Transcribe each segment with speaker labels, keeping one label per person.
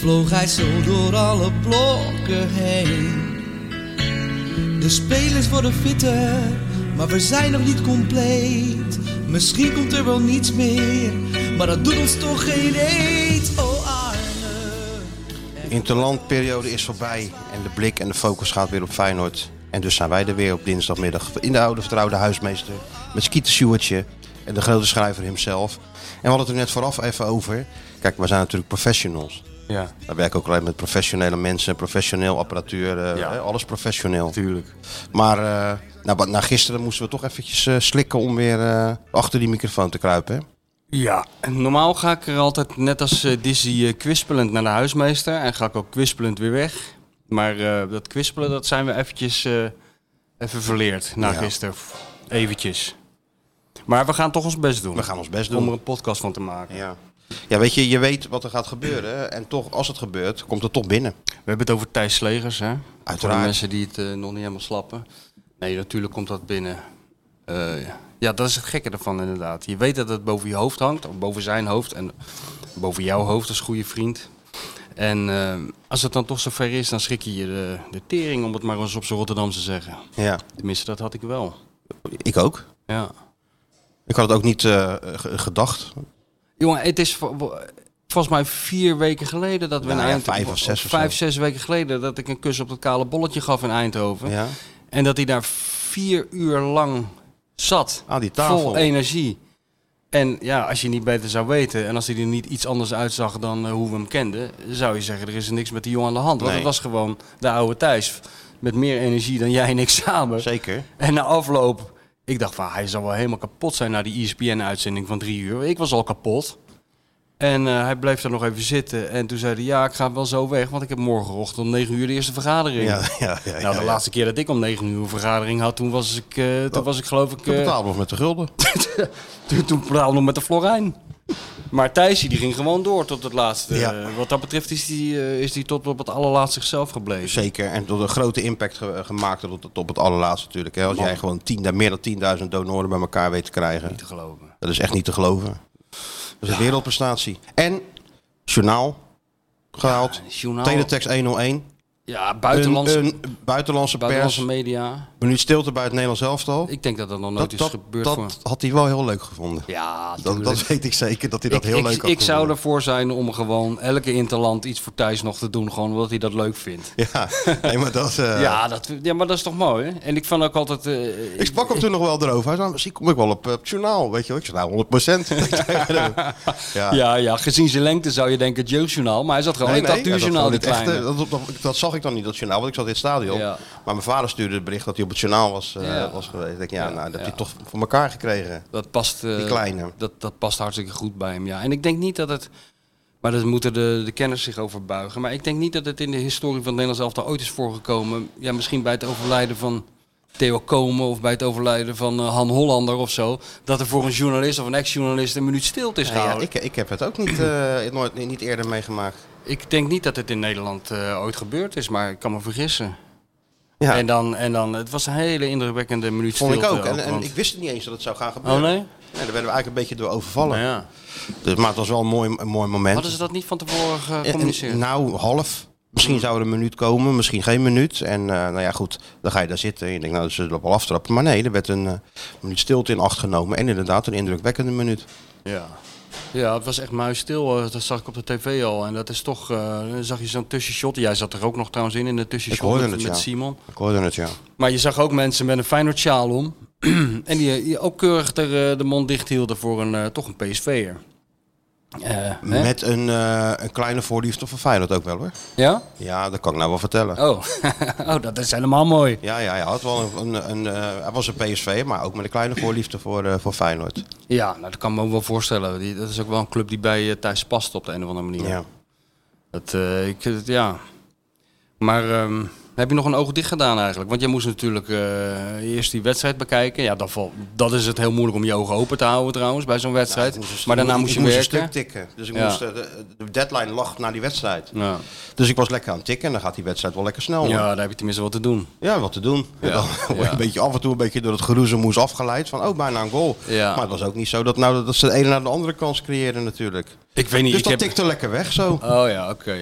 Speaker 1: Vloog hij zo door alle blokken heen De spelers worden fitter Maar we zijn nog niet compleet Misschien komt er wel niets meer Maar dat doet ons toch geen eet Oh Arne
Speaker 2: De interlandperiode is voorbij en de blik en de focus gaat weer op Feyenoord. En dus zijn wij er weer op dinsdagmiddag in de oude vertrouwde huismeester met Skeeter Sjoerdje en de grote schrijver himself. En we hadden het er net vooraf even over. Kijk, we zijn natuurlijk professionals.
Speaker 3: Ja,
Speaker 2: We werken ook alleen met professionele mensen, professioneel apparatuur, eh,
Speaker 3: Ja.
Speaker 2: hè, alles professioneel.
Speaker 3: natuurlijk.
Speaker 2: Maar eh, nou, ba- na gisteren moesten we toch eventjes eh, slikken om weer eh, achter die microfoon te kruipen. hè?
Speaker 3: Ja, en normaal ga ik er altijd net als eh, Dizzy eh, kwispelend naar de huismeester. En ga ik ook kwispelend weer weg. Maar eh, dat kwispelen, dat zijn we eventjes eh, even verleerd na
Speaker 2: Ja.
Speaker 3: gisteren. Eventjes. Maar we gaan toch ons best doen.
Speaker 2: We gaan ons best
Speaker 3: Om
Speaker 2: doen.
Speaker 3: er een podcast van te maken.
Speaker 2: Ja. ja, weet je, je weet wat er gaat gebeuren. En toch, als het gebeurt, komt het toch binnen.
Speaker 3: We hebben het over Thijs Slegers, hè? Voor de
Speaker 2: Uiteraard.
Speaker 3: mensen die het eh, nog niet helemaal slappen. Nee, natuurlijk komt dat binnen. Eh, ja, dat is het gekke ervan inderdaad. Je weet dat het boven je hoofd hangt, of boven zijn hoofd en boven jouw hoofd als goede vriend. En eh, als het dan toch zover is, dan schrik je je de, de tering, om het maar eens op zijn Rotterdamse te zeggen.
Speaker 2: Ja,
Speaker 3: Tenminste, dat had ik wel.
Speaker 2: ik ook.
Speaker 3: Ja.
Speaker 2: Ik had het ook niet eh, ge- gedacht.
Speaker 3: Jongen, het is vo- vo- volgens mij vier weken geleden dat we
Speaker 2: Nou
Speaker 3: in
Speaker 2: ja,
Speaker 3: Eindhoven...
Speaker 2: vijf of zes of
Speaker 3: Vijf,
Speaker 2: zo.
Speaker 3: zes weken geleden dat ik een kus op dat kale bolletje gaf in Eindhoven.
Speaker 2: Ja.
Speaker 3: En dat hij daar vier uur lang zat.
Speaker 2: Aan die tafel.
Speaker 3: Vol energie. En ja, als je niet beter zou weten en als hij er niet iets anders uitzag dan eh, hoe we hem kenden, zou je zeggen: er is niks met die jongen aan de hand. Want
Speaker 2: Nee.
Speaker 3: het was gewoon de oude Thijs. Met meer energie dan jij en ik samen.
Speaker 2: Zeker.
Speaker 3: En na afloop, ik dacht van hij zal wel helemaal kapot zijn na die E ESPN-uitzending van drie uur. Ik was al kapot. En eh, hij bleef daar nog even zitten. En toen zei hij, ja, ik ga wel zo weg, want ik heb morgenochtend om negen uur de eerste vergadering.
Speaker 2: Ja, ja, ja,
Speaker 3: nou,
Speaker 2: ja,
Speaker 3: de
Speaker 2: ja.
Speaker 3: laatste keer dat ik om negen uur een vergadering had, toen was ik, eh, toen was ik geloof ik...
Speaker 2: De
Speaker 3: eh,
Speaker 2: betaalbof met de gulden.
Speaker 3: toen, toen praalde nog met de Florijn. Maar Thijsie, die ging gewoon door tot het laatste.
Speaker 2: Ja.
Speaker 3: Eh, wat dat betreft is die, eh, is die tot op het allerlaatst zichzelf gebleven.
Speaker 2: Zeker. En door een grote impact ge- gemaakt op het, op het allerlaatste natuurlijk. Hè. Als jij gewoon 10, meer dan 10.000 donoren bij elkaar weet te krijgen.
Speaker 3: Niet te geloven.
Speaker 2: Dat is echt niet te geloven. Dat is een wereldprestatie. En journaal gehaald.
Speaker 3: Journaal.
Speaker 2: Teletext 101.
Speaker 3: Ja,
Speaker 2: Een,
Speaker 3: buitenlandse,
Speaker 2: een buitenlandse pers.
Speaker 3: buitenlandse media.
Speaker 2: Minuut stilte bij het Nederlands elftal.
Speaker 3: Ik denk dat dat nog nooit
Speaker 2: Dat,
Speaker 3: is
Speaker 2: dat,
Speaker 3: gebeurd
Speaker 2: dat
Speaker 3: voor.
Speaker 2: had hij wel heel leuk gevonden.
Speaker 3: Ja,
Speaker 2: Dat, dat weet ik zeker, dat hij dat heel
Speaker 3: ik,
Speaker 2: leuk
Speaker 3: ik,
Speaker 2: had
Speaker 3: ik zou
Speaker 2: gevonden.
Speaker 3: ervoor zijn om gewoon elke interland iets voor thuis nog te doen, gewoon omdat hij dat leuk vindt.
Speaker 2: Ja, nee, maar dat... eh,
Speaker 3: ja, dat, ja, maar dat is toch mooi, hè? En ik vond ook altijd... eh,
Speaker 2: Ik sprak hem toen nog wel erover. Hij zei, misschien kom ik wel op, eh, op het journaal, weet je wel. Ik zei, nou, 100 ja.
Speaker 3: ja, ja, gezien zijn lengte zou je denken het jeugdjournaal, maar hij zat gewoon
Speaker 2: Nee,
Speaker 3: in
Speaker 2: nee,
Speaker 3: het
Speaker 2: ja, dat,
Speaker 3: acteurjournaal,
Speaker 2: vond
Speaker 3: die
Speaker 2: ik echt,
Speaker 3: kleine.
Speaker 2: eh, dat, op- dat, dat zag ik dan niet, dat journaal, want ik zat in het stadion.
Speaker 3: Ja.
Speaker 2: Maar mijn vader stuurde het bericht dat hij op het journaal was, eh,
Speaker 3: Ja.
Speaker 2: was geweest. Ik denk, ja,
Speaker 3: Ja,
Speaker 2: nou, dat heb
Speaker 3: ja.
Speaker 2: je toch voor elkaar gekregen.
Speaker 3: Dat past, eh,
Speaker 2: Die kleine.
Speaker 3: Dat, dat past hartstikke goed bij hem, ja. En ik denk niet dat het... Maar daar moeten de, de kenners zich over buigen. Maar ik denk niet dat het in de historie van het Nederlands elftal ooit is voorgekomen. Ja, misschien bij het overlijden van Theo Komen of bij het overlijden van eh, Han Hollander of zo. Dat er voor een journalist of een ex-journalist een minuut stilte is
Speaker 2: Nee, Dus nou, ja,
Speaker 3: gehouden.
Speaker 2: ik, ik heb het ook niet, eh, nooit, niet eerder meegemaakt.
Speaker 3: ik... denk niet dat het in Nederland eh, ooit gebeurd is, maar ik kan me vergissen.
Speaker 2: Ja,
Speaker 3: En, dan, en dan, het was een hele indrukwekkende minuut
Speaker 2: vond ik
Speaker 3: stilte.
Speaker 2: ook. En, en
Speaker 3: want-
Speaker 2: ik wist het niet eens dat het zou gaan
Speaker 3: Oh
Speaker 2: gebeuren.
Speaker 3: nee?
Speaker 2: daar werden we eigenlijk een beetje door overvallen.
Speaker 3: Nou ja.
Speaker 2: Dus, maar het was wel een mooi, een mooi moment.
Speaker 3: Hadden ze dat niet van tevoren eh,
Speaker 2: En- en
Speaker 3: gecommuniceerd? Hmm.
Speaker 2: nou, half. Misschien zou er een minuut komen, misschien geen minuut. En eh, nou ja, goed, dan ga je daar zitten. En je denkt, nou, ze zullen wel aftrappen. Maar nee, er werd een eh, minuut stilte in acht genomen. En inderdaad, een indrukwekkende minuut.
Speaker 3: Ja. Ja, het was echt muisstil. eh, Dat zag ik op de tv al. En dat is toch, eh, dan zag je zo'n tussenshot. Jij zat er ook nog trouwens in, in de
Speaker 2: Ik
Speaker 3: tussenshot
Speaker 2: hoorde
Speaker 3: met,
Speaker 2: het,
Speaker 3: met
Speaker 2: ja.
Speaker 3: Simon.
Speaker 2: Ik hoorde het, ja.
Speaker 3: Maar je zag ook mensen met een Feyenoord sjaal om. en die, die ook keurig er, eh, de mond dicht hielden voor een, eh, toch een PSV'er. Eh, hè?
Speaker 2: Met een, eh, een kleine voorliefde voor Feyenoord ook wel, hoor.
Speaker 3: Ja?
Speaker 2: Ja, dat kan ik nou wel vertellen.
Speaker 3: Oh. oh, dat is helemaal mooi.
Speaker 2: Ja, ja, hij had wel een, een, een, eh, hij was een PSV, maar ook met een kleine voorliefde voor, eh, voor Feyenoord.
Speaker 3: Ja, nou, dat kan ik me ook wel voorstellen. Die, dat is ook wel een club die bij eh, Thijs past op de een of andere manier.
Speaker 2: Ja.
Speaker 3: Dat, eh, ik, het- ja. Maar ehm, heb je nog een oog dicht gedaan eigenlijk? Want jij moest natuurlijk eh, eerst die wedstrijd bekijken. Ja, dat, val- dat is het heel moeilijk om je ogen open te houden trouwens bij zo'n wedstrijd.
Speaker 2: Ik moest-
Speaker 3: maar daarna
Speaker 2: ik
Speaker 3: moest je
Speaker 2: moest een
Speaker 3: werken.
Speaker 2: stuk tikken. Dus ik
Speaker 3: Ja.
Speaker 2: moest, eh, de, de deadline lag naar die wedstrijd.
Speaker 3: Ja.
Speaker 2: Dus ik was lekker aan het tikken en dan gaat die wedstrijd wel lekker snel.
Speaker 3: ja,
Speaker 2: Ja,
Speaker 3: daar heb je tenminste wat te doen.
Speaker 2: ja wat te doen. En dan word je
Speaker 3: ja.
Speaker 2: een beetje af en toe een beetje door het geroezemoes afgeleid. Van, oh, bijna een goal.
Speaker 3: Ja.
Speaker 2: Maar het was ook niet zo dat, nou, dat ze de ene naar de andere kans creëerden natuurlijk.
Speaker 3: Ik weet niet.
Speaker 2: Dus
Speaker 3: ik
Speaker 2: dat
Speaker 3: heb...
Speaker 2: tikte lekker weg zo.
Speaker 3: Oh ja, oké.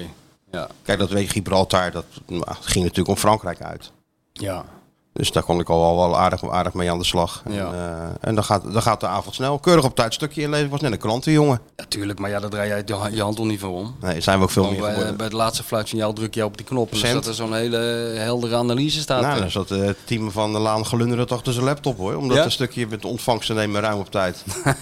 Speaker 3: Ja.
Speaker 2: Kijk, dat weet Gibraltar, dat nou, het ging natuurlijk om Frankrijk uit.
Speaker 3: Ja.
Speaker 2: Dus daar kon ik al wel- wel aardig, aardig mee aan de slag. En,
Speaker 3: Ja.
Speaker 2: eh, en dan, gaat, dan gaat de avond snel. Keurig op tijd stukje inlezen. Ik was net een klantenjongen.
Speaker 3: Natuurlijk, maar ja, daar draai jij je ha- je hand toch niet van om.
Speaker 2: Nee, zijn we ook veel
Speaker 3: Want
Speaker 2: meer
Speaker 3: Bij,
Speaker 2: geworden.
Speaker 3: bij het laatste fluitsignaal druk je op die knop. En dan
Speaker 2: Cent.
Speaker 3: staat er zo'n hele heldere analyse staat
Speaker 2: Nou,
Speaker 3: er.
Speaker 2: dan zat eh, het team van de Laan glunderend achter zijn laptop hoor. Omdat
Speaker 3: Ja?
Speaker 2: een stukje met de ontvangst te nemen ruim op tijd. Doe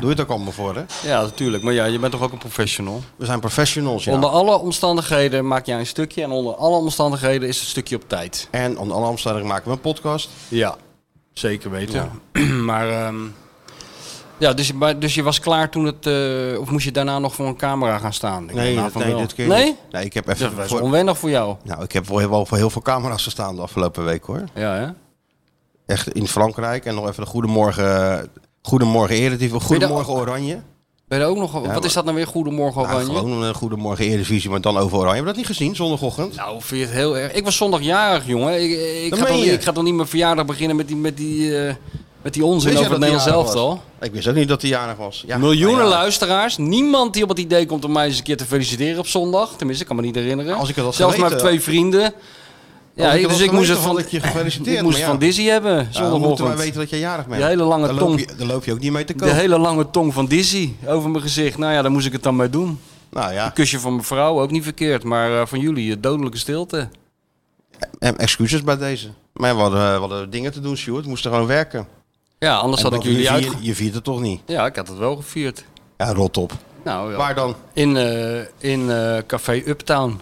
Speaker 2: je het ook allemaal voor hè?
Speaker 3: Ja, natuurlijk. Maar ja, je bent toch ook een professional.
Speaker 2: We zijn professionals ja.
Speaker 3: Onder alle omstandigheden maak jij een stukje. En onder alle omstandigheden is het stukje op tijd.
Speaker 2: En onder alle omstandigheden maken we een podcast.
Speaker 3: Ja, zeker weten. maar ehm, ja, dus, je- maar, dus je was klaar toen het... eh, of moest je daarna nog voor een camera gaan staan? Ik
Speaker 2: Nee,
Speaker 3: neem aan
Speaker 2: dat-
Speaker 3: nou, van
Speaker 2: nee
Speaker 3: wel.
Speaker 2: dit keer
Speaker 3: Nee?
Speaker 2: niet. Nee, ik heb even...
Speaker 3: Dat was
Speaker 2: voor-
Speaker 3: onwennig voor jou.
Speaker 2: Nou, ik heb wel wel voor heel veel camera's gestaan de afgelopen week hoor.
Speaker 3: Ja, hè?
Speaker 2: Echt in Frankrijk. En nog even de goedemorgen, eh, goedemorgen Eredivisie. Goedemorgen Oranje.
Speaker 3: Ben je er ook nog... wat is dat nou weer? Goedemorgen,
Speaker 2: Ja,
Speaker 3: Oranje?
Speaker 2: gewoon een eh, goedemorgen Eredivisie, maar dan over Oranje. Heb je dat niet gezien zondagochtend?
Speaker 3: Nou, vind je het heel erg. Ik was zondagjarig, jongen. Ik, ik,
Speaker 2: Dat
Speaker 3: ga,
Speaker 2: meen
Speaker 3: dan,
Speaker 2: je?
Speaker 3: ik ga dan niet mijn verjaardag beginnen met die, met die, eh, met die onzin
Speaker 2: Wist jij
Speaker 3: over het
Speaker 2: dat die
Speaker 3: Nederlands
Speaker 2: jarig was?
Speaker 3: elftal.
Speaker 2: Ik wist ook niet dat hij jarig was. Ja,
Speaker 3: Miljoenen
Speaker 2: nou ja,
Speaker 3: luisteraars. Niemand die op het idee komt om mij eens een keer te feliciteren op zondag. Tenminste, ik kan me niet herinneren.
Speaker 2: Als ik het had
Speaker 3: Zelfs maar
Speaker 2: geweten-
Speaker 3: twee vrienden. Ja,
Speaker 2: Als ik het
Speaker 3: dus
Speaker 2: had
Speaker 3: ik moest
Speaker 2: geweten,
Speaker 3: het van,
Speaker 2: had ik je gefeliciteerd,
Speaker 3: ik moest
Speaker 2: maar
Speaker 3: het
Speaker 2: ja.
Speaker 3: van Dizzy hebben
Speaker 2: Ja, dan moeten wij
Speaker 3: zondagochtend.
Speaker 2: weten dat je jarig bent.
Speaker 3: Die hele lange
Speaker 2: daar
Speaker 3: tong.
Speaker 2: Loop je, daar loop je ook niet mee te
Speaker 3: de
Speaker 2: komen.
Speaker 3: hele lange tong van Dizzy over mijn gezicht. Nou ja, daar moest ik het dan mee doen.
Speaker 2: Nou ja,
Speaker 3: Kusje van mijn vrouw, ook niet verkeerd. Maar eh, van jullie, eh, dodelijke stilte.
Speaker 2: em, eh, excuses bij deze. Maar ja, we hadden, eh, we hadden dingen te doen, Sjoerd. We moesten gewoon werken.
Speaker 3: Ja, anders
Speaker 2: En
Speaker 3: had ik
Speaker 2: bovendien,
Speaker 3: jullie
Speaker 2: je
Speaker 3: uit.
Speaker 2: viert- Je viert het toch niet?
Speaker 3: Ja, ik had het wel gevierd.
Speaker 2: Ja, rot op.
Speaker 3: Nou, ja.
Speaker 2: Waar dan?
Speaker 3: In, eh, in eh, Café Uptown.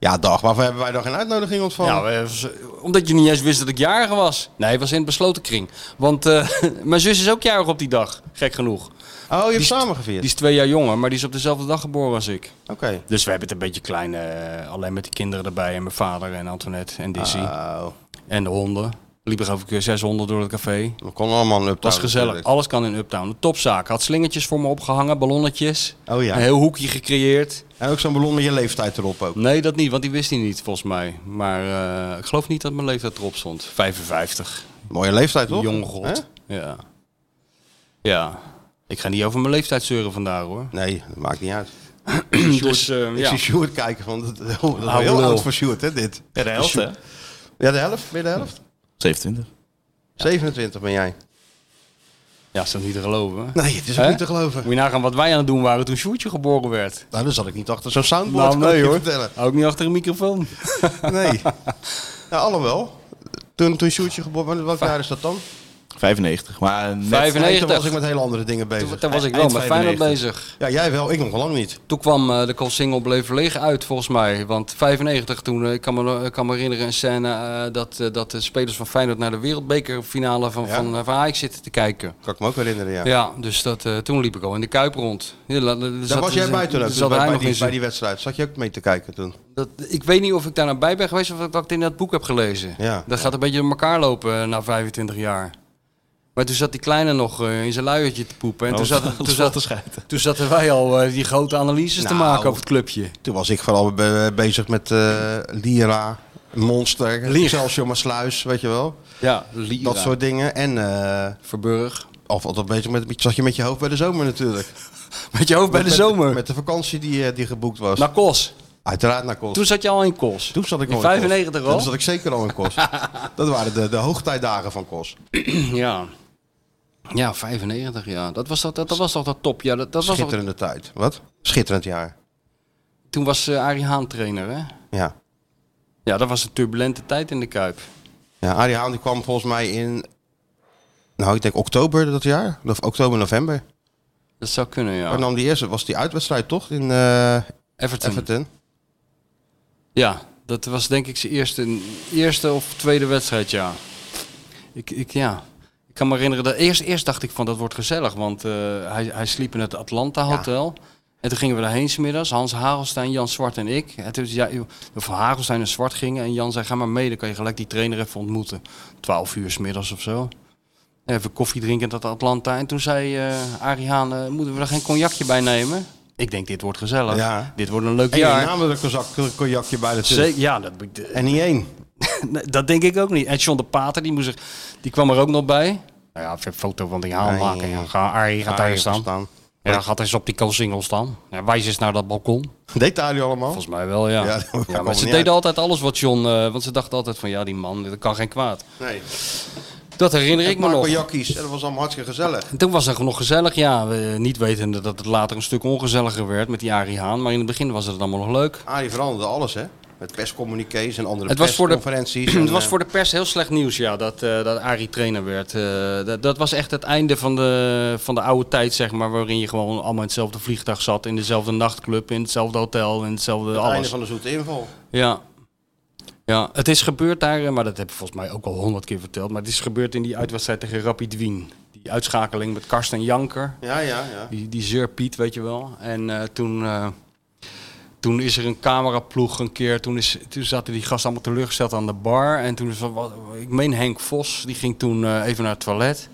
Speaker 2: Ja, dag. Waarvoor hebben wij dan geen uitnodiging ontvangen?
Speaker 3: Ja, we- we- omdat je niet eens wist dat ik jarig was. Nee, het was in het besloten kring. Want eh, mijn zus is ook jarig op die dag, gek genoeg.
Speaker 2: oh, je hebt
Speaker 3: st-
Speaker 2: samen
Speaker 3: Die
Speaker 2: gevierd?
Speaker 3: is twee jaar jonger, maar die is op dezelfde dag geboren als ik.
Speaker 2: Oké.
Speaker 3: Dus we hebben het een beetje klein, eh, alleen met die kinderen erbij. En mijn vader en Antoinette en Dizzy.
Speaker 2: Oh,
Speaker 3: En de honden. Liepen geloof ik eh, zes honden door het café.
Speaker 2: we konden allemaal een
Speaker 3: Was
Speaker 2: uptown.
Speaker 3: gezellig.
Speaker 2: Oh, natuurlijk.
Speaker 3: Alles kan in Uptown. Een topzaak. Had slingertjes voor me opgehangen, ballonnetjes.
Speaker 2: Oh ja.
Speaker 3: Een heel hoekje gecreëerd.
Speaker 2: En ook zo'n ballon met je leeftijd erop ook.
Speaker 3: Nee, dat niet, want die wist hij niet volgens mij. Maar eh, ik geloof niet dat mijn leeftijd erop stond. 55.
Speaker 2: Mooie leeftijd, toch?
Speaker 3: Jong
Speaker 2: Hè?
Speaker 3: god. Ja. Ja. Ik ga niet over mijn leeftijd zeuren vandaag hoor.
Speaker 2: Nee, dat maakt niet uit.
Speaker 3: dus eh,
Speaker 2: Ik
Speaker 3: ja. Ah,
Speaker 2: zie Sjoerd kijken, want dat, dat is wel
Speaker 3: lul.
Speaker 2: heel oud voor Sjoerd, hè, dit.
Speaker 4: Ja, de helft, hè?
Speaker 2: Ja, de helft? Ben je de helft?
Speaker 4: 27.
Speaker 2: 27 ben jij.
Speaker 3: ja, is dat niet te geloven?
Speaker 2: Nee, het is ook
Speaker 3: Hè?
Speaker 2: niet te geloven.
Speaker 3: Moet je nagaan wat wij aan het doen waren toen Sjoerdje geboren werd.
Speaker 2: Nou, dan zat ik niet achter zo'n
Speaker 3: Nou,
Speaker 2: soundboard, kan ik je vertellen.
Speaker 3: Ook niet achter een microfoon.
Speaker 2: Nee. nou, alhoewel. Toen, toen Sjoerdje geboren werd, welk jaar is dat dan?
Speaker 4: 95. Maar eh, net...
Speaker 3: 95.
Speaker 2: Nee, toen was ik met hele andere dingen
Speaker 3: Toen,
Speaker 2: bezig.
Speaker 3: toen was ik wel
Speaker 4: Eind
Speaker 3: met Feyenoord
Speaker 4: 95.
Speaker 3: bezig.
Speaker 2: Ja, jij wel, ik nog lang niet.
Speaker 3: Toen kwam eh, de call single bleef leeg uit volgens mij. Want 95 toen, eh, ik kan me, ik kan me herinneren een scène eh, dat, eh, dat de spelers van Feyenoord naar de wereldbekerfinale van,
Speaker 2: Ja.
Speaker 3: van, eh, van Ajax zitten te kijken.
Speaker 2: Kan ik me ook herinneren, ja.
Speaker 3: Ja, dus dat, eh, toen liep ik al in de Kuip rond. Ja, la- la-
Speaker 2: Daar
Speaker 3: zat-
Speaker 2: was jij bij toen ook,
Speaker 3: zat
Speaker 2: toen bij,
Speaker 3: hij
Speaker 2: bij
Speaker 3: nog
Speaker 2: die,
Speaker 3: in
Speaker 2: bij
Speaker 3: zijn-
Speaker 2: die wedstrijd. Zat je ook mee te kijken toen?
Speaker 3: dat, ik weet niet of ik daar naar bij ben geweest of dat ik dat in dat boek heb gelezen.
Speaker 2: Ja.
Speaker 3: Dat gaat een beetje door elkaar lopen eh, na 25 jaar. Maar toen zat die kleine nog eh, in zijn luiertje te poepen.
Speaker 2: Oh,
Speaker 4: Oh,
Speaker 3: En toen, zat, toen, zat,
Speaker 4: te schijten.
Speaker 3: toen zaten wij al eh, die grote analyses te
Speaker 2: Nou.
Speaker 3: maken over het clubje.
Speaker 2: Toen was ik vooral be- bezig met eh, Lira, Monster,
Speaker 3: Lira.
Speaker 2: Excelsior Maasluis, weet je wel.
Speaker 3: Ja, Lira.
Speaker 2: Dat soort dingen. En eh,
Speaker 3: Verburg.
Speaker 2: of altijd bezig met, zat je met je hoofd bij de zomer natuurlijk.
Speaker 3: Met je hoofd bij de
Speaker 2: Met-
Speaker 3: zomer.
Speaker 2: Met de vakantie die, eh, die geboekt was.
Speaker 3: Naar Kos.
Speaker 2: Uiteraard naar Kos.
Speaker 3: Toen zat je al in Kos.
Speaker 2: Toen zat ik
Speaker 3: in
Speaker 2: nog in Kos.
Speaker 3: 95 al?
Speaker 2: Toen zat ik zeker al in Kos. dat waren de, de hoogtijdagen van Kos.
Speaker 3: Ja. Ja, 95 ja. Dat was, dat, dat, dat was toch dat topjaar. Dat, dat was toch-
Speaker 2: Schitterende tijd. Wat? Schitterend jaar.
Speaker 3: toen was eh Arie Haan trainer, hè?
Speaker 2: Ja.
Speaker 3: Ja, dat was een turbulente tijd in de Kuip.
Speaker 2: ja Arie Haan die kwam volgens mij in... Nou, ik denk oktober dat jaar. Of oktober, november.
Speaker 3: Dat zou kunnen, ja.
Speaker 2: Waar nam die eerste? Was die uitwedstrijd toch in eh,
Speaker 3: Everton.
Speaker 2: Everton?
Speaker 3: Ja, dat was denk ik zijn eerste, eerste of tweede wedstrijd, ja. Ik, ik, ja. ik kan me herinneren, dat eerst, eerst dacht ik van dat wordt gezellig, want eh, hij, hij sliep in het Atlanta Hotel. En toen gingen we daarheen smiddags. Hans Hagelstein, Jan Zwart en ik. En toen zei ja, of Hagelstein en Zwart gingen. En Jan zei, ga maar mee, dan kan je gelijk die trainer even ontmoeten. Twaalf uur smiddags of zo. En Even koffie drinken in dat Atlanta. En toen zei eh Arie Haan, eh, moeten we er geen cognacje bij nemen? Ik denk, dit wordt gezellig.
Speaker 2: Ja.
Speaker 3: Dit wordt een leuk
Speaker 2: En ja,
Speaker 3: jaar.
Speaker 2: namen er een zak- cognacje bij natuurlijk.
Speaker 3: Zeker, ja, dat, de-
Speaker 2: En niet één.
Speaker 3: Nee, dat denk ik ook niet. En John de Pater, die, moest er, die kwam er ook nog bij. Nou ja, een foto van die haal
Speaker 2: Nee.
Speaker 3: maken. Ja, ga, Arie gaat daar staan. Ja, dan gaat eens op die co-single staan. Ja, wijs eens naar dat balkon.
Speaker 2: Deed daar nu allemaal?
Speaker 3: Volgens mij wel,
Speaker 2: Ja,
Speaker 3: ja. Ja,
Speaker 2: dat maakt allemaal
Speaker 3: maar ze
Speaker 2: niet
Speaker 3: deden
Speaker 2: uit.
Speaker 3: altijd alles wat John... eh, want ze dachten altijd van, ja, die man, dat kan geen kwaad.
Speaker 2: Nee.
Speaker 3: Dat herinner ik me nog.
Speaker 2: Cognacjes. En dat was allemaal hartstikke gezellig.
Speaker 3: En toen was het nog gezellig, ja. we- eh, niet wetende dat het later een stuk ongezelliger werd met die Arie Haan. Maar in het begin was het allemaal nog leuk.
Speaker 2: Arie veranderde alles, hè? Met perscommuniqués en andere
Speaker 3: Het was voor de-
Speaker 2: persconferenties.
Speaker 3: Het
Speaker 2: en,
Speaker 3: was
Speaker 2: eh,
Speaker 3: voor de pers heel slecht nieuws, ja, dat, eh dat Arie trainer werd. Eh, dat, dat was echt het einde van de, van de oude tijd, zeg maar, waarin je gewoon allemaal in hetzelfde vliegtuig zat, in dezelfde nachtclub, in hetzelfde hotel, in hetzelfde
Speaker 2: het einde
Speaker 3: alles.
Speaker 2: van de zoete inval.
Speaker 3: Ja. ja, het is gebeurd daar, eh, maar dat heb ik volgens mij ook al honderd keer verteld, maar het is gebeurd in die uitwedstrijd tegen Rapid Wien. Die uitschakeling met Karsten Janker.
Speaker 2: Ja, ja, ja.
Speaker 3: Die, die Zeur Piet, weet je wel. En eh, toen, eh, toen is er een cameraploeg een keer. Toen, is, toen zaten die gasten allemaal teleurgesteld aan de bar. En toen, is er wat- ik meen Henk Vos, die ging toen eh, even naar het toilet.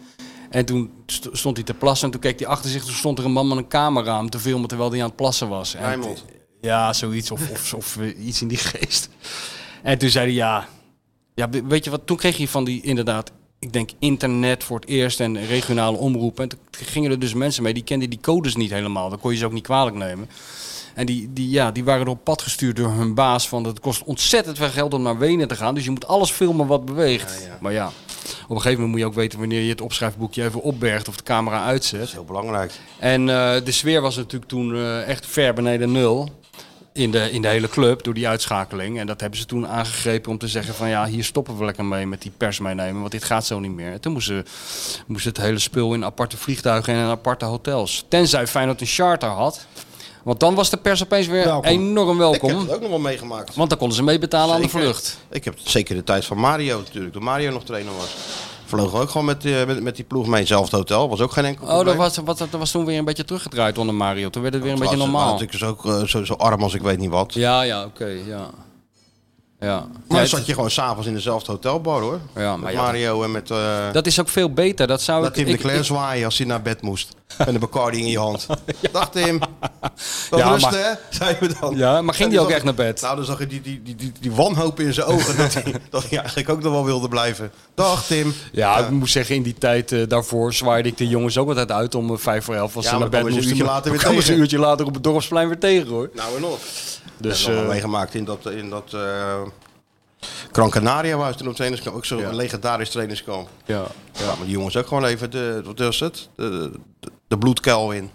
Speaker 3: En toen st- stond hij te plassen. En toen keek hij achter zich. Toen stond er een man met een camera om te filmen terwijl hij aan het plassen was. En-
Speaker 2: Rijnmond.
Speaker 3: ja, zoiets. Of, of, of eh, iets in die geest. En toen zei hij ja. Ja, we- weet je wat? Toen kreeg je van die inderdaad, ik denk internet voor het eerst en regionale omroepen. En toen gingen er dus mensen mee, die kenden die codes niet helemaal. Dan kon je ze ook niet kwalijk nemen. En die, die, ja, die waren op pad gestuurd door hun baas van het kost ontzettend veel geld om naar Wenen te gaan. Dus je moet alles filmen wat beweegt.
Speaker 2: Ja, ja.
Speaker 3: Maar ja, op een gegeven moment moet je ook weten wanneer je het opschrijfboekje even opbergt of de camera uitzet.
Speaker 2: Dat is heel belangrijk.
Speaker 3: En eh, de sfeer was natuurlijk toen eh, echt ver beneden nul. In de, in de hele club door die uitschakeling. En dat hebben ze toen aangegrepen om te zeggen: van ja, hier stoppen we lekker mee met die pers meenemen. Want dit gaat zo niet meer. En toen moesten moest het hele spul in aparte vliegtuigen en in aparte hotels. Tenzij Feyenoord een charter had. Want dan was de pers opeens weer
Speaker 2: Welkom.
Speaker 3: enorm
Speaker 2: Ik
Speaker 3: welkom.
Speaker 2: heb het ook nog wel meegemaakt.
Speaker 3: Want dan konden ze meebetalen aan de
Speaker 2: Zeker.
Speaker 3: vlucht.
Speaker 2: Ik heb zeker de tijd van Mario natuurlijk, toen Mario nog trainer was. Vlogen we ook gewoon met, eh, met, met die ploeg mee. Hetzelfde hotel, was ook geen enkel
Speaker 3: Oh, dat
Speaker 2: probleem.
Speaker 3: was, wat, dat was toen weer een beetje teruggedraaid onder Mario. Toen werd het weer een beetje
Speaker 2: Terwijl ze-
Speaker 3: normaal.
Speaker 2: waren natuurlijk dus ook eh, zo, zo arm als ik weet niet wat.
Speaker 3: Ja, ja, oké. ja. Ja.
Speaker 2: Maar
Speaker 3: Ja,
Speaker 2: dan zat je gewoon s'avonds in dezelfde hotelbar hoor.
Speaker 3: Ja, maar
Speaker 2: met
Speaker 3: ja,
Speaker 2: Mario en met... eh
Speaker 3: Dat is ook veel beter. Dat zou
Speaker 2: Laat
Speaker 3: Oh, ik,
Speaker 2: Tim de
Speaker 3: ik-
Speaker 2: Claire
Speaker 3: ik-
Speaker 2: zwaaien als hij naar bed moest. Met een Bacardi in je hand. Dag Tim. Wel
Speaker 3: Ja,
Speaker 2: rusten
Speaker 3: maar-
Speaker 2: hè, zei we dan.
Speaker 3: Ja, maar ging
Speaker 2: En
Speaker 3: die
Speaker 2: dan
Speaker 3: ook
Speaker 2: zag
Speaker 3: echt
Speaker 2: ik-
Speaker 3: naar bed?
Speaker 2: Nou, dan zag je die, die, die, die, die wanhoop in zijn ogen. dat, hij, dat hij eigenlijk ook nog wel wilde blijven. Dag Tim.
Speaker 3: Ja, ik moet zeggen, in die tijd eh, daarvoor zwaaide ik de jongens ook altijd uit om eh, vijf voor elf. Als
Speaker 2: Ja,
Speaker 3: ze
Speaker 2: maar
Speaker 3: naar bed
Speaker 2: dan komen ze
Speaker 3: moesten.
Speaker 2: een uurtje later weer
Speaker 3: Dan komen ze een
Speaker 2: tegen.
Speaker 3: uurtje later op het dorpsplein weer tegen hoor.
Speaker 2: Nou en nog.
Speaker 3: Dus
Speaker 2: Dus, nog wel
Speaker 3: eh,
Speaker 2: meegemaakt in dat... In dat eh Gran Canaria was toen op trainingskamp. Ook zo'n
Speaker 3: Ja.
Speaker 2: legendarisch trainingskamp.
Speaker 3: ja,
Speaker 2: Ja, maar die jongens ook gewoon even de, wat is het? De, de, de bloedkuil in.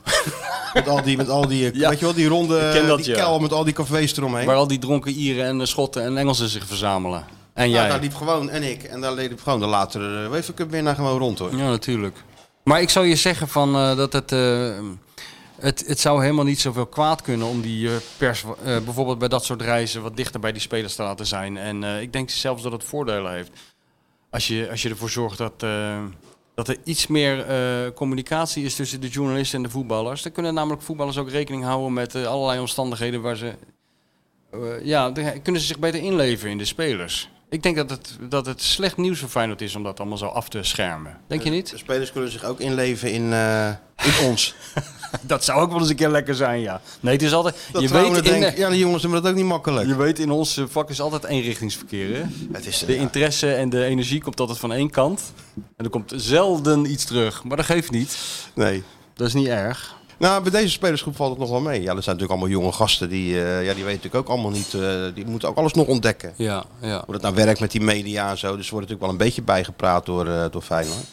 Speaker 2: met al die, met al die, eh,
Speaker 3: Ja.
Speaker 2: weet je wel, die ronde,
Speaker 3: Ik ken dat,
Speaker 2: die
Speaker 3: ja.
Speaker 2: kuil met al die cafés eromheen.
Speaker 3: waar al die dronken Ieren en eh, Schotten en Engelsen zich verzamelen. En
Speaker 2: Ja, nou,
Speaker 3: jij.
Speaker 2: daar liep gewoon en ik. En daar liep gewoon de latere uh, UEFA Cup winnaar gewoon rond hoor.
Speaker 3: Ja, natuurlijk. Maar ik zou je zeggen van, eh, dat het, eh, het... Het zou helemaal niet zoveel kwaad kunnen om die eh, pers eh, bijvoorbeeld bij dat soort reizen wat dichter bij die spelers te laten zijn. En eh, ik denk zelfs dat het voordelen heeft. Als je, als je ervoor zorgt dat, eh, dat er iets meer eh, communicatie is tussen de journalisten en de voetballers. Dan kunnen namelijk voetballers ook rekening houden met eh, allerlei omstandigheden waar ze... eh, ja, dan kunnen ze zich beter inleven in de spelers. Ik denk dat het, dat het slecht nieuws voor Feyenoord is om dat allemaal zo af te schermen. Denk je niet?
Speaker 2: De spelers kunnen zich ook inleven in, eh, in ons.
Speaker 3: Dat zou ook wel eens een keer lekker zijn, ja. Nee, het is altijd...
Speaker 2: Dat
Speaker 3: je, weet in,
Speaker 2: denkt, ja, die jongens hebben dat ook niet
Speaker 3: eh,
Speaker 2: makkelijk.
Speaker 3: je weet, in ons eh, vak is altijd eenrichtingsverkeer, hè?
Speaker 2: het is, eh,
Speaker 3: De
Speaker 2: ja.
Speaker 3: interesse en de energie komt altijd van één kant. En er komt zelden iets terug. Maar dat geeft niet.
Speaker 2: Nee.
Speaker 3: Dat is niet erg.
Speaker 2: Nou, bij deze spelersgroep valt het nog wel mee. Ja, er zijn natuurlijk allemaal jonge gasten die, eh, ja, die weten natuurlijk ook allemaal niet. eh, die moeten ook alles nog ontdekken.
Speaker 3: Ja, ja.
Speaker 2: Hoe dat nou werkt met die media en zo. Dus er wordt natuurlijk wel een beetje bijgepraat door, eh door Feyenoord.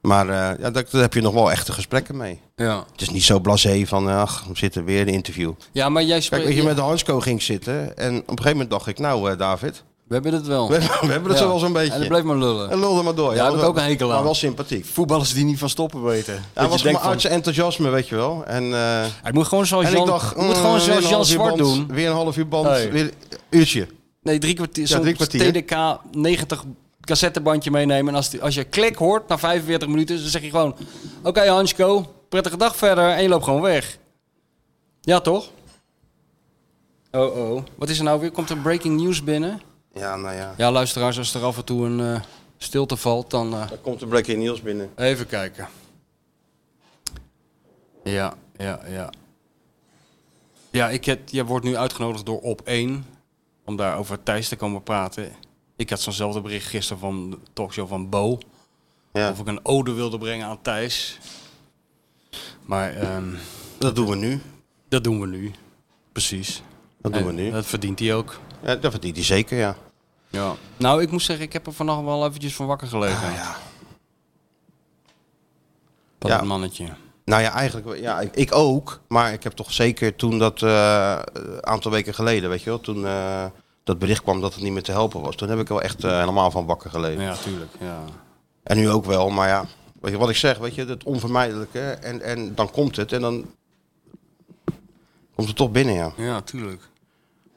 Speaker 2: Maar eh, ja, daar, daar heb je nog wel echte gesprekken mee.
Speaker 3: Ja,
Speaker 2: Het is niet zo blasé van, eh, ach, we zitten weer in een interview.
Speaker 3: ja maar jij
Speaker 2: Kijk,
Speaker 3: spreekt...
Speaker 2: weet je, met de Hansco ging ik zitten. En op een gegeven moment dacht ik, nou eh, David,
Speaker 3: We hebben het wel.
Speaker 2: we, hebben- we hebben dat
Speaker 3: Ja.
Speaker 2: zo wel zo'n
Speaker 3: En
Speaker 2: beetje.
Speaker 3: dat
Speaker 2: En,
Speaker 3: bleef maar lullen.
Speaker 2: lulde maar door.
Speaker 3: Daar heb ik
Speaker 2: wel-
Speaker 3: ook een hekel aan.
Speaker 2: Maar wel sympathiek.
Speaker 3: Voetballers die niet van stoppen weten. Dat
Speaker 2: Hij
Speaker 3: je
Speaker 2: was
Speaker 3: denkt
Speaker 2: mijn arts enthousiasme, weet je wel. En, eh,
Speaker 3: Hij moet gewoon zoals
Speaker 2: en ik
Speaker 3: Jan,
Speaker 2: dacht,
Speaker 3: moet gewoon
Speaker 2: mm, weer een
Speaker 3: zoals Jan
Speaker 2: half uur
Speaker 3: Zwart
Speaker 2: band,
Speaker 3: doen.
Speaker 2: Weer een half uur band,
Speaker 3: Nee.
Speaker 2: weer een uurtje.
Speaker 3: Nee, drie kwartier.
Speaker 2: Ja,
Speaker 3: zo'n
Speaker 2: drie kwartier.
Speaker 3: TDK 90 cassettebandje meenemen. En als, die- als je klik hoort na 45 minuten, dan zeg je gewoon... Oké Hansko, prettige dag verder. En je loopt gewoon weg. Ja, toch? Oh, oh. Wat is er nou weer? Komt er breaking news binnen?
Speaker 2: Ja, nou ja.
Speaker 3: Ja, luisteraars, als er af en toe een eh, stilte valt, dan eh,
Speaker 2: Daar komt een breaking Niels binnen.
Speaker 3: even kijken. Ja, ja, ja. Ja, ik heb, je wordt nu uitgenodigd door Op 1 om daar over Thijs te komen praten. Ik had zo'nzelfde bericht gisteren van de talkshow van Bo.
Speaker 2: Ja,
Speaker 3: Of ik een ode wilde brengen aan Thijs. Maar ehm,
Speaker 2: dat doen we nu.
Speaker 3: dat doen we nu. Precies.
Speaker 2: Dat doen we
Speaker 3: En eh,
Speaker 2: nu.
Speaker 3: Dat verdient hij ook.
Speaker 2: Ja, Eh, dat verdient hij zeker, ja. Ah,
Speaker 3: Ja. Nou, ik moet zeggen, ik heb er vannacht wel eventjes van wakker gelegen.
Speaker 2: ja.
Speaker 3: Van
Speaker 2: Ja.
Speaker 3: dat mannetje.
Speaker 2: Nou ja, eigenlijk wel- ja, ik, ik ook. Maar ik heb toch zeker toen dat eh, een aantal weken geleden, weet je wel, toen eh, dat bericht kwam dat het niet meer te helpen was. Toen heb ik wel echt eh, helemaal van wakker geleden.
Speaker 3: Ja, tuurlijk. Ja.
Speaker 2: En nu ook wel, maar ja, weet je wat ik zeg, weet je, het onvermijdelijke. En, en dan komt het en dan komt het toch binnen, ja. Dat
Speaker 3: ja, tuurlijk.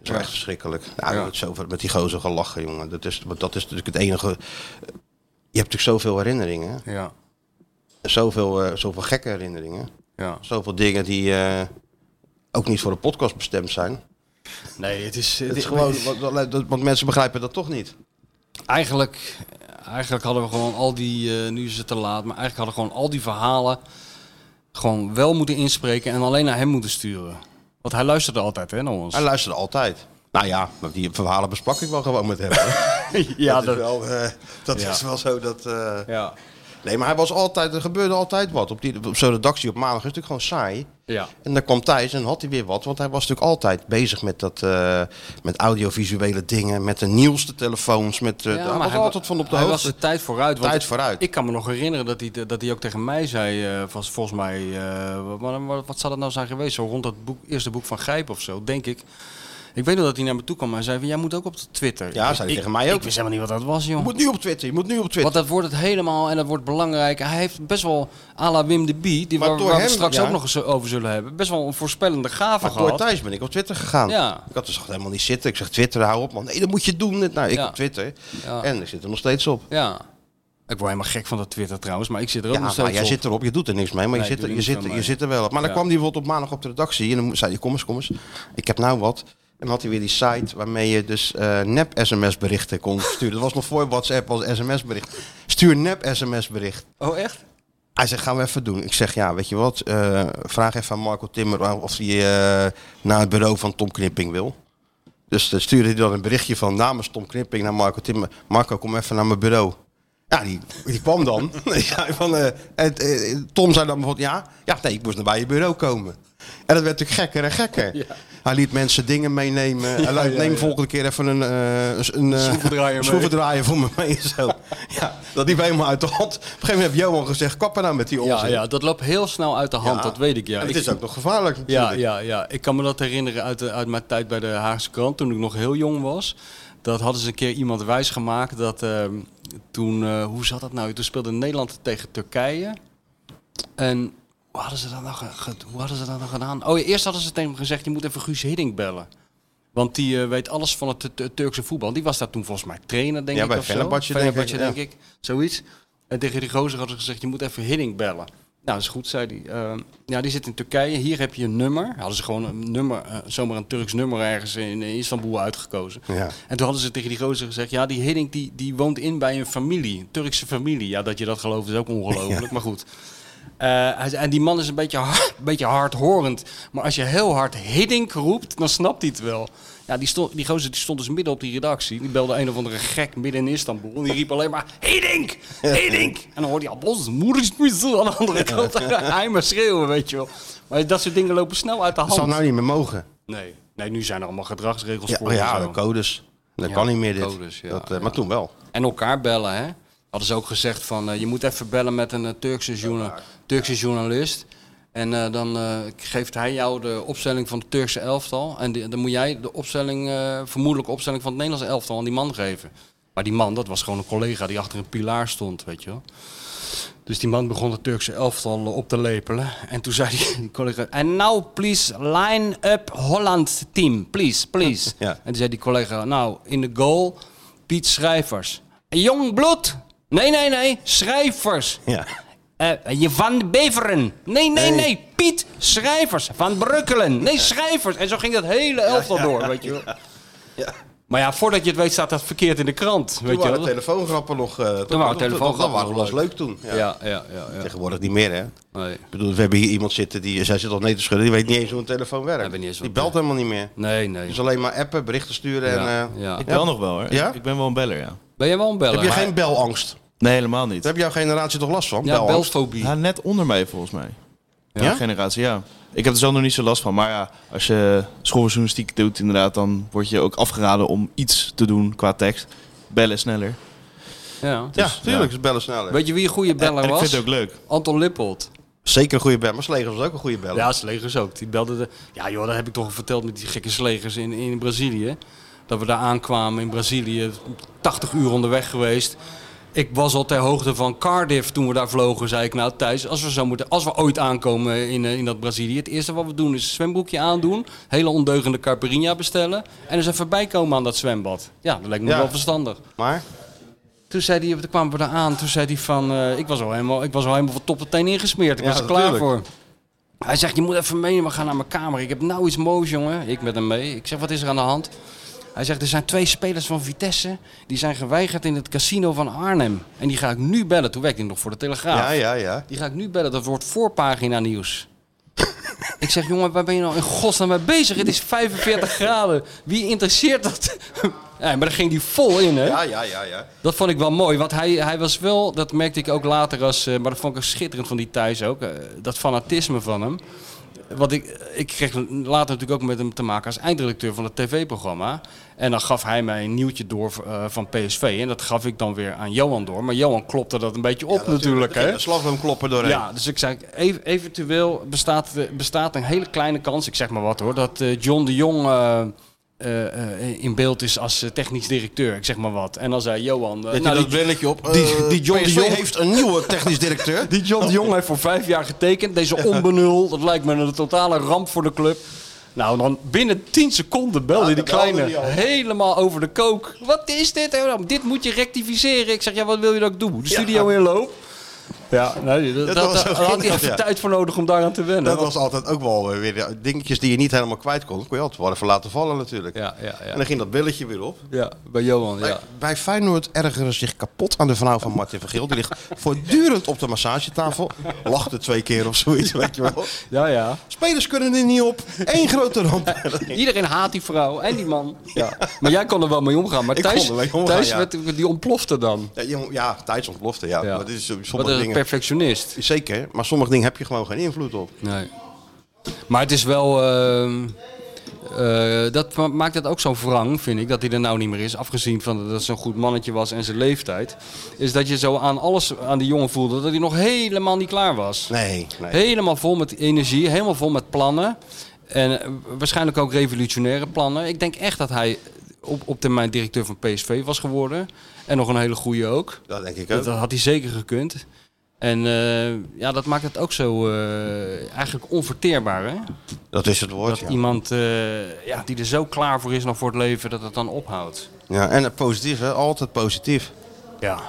Speaker 2: is wel echt verschrikkelijk. Nou,
Speaker 3: Ja.
Speaker 2: het zoveel met die gozer gelachen, jongen. Dat is, want dat is natuurlijk het enige. Je hebt natuurlijk zoveel herinneringen. hè.
Speaker 3: Ja,
Speaker 2: Zoveel, eh, zoveel gekke herinneringen.
Speaker 3: ja.
Speaker 2: Zoveel dingen die eh, ook niet voor de podcast bestemd zijn.
Speaker 3: Nee, het is,
Speaker 2: Het is gewoon, want, want- want mensen begrijpen dat toch niet.
Speaker 3: Eigenlijk, eigenlijk hadden we gewoon al die... eh, nu is het te laat, maar eigenlijk hadden we gewoon al die verhalen... gewoon wel moeten inspreken en alleen naar hem moeten sturen. Want hij luisterde altijd, hè, naar ons.
Speaker 2: Hij luisterde altijd. Nou ja, maar die verhalen besprak ik wel gewoon met hem. hoor.
Speaker 3: ja,
Speaker 2: dat, is wel, eh, dat
Speaker 3: Ja.
Speaker 2: is wel zo dat... eh,
Speaker 3: Ja.
Speaker 2: Nee, maar hij was altijd, er gebeurde altijd wat. Op, die- op zo'n redactie op maandag is het natuurlijk gewoon saai.
Speaker 3: Ja.
Speaker 2: En dan kwam Thijs en had hij weer wat. Want hij was natuurlijk altijd bezig met, dat, eh, met audiovisuele dingen. Met de nieuwste telefoons. Met, eh,
Speaker 3: Ja,
Speaker 2: hij
Speaker 3: maar
Speaker 2: was
Speaker 3: hij
Speaker 2: altijd
Speaker 3: wa-
Speaker 2: van op de
Speaker 3: hij
Speaker 2: hoogte.
Speaker 3: was de tijd vooruit. want
Speaker 2: Tijd vooruit.
Speaker 3: Ik kan me nog herinneren dat hij, dat hij ook tegen mij zei, eh, was volgens mij, eh, wat- wat, wat, wat zou dat nou zijn geweest? Zo rond dat boek, eerste boek van Gijp of zo, denk ik. Ik weet nog dat hij naar me toe kwam en zei van, jij moet ook op de Twitter.
Speaker 2: Ja,
Speaker 3: Ik-
Speaker 2: zei hij
Speaker 3: ik-
Speaker 2: tegen mij ook.
Speaker 3: Ik wist helemaal niet wat dat was,
Speaker 2: Je
Speaker 3: joh.
Speaker 2: moet nu op Twitter, je moet nu op Twitter.
Speaker 3: Want dat wordt het helemaal en dat wordt belangrijk. Hij heeft best wel, à la Wim de Bie, die
Speaker 2: Maar
Speaker 3: waar,
Speaker 2: door
Speaker 3: waar we
Speaker 2: hem,
Speaker 3: straks
Speaker 2: ja.
Speaker 3: ook nog eens over zullen hebben, best wel een voorspellende gave
Speaker 2: Maar door
Speaker 3: gehad.
Speaker 2: Thijs ben ik op Twitter gegaan.
Speaker 3: Ja.
Speaker 2: Ik had dus echt helemaal niet zitten. Ik zeg Twitter, hou op man. Nee, dat moet je doen. Nou, ik
Speaker 3: Ja.
Speaker 2: op Twitter.
Speaker 3: Ja.
Speaker 2: En ik zit er nog steeds op.
Speaker 3: Ja. Ik word helemaal gek van dat Twitter trouwens, maar ik zit er ook
Speaker 2: Ja,
Speaker 3: nog
Speaker 2: maar
Speaker 3: steeds
Speaker 2: jij
Speaker 3: op.
Speaker 2: zit erop, je doet er niks mee, maar
Speaker 3: Nee,
Speaker 2: je, zit er,
Speaker 3: ik doe
Speaker 2: je,
Speaker 3: er
Speaker 2: zit,
Speaker 3: niks
Speaker 2: er-
Speaker 3: aan
Speaker 2: je
Speaker 3: mee.
Speaker 2: zit er wel op. Maar
Speaker 3: Ja.
Speaker 2: dan kwam die bijvoorbeeld op maandag op de redactie en dan zei hij, kom eens, kom eens. Ik heb nou wat. En dan had hij weer die site waarmee je dus eh, nep-sms-berichten kon sturen. Dat was nog voor WhatsApp als sms-bericht. Stuur nep-sms-bericht.
Speaker 3: Oh, echt?
Speaker 2: Hij zegt, gaan we even doen. Ik zeg, ja, weet je wat, eh, vraag even aan Marco Timmer of hij eh, naar het bureau van Tom Knipping wil. Dus dan stuurde hij dan een berichtje van namens Tom Knipping naar Marco Timmer. Marco, kom even naar mijn bureau. Ja, die, die kwam dan. ja, van, eh, en, eh, Tom zei dan bijvoorbeeld, ja, ja, nee, ik moest naar bij je bureau komen. En dat werd natuurlijk gekker en gekker. Hij liet mensen dingen meenemen. Hij zei, neem volgende keer even een, eh, s- een eh,
Speaker 3: Schroevendraaier mee.
Speaker 2: schroevendraaier voor me mee. en Zo. ja, dat liep helemaal uit de hand. Op een gegeven moment heeft Johan gezegd, kap er nou met die
Speaker 3: Ja,
Speaker 2: onzin.
Speaker 3: ja, dat loopt heel snel uit de hand,
Speaker 2: Ja.
Speaker 3: dat weet ik. Ja.
Speaker 2: En het
Speaker 3: Ik-
Speaker 2: is ook nog gevaarlijk
Speaker 3: ja,
Speaker 2: natuurlijk.
Speaker 3: ja, ja, ik kan me dat herinneren uit, de- uit mijn tijd bij de Haagse krant, toen ik nog heel jong was. Dat hadden ze een keer iemand wijsgemaakt dat ehm, toen, eh, hoe zat dat nou? Toen speelde Nederland tegen Turkije. En hoe hadden ze dat nou, ge- ge- hoe hadden ze dat nou gedaan? Oh, ja, eerst hadden ze tegen hem gezegd, je moet even Guus Hiddink bellen. Want die eh, weet alles van het Tu- Tu- Turkse voetbal. Die was daar toen volgens mij trainer, denk
Speaker 2: Ja,
Speaker 3: ik.
Speaker 2: bij
Speaker 3: of zo.
Speaker 2: Fenerbahçe, denk ik,
Speaker 3: Fenerbahçe,
Speaker 2: ja.
Speaker 3: denk ik. Zoiets. En tegen die gozer hadden ze gezegd, je moet even Hiddink bellen. Nou, is goed, zei hij. Ehm, ja, die zit in Turkije. Hier heb je een nummer. Hadden ze gewoon een nummer, eh, zomaar een Turks nummer ergens in eh, Istanbul uitgekozen.
Speaker 2: Ja.
Speaker 3: En toen hadden ze tegen die gozer gezegd, ja, die Hiddink die, die woont in bij een familie, een Turkse familie. Ja, dat je dat gelooft is ook ongelooflijk, maar goed. Eh, hij zei, en die man is een beetje, hard, een beetje hardhorend. Maar als je heel hard Hiddink roept, dan snapt hij het wel. Ja, die, stond, die gozer die stond dus midden op die redactie. Die belde een of andere gek midden in Istanbul. En die riep alleen maar, Hiddink! Hiddink! En dan hoorde hij, "Bos, moeder is niet aan de andere kant. Hij maar schreeuwen, weet je wel. Maar dat soort dingen lopen snel uit de
Speaker 2: Dat zou
Speaker 3: hand.
Speaker 2: nou niet meer mogen.
Speaker 3: Nee. nee, nu zijn er allemaal gedragsregels
Speaker 2: Ja,
Speaker 3: voor.
Speaker 2: oh
Speaker 3: en
Speaker 2: ja
Speaker 3: zo.
Speaker 2: de codes. Dat
Speaker 3: Ja,
Speaker 2: kan niet meer dit.
Speaker 3: codes, ja,
Speaker 2: dat, eh,
Speaker 3: ja.
Speaker 2: Maar toen wel.
Speaker 3: En elkaar bellen, hè? Hadden ze ook gezegd van eh, je moet even bellen met een eh, Turkse, journa- Turkse journalist. En eh, dan eh, geeft hij jou de opstelling van het Turkse elftal. En die- dan moet jij de opstelling, eh, vermoedelijke opstelling van het Nederlandse elftal aan die man geven. Maar die man, dat was gewoon een collega die achter een pilaar stond, weet je wel. Dus die man begon het Turkse elftal eh, op te lepelen. En toen zei die, die collega... En nou, please, line up Holland team. Please, please.
Speaker 2: Ja.
Speaker 3: En toen zei die collega... Nou, in de goal, Piet Schrijvers. Jong bloed. Nee, nee, nee. Schrijvers.
Speaker 2: Ja.
Speaker 3: Eh, je van de Beveren. Nee, nee, nee. Piet Schrijvers van Brukkelen. Nee, Schrijvers. En zo ging dat hele elftal door, weet je wel. Maar ja, voordat je het weet staat dat verkeerd in de krant, weet
Speaker 2: Toen
Speaker 3: je
Speaker 2: waren
Speaker 3: wel.
Speaker 2: telefoongrappen nog... eh, toen-
Speaker 3: waren
Speaker 2: toen-
Speaker 3: telefoongrappen
Speaker 2: Dat waren
Speaker 3: nog
Speaker 2: was leuk toen. Ja.
Speaker 3: Ja, ja, ja. ja.
Speaker 2: Tegenwoordig niet meer, hè?
Speaker 3: Nee.
Speaker 2: Ik bedoel, we hebben hier iemand zitten die... Zij zit al nee te schudden. Die weet niet eens hoe een telefoon werkt.
Speaker 3: Hij weet niet eens wat-
Speaker 2: die belt helemaal niet meer.
Speaker 3: nee, nee.
Speaker 2: Dus alleen maar appen, berichten sturen
Speaker 3: Ja,
Speaker 2: en... eh,
Speaker 3: ja.
Speaker 4: Ik wel nog wel hoor.
Speaker 2: Ja?
Speaker 4: Ik ben wel een beller, ja.
Speaker 3: Ben je wel een beller?
Speaker 2: Heb je
Speaker 3: Maar-
Speaker 2: geen belangst? Daar
Speaker 4: Nee, helemaal niet.
Speaker 2: heb jouw generatie toch last van?
Speaker 3: Ja,
Speaker 2: belangst?
Speaker 3: belfobie.
Speaker 4: Ja, net onder mij volgens mij. Ja?
Speaker 2: Ja?
Speaker 4: Generatie, ja. Ik heb er zelf nog niet zo last van. Maar ja, als je schooljournalistiek doet inderdaad, dan word je ook afgeraden om iets te doen qua tekst. Bellen sneller.
Speaker 3: Ja.
Speaker 4: Dus,
Speaker 2: ja, tuurlijk. Ze bellen sneller.
Speaker 3: Weet je wie een goede beller
Speaker 4: en ik
Speaker 3: was?
Speaker 4: vind het ook leuk.
Speaker 3: Anton Lippold.
Speaker 2: Zeker een goede beller. Maar Slegers was ook een goede beller.
Speaker 3: Ja, Slegers ook. Die belde de... Ja joh, dat heb ik toch al verteld met die gekke Slegers in, in Brazilië. Dat we daar aankwamen in Brazilië, 80 uur onderweg geweest. Ik was al ter hoogte van Cardiff toen we daar vlogen, zei ik nou Thijs. Als we, zo moeten, als we ooit aankomen in, eh, in dat Brazilië, het eerste wat we doen is een zwembroekje aandoen. Hele ondeugende caipirinha bestellen. En eens even bijkomen aan dat zwembad. Ja, dat lijkt me
Speaker 2: Ja.
Speaker 3: wel verstandig.
Speaker 2: Maar...
Speaker 3: Toen zei hij, toen kwamen we daar aan, toen zei hij van, eh, ik, was al helemaal, ik was al helemaal van top tot teen ingesmeerd. Ik
Speaker 2: Ja,
Speaker 3: was er klaar voor.
Speaker 2: natuurlijk.
Speaker 3: Hij zegt, je moet even mee, we gaan naar mijn kamer. Ik heb nou iets moois, jongen. Ik met hem mee. Ik zeg, wat is er aan de hand? Hij zegt, er zijn twee spelers van Vitesse, die zijn geweigerd in het casino van Arnhem. En die ga ik nu bellen. Toen werkte ik nog voor de Telegraaf.
Speaker 2: Ja, ja, ja.
Speaker 3: Die ga ik nu bellen, dat wordt voorpagina nieuws. ik zeg, jongen, waar ben je nou in godsnaam mee bezig? Het is 45 graden. Wie interesseert dat? ja, maar daar ging hij vol in, hè?
Speaker 2: Ja, ja, ja, ja.
Speaker 3: Dat vond ik wel mooi, want hij, hij was wel, dat merkte ik ook later als, eh, maar dat vond ik ook schitterend van die Thijs ook, eh, dat fanatisme van hem. Want ik, ik kreeg later natuurlijk ook met hem te maken als eindredacteur van het tv-programma. En dan gaf hij mij een nieuwtje door eh, van PSV. En dat gaf ik dan weer aan Johan door. Maar Johan klopte dat een beetje op natuurlijk. hè?
Speaker 2: De slagroomklopper doorheen.
Speaker 3: Ja, dus ik zei, ev- eventueel bestaat, eh, bestaat een hele kleine kans, ik zeg maar wat hoor, dat eh, John de Jong eh, eh, eh, in beeld is als eh, technisch directeur, ik zeg maar wat. En dan zei Johan, eh,
Speaker 2: Dat
Speaker 3: nou,
Speaker 2: je
Speaker 3: die,
Speaker 2: dat brilletje op.
Speaker 3: die-
Speaker 2: eh,
Speaker 3: die John de
Speaker 2: PSV
Speaker 3: Jong-
Speaker 2: heeft een nieuwe technisch directeur.
Speaker 3: die John de Jong heeft voor vijf jaar getekend, deze onbenul, dat lijkt me een totale ramp voor de club. Nou, dan binnen 10 seconden belde
Speaker 2: Ja,
Speaker 3: die
Speaker 2: dan belde
Speaker 3: kleine
Speaker 2: die al.
Speaker 3: helemaal over de kook. Wat is dit? Nou, Dit moet je rectificeren. Ik zeg, ja, wat wil je dat ik doe? De studio inloop. Ja, nee, dat,
Speaker 2: Dat
Speaker 3: dat,
Speaker 2: was zo
Speaker 3: daar had hij
Speaker 2: geniaal,
Speaker 3: even
Speaker 2: ja.
Speaker 3: tijd voor nodig om daaraan te wennen.
Speaker 2: Dat was altijd ook wel eh, weer dingetjes die je niet helemaal kwijt kon. Dat kon je altijd wel even laten vallen natuurlijk.
Speaker 3: Ja, ja, ja.
Speaker 2: En dan ging dat billetje weer op.
Speaker 3: Ja, bij Johan, ja.
Speaker 2: Bij, bij Feyenoord ergeren ze zich kapot aan de vrouw van Martin Vergeel. Die ligt voortdurend op de massagetafel. Lachte twee keer of zoiets, weet je wel.
Speaker 3: Ja, ja.
Speaker 2: Spelers kunnen er niet op. Eén grote ramp.
Speaker 3: Iedereen haat die vrouw en die man. Ja. Maar jij kon er wel mee omgaan. Maar
Speaker 2: Ik
Speaker 3: Thijs,
Speaker 2: kon er mee omgaan,
Speaker 3: Thijs
Speaker 2: ja.
Speaker 3: werd, die ontplofte dan.
Speaker 2: Ja, jongen, ja tijds ontplofte, ja. Maar dit is, eh,
Speaker 3: Wat
Speaker 2: sommige
Speaker 3: een
Speaker 2: dingen,
Speaker 3: perfectionist.
Speaker 2: zeker, maar sommige dingen heb je gewoon geen invloed op.
Speaker 3: Nee. Maar het is wel... ehm, eh, dat ma- maakt het ook zo wrang, vind ik, dat hij er nou niet meer is. Afgezien van dat het zo'n goed mannetje was en zijn leeftijd. Is dat je zo aan alles aan die jongen voelde dat hij nog helemaal niet klaar was.
Speaker 2: Nee, nee.
Speaker 3: Helemaal vol met energie, helemaal vol met plannen. En eh, waarschijnlijk ook revolutionaire plannen. Ik denk echt dat hij op, op termijn directeur van PSV was geworden. En nog een hele goede ook.
Speaker 2: dat denk ik ook.
Speaker 3: Dat, dat had hij zeker gekund. En eh, ja, dat maakt het ook zo eh, eigenlijk onverteerbaar. Hè?
Speaker 2: Dat is het woord,
Speaker 3: Dat
Speaker 2: ja.
Speaker 3: iemand eh, ja, die er zo klaar voor is nog voor het leven, dat het dan ophoudt.
Speaker 2: ja. En het positief, hè. Altijd positief.
Speaker 3: Ja.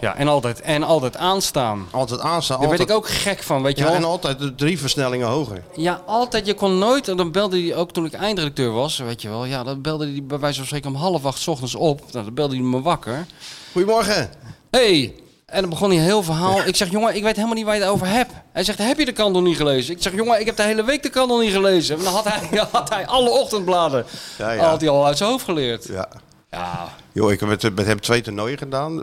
Speaker 3: ja en, altijd, en altijd aanstaan.
Speaker 2: Altijd aanstaan.
Speaker 3: Daar
Speaker 2: altijd...
Speaker 3: werd ik ook gek van, weet je
Speaker 2: Ja,
Speaker 3: wel.
Speaker 2: en altijd de drie versnellingen hoger.
Speaker 3: Ja, altijd. Je kon nooit. En dan belde hij ook toen ik eindredacteur was, weet je wel. Ja, dan belde hij bij wijze van spreken om half acht 's ochtends op. Nou, dan belde hij me wakker.
Speaker 2: Goedemorgen.
Speaker 3: Hey. En dan begon hij een heel verhaal. Ik zeg, jongen, ik weet helemaal niet waar je het over hebt. Hij zegt, heb je de krant nog niet gelezen? Ik zeg, jongen, ik heb de hele week de krant nog niet gelezen. En dan had hij, had hij alle ochtendbladen.
Speaker 2: Ja, ja.
Speaker 3: Had hij al uit zijn hoofd geleerd.
Speaker 2: Ja.
Speaker 3: Ja,
Speaker 2: Joh, ik heb met, met hem twee toernooien gedaan.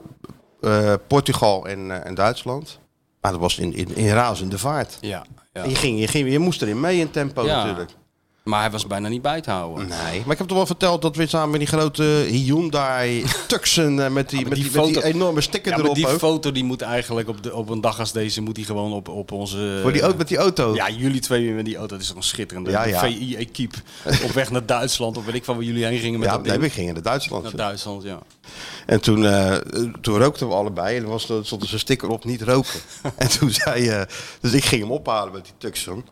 Speaker 2: Eh, Portugal en, eh, en Duitsland. Maar dat was in, in, in razende vaart.
Speaker 3: ja, ja.
Speaker 2: En Je, ging, je, ging, je moest erin mee in tempo
Speaker 3: Ja.
Speaker 2: natuurlijk.
Speaker 3: Maar hij was bijna niet bij te houden.
Speaker 2: Nee, maar ik heb toch wel verteld dat we samen met die grote Hyundai Tucson eh, met die, met
Speaker 3: die
Speaker 2: die, met die
Speaker 3: foto-
Speaker 2: enorme sticker
Speaker 3: Ja, maar
Speaker 2: erop
Speaker 3: die
Speaker 2: ook.
Speaker 3: foto die moet eigenlijk op, de, op een dag als deze, moet hij gewoon op, op onze... eh,
Speaker 2: Voor die ook met die auto.
Speaker 3: Ja, jullie twee weer met die auto. Dat is toch een schitterende
Speaker 2: Ja, ja.
Speaker 3: VI-equipe. Op weg naar Duitsland. Of weet ik van waar jullie heen gingen met
Speaker 2: Ja,
Speaker 3: dat
Speaker 2: nee,
Speaker 3: ding.
Speaker 2: we gingen naar Duitsland.
Speaker 3: Naar Duitsland, ja.
Speaker 2: En toen, eh, toen rookten we allebei en er was, er stond dus een sticker op niet roken. en toen zei eh dus ik ging hem ophalen met die Tucson.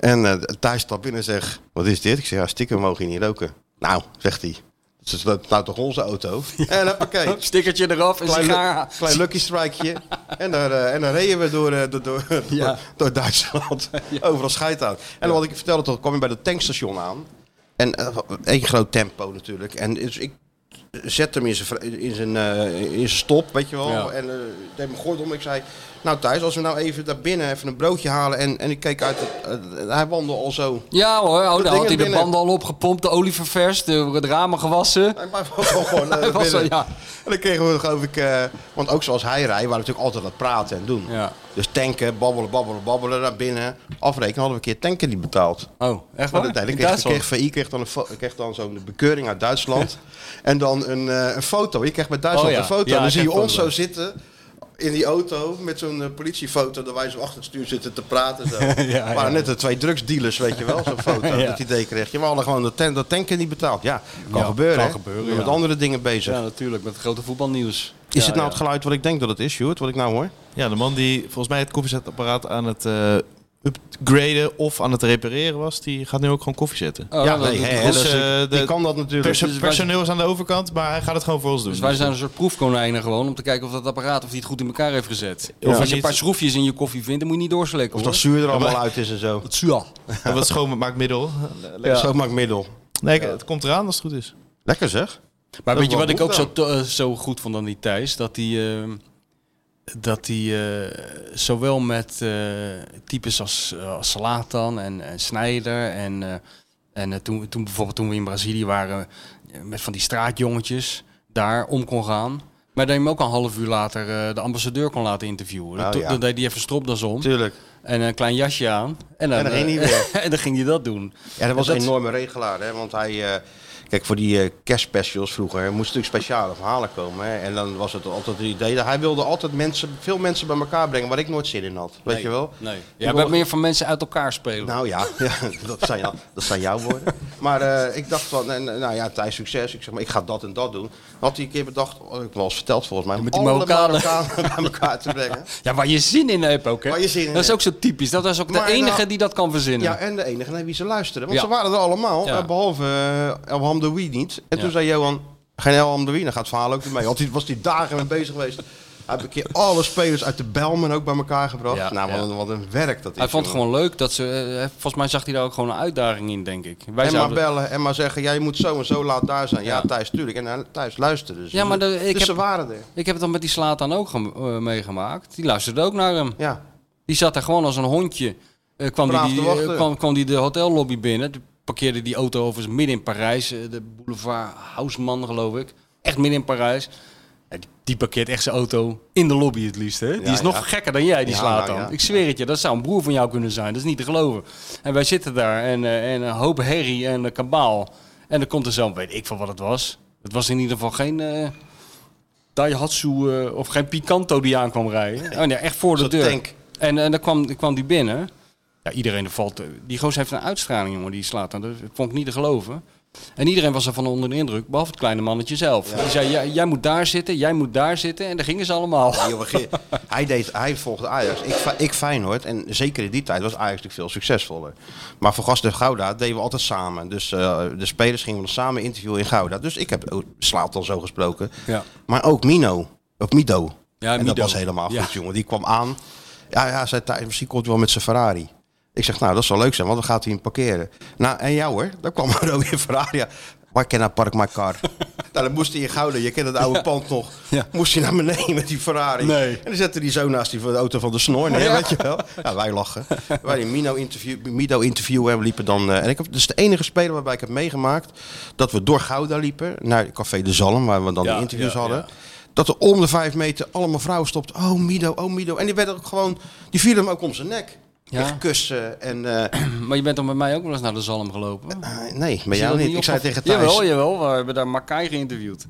Speaker 2: En eh Thijs stapt binnen en zegt, wat is dit? Ik zeg, ja, sticker mogen je niet roken. Nou, zegt hij. Dat is dat- nou toch onze auto? En hoppakee.
Speaker 3: Stickertje eraf en
Speaker 2: Klein, lu-
Speaker 3: sigaar.
Speaker 2: klein lucky strikeje. en, daar, eh, en dan reden we door, eh, door, door, door,
Speaker 3: Ja.
Speaker 2: door Duitsland. Overal scheid aan. En wat ik vertelde toch, kwam je bij dat tankstation aan. En eh, één groot tempo natuurlijk. En dus ik zet hem in zijn, vri- in zijn, eh, in zijn stop, weet je wel.
Speaker 3: Ja.
Speaker 2: En eh deed mijn gordel om. Ik zei, nou thuis, als we nou even daar binnen even een broodje halen. En, en ik keek uit, het, eh, hij wandelde al zo.
Speaker 3: Ja hoor, oh, daar
Speaker 2: ding
Speaker 3: had hij de
Speaker 2: binnen.
Speaker 3: banden al opgepompt, de olie ververst, de, de ramen gewassen.
Speaker 2: Hij was wel gewoon eh,
Speaker 3: Hij was
Speaker 2: binnen.
Speaker 3: wel, ja.
Speaker 2: En dan kregen we geloof ik... eh, want ook zoals hij rijdt, waren we natuurlijk altijd aan het praten en doen.
Speaker 3: Ja.
Speaker 2: Dus tanken, babbelen, babbelen, babbelen, naar binnen. Afrekenen hadden we een keer tanken niet betaald.
Speaker 3: Oh, echt
Speaker 2: Maar
Speaker 3: waar?
Speaker 2: uiteindelijk
Speaker 3: In
Speaker 2: kreeg, kreeg
Speaker 3: Duitsland?
Speaker 2: VI kreeg dan, een fo- kreeg dan zo'n bekeuring uit Duitsland. en dan een, eh, een foto. Je krijgt bij Duitsland
Speaker 3: Oh ja.
Speaker 2: een foto.
Speaker 4: Ja,
Speaker 2: dan
Speaker 4: ik
Speaker 2: zie je
Speaker 4: heb
Speaker 2: ons
Speaker 3: eh,
Speaker 4: foto.
Speaker 2: zo zitten in die auto met zo'n eh, politiefoto. Dat wij zo achter het stuur zitten te praten. Zo. ja,
Speaker 3: ja.
Speaker 2: waren net de twee drugsdealers, weet je wel. Zo'n foto dat idee kreeg je. We hadden gewoon dat, tank, dat tanken niet betaald. Ja, kan
Speaker 3: Ja,
Speaker 2: gebeuren.
Speaker 3: kan
Speaker 2: hè.
Speaker 3: gebeuren,
Speaker 2: We zijn
Speaker 3: ja.
Speaker 2: Met andere dingen bezig.
Speaker 3: Ja, natuurlijk, met het grote voetbalnieuws.
Speaker 2: Is
Speaker 3: Ja,
Speaker 2: het nou
Speaker 3: ja.
Speaker 2: het geluid wat ik denk dat het is, Sjoerd? Wat ik nou hoor?
Speaker 4: Ja, de man die volgens mij het koffiezetapparaat aan het eh, upgraden of aan het repareren was, die gaat nu ook gewoon koffie zetten.
Speaker 3: Oh,
Speaker 2: ja,
Speaker 3: dat
Speaker 2: nee,
Speaker 3: doet
Speaker 2: hè,
Speaker 3: het
Speaker 4: hè,
Speaker 3: goed.
Speaker 2: dus,
Speaker 4: Dus,
Speaker 2: eh,
Speaker 4: eh,
Speaker 2: die
Speaker 4: de-
Speaker 2: kan dat natuurlijk.
Speaker 4: Perso-
Speaker 3: dus wij-
Speaker 4: personeel is aan de overkant, maar hij gaat het gewoon voor ons doen.
Speaker 3: Dus wij zijn een soort proefkonijnen gewoon om te kijken of dat apparaat of die het goed in elkaar heeft gezet.
Speaker 4: Ja.
Speaker 3: Of als je een
Speaker 4: Niet-
Speaker 3: paar schroefjes in je koffie vindt, dan moet je niet doorslikken.
Speaker 2: of
Speaker 3: hoor.
Speaker 2: dat zuur er allemaal
Speaker 4: maar-
Speaker 2: uit is en zo.
Speaker 3: Dat is ja.
Speaker 4: Dat het schoonmaakmiddel.
Speaker 2: Lekker schoonmaakmiddel.
Speaker 4: Nee, het komt eraan als het goed is.
Speaker 2: Lekker zeg.
Speaker 3: Maar
Speaker 2: Dat
Speaker 3: weet je
Speaker 2: wel
Speaker 3: wat ik
Speaker 2: goed
Speaker 3: ook zo, to- eh, zo goed vond aan die Thijs? Dat die, ehm, dat die eh, zowel met eh, types als, eh, als Slatan en, en Snijder en, eh, en eh, toen, toen bijvoorbeeld toen we in Brazilië waren eh, met van die straatjongetjes daar om kon gaan. Maar dat je hem ook een half uur later eh, de ambassadeur kon laten interviewen.
Speaker 2: Oh,
Speaker 3: Dat-
Speaker 2: ja.
Speaker 3: Dan deed hij even stropdas om
Speaker 2: Tuurlijk.
Speaker 3: en een klein jasje aan. En dan,
Speaker 2: En dan ging hij
Speaker 3: eh, en dan ging hij dat doen.
Speaker 2: Ja, dat was
Speaker 3: Dat-
Speaker 2: een enorme regelaar, hè? Want hij. eh, kijk, voor die eh kerstspecials vroeger hè, moesten natuurlijk speciale verhalen komen. Hè? En dan was het altijd het idee dat hij wilde altijd mensen, veel mensen bij elkaar brengen waar ik nooit zin in had. Weet
Speaker 3: Nee,
Speaker 2: je wel?
Speaker 3: Nee.
Speaker 2: Die
Speaker 3: Ja, we
Speaker 2: wilde-
Speaker 3: meer van mensen uit elkaar spelen.
Speaker 2: Nou ja, ja dat, zijn, jou- dat zijn jouw woorden. Maar eh, ik dacht van, en, eh, nou ja, Thijs succes. Ik zeg maar, ik ga dat en dat doen. Dan had hij een keer bedacht, oh, ik heb wel eens verteld volgens mij, om
Speaker 3: Met die
Speaker 2: alle
Speaker 3: Marokkanen.
Speaker 2: Marokkanen bij elkaar te brengen.
Speaker 3: Ja, waar je zin in hebt ook, hè?
Speaker 2: Waar je zin in
Speaker 3: dat is
Speaker 2: hebt.
Speaker 3: ook zo typisch. Dat is ook
Speaker 2: Maar
Speaker 3: de
Speaker 2: nou-
Speaker 3: enige die dat kan verzinnen.
Speaker 2: Ja, en de enige naar wie ze luisteren. Want
Speaker 3: Ja.
Speaker 2: ze waren er allemaal,
Speaker 3: Ja.
Speaker 2: eh, behalve eh, El Hamdoui niet. En
Speaker 3: Ja.
Speaker 2: toen zei Johan, geen El Hamdoui, dan gaat het verhaal ook niet mee. Want die was die dagen mee bezig geweest. Hij heeft een keer alle spelers uit de Belmen ook bij elkaar gebracht.
Speaker 3: Ja,
Speaker 2: nou, wat,
Speaker 3: ja.
Speaker 2: een, wat een werk dat is.
Speaker 3: hij vond het
Speaker 2: jongen.
Speaker 3: gewoon leuk dat ze. eh, volgens mij zag hij daar ook gewoon een uitdaging in, denk ik. Wij
Speaker 2: En maar
Speaker 3: zouden...
Speaker 2: bellen en maar zeggen, jij moet zo en zo laat daar zijn. Ja,
Speaker 3: Ja.
Speaker 2: Thijs, tuurlijk. En hij- Thijs luisterde. ze.
Speaker 3: Ja, maar de- ik
Speaker 2: dus
Speaker 3: heb-
Speaker 2: ze waren er.
Speaker 3: Ik heb het dan met die slaat dan ook gem- eh, meegemaakt. Die luisterde ook naar hem.
Speaker 2: Ja.
Speaker 3: Die zat daar gewoon als een hondje. Eh, kwam, die,
Speaker 2: Braaf
Speaker 3: die,
Speaker 2: te wachten.
Speaker 3: eh, kwam, kwam die de hotellobby binnen. Toen parkeerde die auto overigens midden in Parijs. eh, de boulevard Haussmann, geloof ik. Echt midden in Parijs. Ja, die, die parkeert echt zijn auto in de lobby het liefst. Hè? Die
Speaker 2: Ja,
Speaker 3: is nog
Speaker 2: ja.
Speaker 3: gekker dan jij, die
Speaker 2: Ja,
Speaker 3: slaat
Speaker 2: nou
Speaker 3: dan.
Speaker 2: ja.
Speaker 3: Ik zweer het je, dat zou een broer van jou kunnen zijn. Dat is niet te geloven. En wij zitten daar en, eh, en een hoop herrie en een kabaal. En dan komt er zo, weet ik van wat het was. Het was in ieder geval geen... eh Daihatsu eh, of geen Picanto die aan kwam rijden. Oh nee, echt voor de
Speaker 2: Zo'n
Speaker 3: deur.
Speaker 2: tank.
Speaker 3: En, en dan kwam, dan kwam die binnen. Ja, iedereen er valt. eh, Die goos heeft een uitstraling, jongen, die slaat aan. Dat vond ik niet te geloven. En iedereen was ervan onder de indruk, behalve het kleine mannetje zelf. Die zei, jij, jij moet daar zitten, jij moet daar zitten. En daar gingen ze allemaal.
Speaker 2: Die jongen ging- hij, deed, hij volgde Ajax. Ik, Fe- ik Feyenoord. En zeker in die tijd was Ajax natuurlijk veel succesvoller. Maar voor Gast en Gouda deden we altijd samen. Dus eh, de spelers gingen we dan samen interviewen in Gouda. Dus ik heb ook- Slaat al zo gesproken.
Speaker 3: Ja.
Speaker 2: Maar ook Mino. Ook Mido.
Speaker 3: Ja,
Speaker 2: en dat
Speaker 3: Mido.
Speaker 2: was helemaal goed,
Speaker 3: Ja.
Speaker 2: jongen. Die kwam aan. Ja, ja zei Thijs, misschien komt hij wel met zijn Ferrari. Ik zeg, nou, dat zal leuk zijn, want dan gaat hij hem parkeren. Nou, en jou hoor, daar kwam een rode Ferrari. aan. Waar kan ik park my car? nou, dan moest hij in Gouden, je kent het oude pand nog.
Speaker 3: Ja.
Speaker 2: Moest hij naar beneden met die Ferrari.
Speaker 3: Nee.
Speaker 2: En dan zette hij zo naast die van de auto van de snor neer,
Speaker 3: Ja.
Speaker 2: weet je wel. Ja, wij lachen. wij die Mino interview, Mido interviewen en we liepen dan... eh, en ik heb, dat is de enige speler waarbij ik heb meegemaakt... dat we door Gouda liepen naar Café de Zalm... waar we dan
Speaker 3: Ja,
Speaker 2: de interviews
Speaker 3: ja,
Speaker 2: hadden.
Speaker 3: ja.
Speaker 2: Dat er om de vijf meter allemaal vrouwen stopt. Oh, Mido, oh, Mido. En die werden ook gewoon... Die vielen hem ook om zijn nek.
Speaker 3: Ja.
Speaker 2: En kussen en... eh,
Speaker 3: Maar je bent dan met mij ook wel eens naar de zalm gelopen.
Speaker 2: nee,
Speaker 3: Is
Speaker 2: met
Speaker 3: je
Speaker 2: jou
Speaker 3: dat
Speaker 2: niet. Ik zei
Speaker 3: opgevallen?
Speaker 2: tegen Thijs...
Speaker 3: Jawel, jawel. We hebben daar Makai geïnterviewd.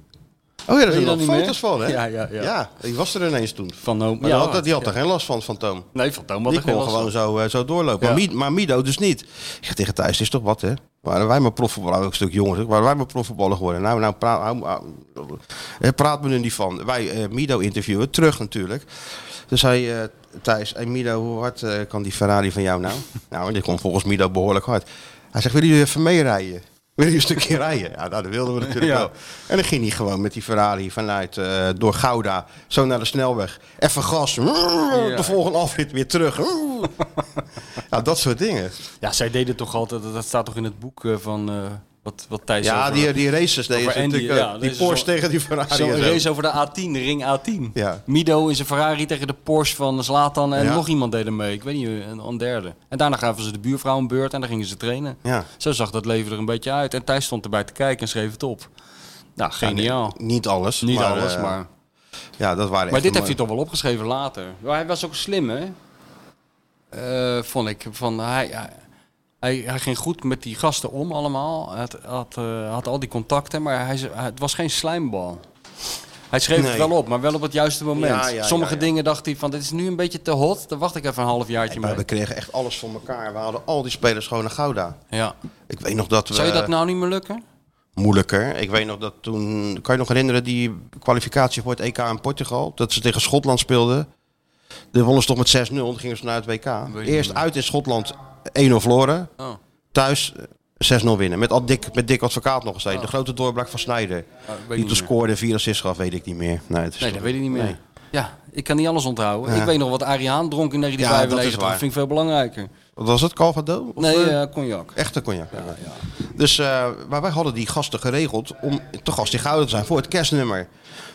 Speaker 2: Oh ja, daar
Speaker 3: je
Speaker 2: zijn
Speaker 3: dat
Speaker 2: nog
Speaker 3: niet
Speaker 2: foto's
Speaker 3: meer?
Speaker 2: van, hè?
Speaker 3: Ja, ja, ja.
Speaker 2: die was er ineens toen.
Speaker 3: Van Noom.
Speaker 2: Maar
Speaker 3: Ja,
Speaker 2: die had, die had
Speaker 3: ja.
Speaker 2: er geen last van, van Toom.
Speaker 3: Nee, van Toon.
Speaker 2: Die kon gewoon zo, eh, zo doorlopen.
Speaker 3: Ja.
Speaker 2: Maar, Mi- maar Mido dus niet. Ik zeg tegen Thijs, het is toch wat hè? Waren wij maar profvoetballer, ook een stuk jonger, zeg. waren wij maar profvoetballer geworden. Nou, nou praat, hou- hou- eh, praat me nu niet van. Wij eh, Mido interviewen, terug natuurlijk. Toen zei eh, Thijs, hey Mido, hoe hard eh, kan die Ferrari van jou nou? nou, die kon volgens Mido behoorlijk hard. Hij zegt, willen jullie even meerijden? Wil je een stukje rijden? Ja, nou, dat wilden we natuurlijk
Speaker 3: Ja.
Speaker 2: wel. En dan ging hij gewoon met die Ferrari vanuit eh, door Gouda zo naar de snelweg. Even gas. mm, De volgende afrit weer terug. ja, dat soort dingen.
Speaker 3: Ja, zij deden toch altijd, dat staat toch in het boek eh, van eh, wat, wat Thijs
Speaker 2: Ja,
Speaker 3: over-
Speaker 2: die, die races deden
Speaker 3: over
Speaker 2: ze
Speaker 3: Andy,
Speaker 2: natuurlijk.
Speaker 3: ja,
Speaker 2: ook. die
Speaker 3: dat is
Speaker 2: Porsche
Speaker 3: zo'n-
Speaker 2: tegen die Ferrari.
Speaker 3: Zo'n
Speaker 2: en zo.
Speaker 3: race over de A10, de ring A10.
Speaker 2: Ja.
Speaker 3: Mido in zijn Ferrari tegen de Porsche van Zlatan en
Speaker 2: Ja.
Speaker 3: nog iemand deden mee. Ik weet niet, een, een derde. En daarna gaven ze de buurvrouw een beurt en dan gingen ze trainen.
Speaker 2: Ja.
Speaker 3: Zo zag dat leven er een beetje uit. En Thijs stond erbij te kijken en schreef het op. Nou,
Speaker 2: Ja, nee,
Speaker 3: geniaal.
Speaker 2: niet alles.
Speaker 3: Niet
Speaker 2: maar,
Speaker 3: alles,
Speaker 2: eh,
Speaker 3: maar...
Speaker 2: Ja, dat waren
Speaker 3: Maar
Speaker 2: echt
Speaker 3: dit
Speaker 2: de
Speaker 3: heeft hij toch wel opgeschreven later. Maar hij was ook slim, hè? Eh, vond ik. Van, hij, hij- hij, hij ging goed met die gasten om allemaal. Hij had, had, eh, had al die contacten, maar hij, ze- hij- het was geen slijmbal. Hij schreef het
Speaker 2: Nee.
Speaker 3: wel op, maar wel op het juiste moment.
Speaker 2: Ja, ja,
Speaker 3: Sommige
Speaker 2: ja, ja.
Speaker 3: dingen dacht hij van, dit is nu een beetje te hot. Dan wacht ik even een halfjaartje
Speaker 2: Maar we
Speaker 3: mee.
Speaker 2: kregen echt alles voor elkaar. We hadden al die spelers gewoon naar Gouda.
Speaker 3: Ja.
Speaker 2: Ik weet nog dat we...
Speaker 3: Zou je dat nou niet meer lukken?
Speaker 2: Moeilijker. Ik weet nog dat toen... Kan je nog herinneren die kwalificatie voor het EK in Portugal? Dat ze tegen Schotland speelden. De wonnen ze toch met 6-0. Dan gingen ze naar het WK.
Speaker 3: meer.
Speaker 2: Eerst uit in Schotland 1-0 verloren.
Speaker 3: Oh.
Speaker 2: Thuis eh, 6-0 winnen. Met al Dick, met Dick Advocaat nog steeds. De grote doorbraak van Snijder.
Speaker 3: Oh. Ah,
Speaker 2: Die
Speaker 3: weet ik
Speaker 2: toen
Speaker 3: niet meer.
Speaker 2: scoorde 4 assists gaf, weet ik niet meer. Nee, het is
Speaker 3: Nee,
Speaker 2: toch-
Speaker 3: dat weet ik niet meer.
Speaker 2: Nee.
Speaker 3: Ja, ik kan niet alles onthouden.
Speaker 2: Ja.
Speaker 3: Ik weet nog wat Ariaan dronk in
Speaker 2: Ja, dat
Speaker 3: 1995.
Speaker 2: is
Speaker 3: dat,
Speaker 2: waar.
Speaker 3: vind ik veel belangrijker.
Speaker 2: Wat was het? Calvado? Of,
Speaker 3: nee,
Speaker 2: eh,
Speaker 3: eh, cognac.
Speaker 2: Echte cognac. Ja, Dus, eh, maar wij hadden die gasten geregeld om te gast in Gouden te zijn voor het kerstnummer.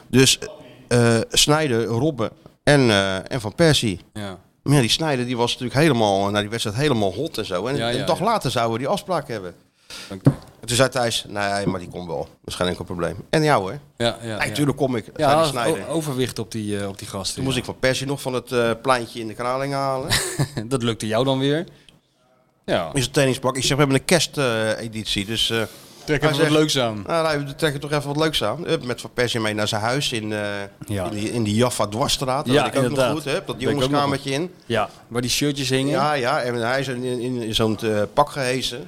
Speaker 2: Dus eh Snijder, Robben en, eh, en Van Persie.
Speaker 3: Ja.
Speaker 2: Maar ja, die Snijder die was natuurlijk helemaal, na die wedstrijd helemaal hot en zo. En
Speaker 3: Ja, ja,
Speaker 2: een dag
Speaker 3: ja.
Speaker 2: later zouden we die afspraak hebben.
Speaker 3: Dank je.
Speaker 2: En toen zei Thijs, nee, maar die komt wel. Dat is geen enkel probleem. En jou hoor.
Speaker 3: Ja, ja,
Speaker 2: Nee,
Speaker 3: ja.
Speaker 2: tuurlijk kom ik. Ja,
Speaker 3: Ja, oh,
Speaker 2: die
Speaker 3: als-
Speaker 2: Snijder.
Speaker 3: o- overwicht op die, eh, op die gasten.
Speaker 2: Toen moest ik van Persie nog van het eh, pleintje in de kanaling halen.
Speaker 3: ja. Dat lukte jou dan weer. Ja,
Speaker 2: In zijn trainingspak. Ik zeg, we hebben een kersteditie. dus eh,
Speaker 3: trek
Speaker 2: Hij
Speaker 3: even wat
Speaker 2: zegt-
Speaker 3: leuks aan.
Speaker 2: Nou, nou, we trekken toch even wat leuks aan. Hup, met Van Persie mee naar zijn huis in, eh,
Speaker 3: Ja.
Speaker 2: in, die, in die Jaffa Dwarsstraat. Dat
Speaker 3: Ja,
Speaker 2: weet ik ook
Speaker 3: inderdaad.
Speaker 2: nog goed. Hup, dat
Speaker 3: Weet ik ook nog
Speaker 2: jongenskamertje in.
Speaker 3: Ja, waar die shirtjes hingen.
Speaker 2: Ja, ja. En hij is in, in, in zo'n eh, pak gehezen.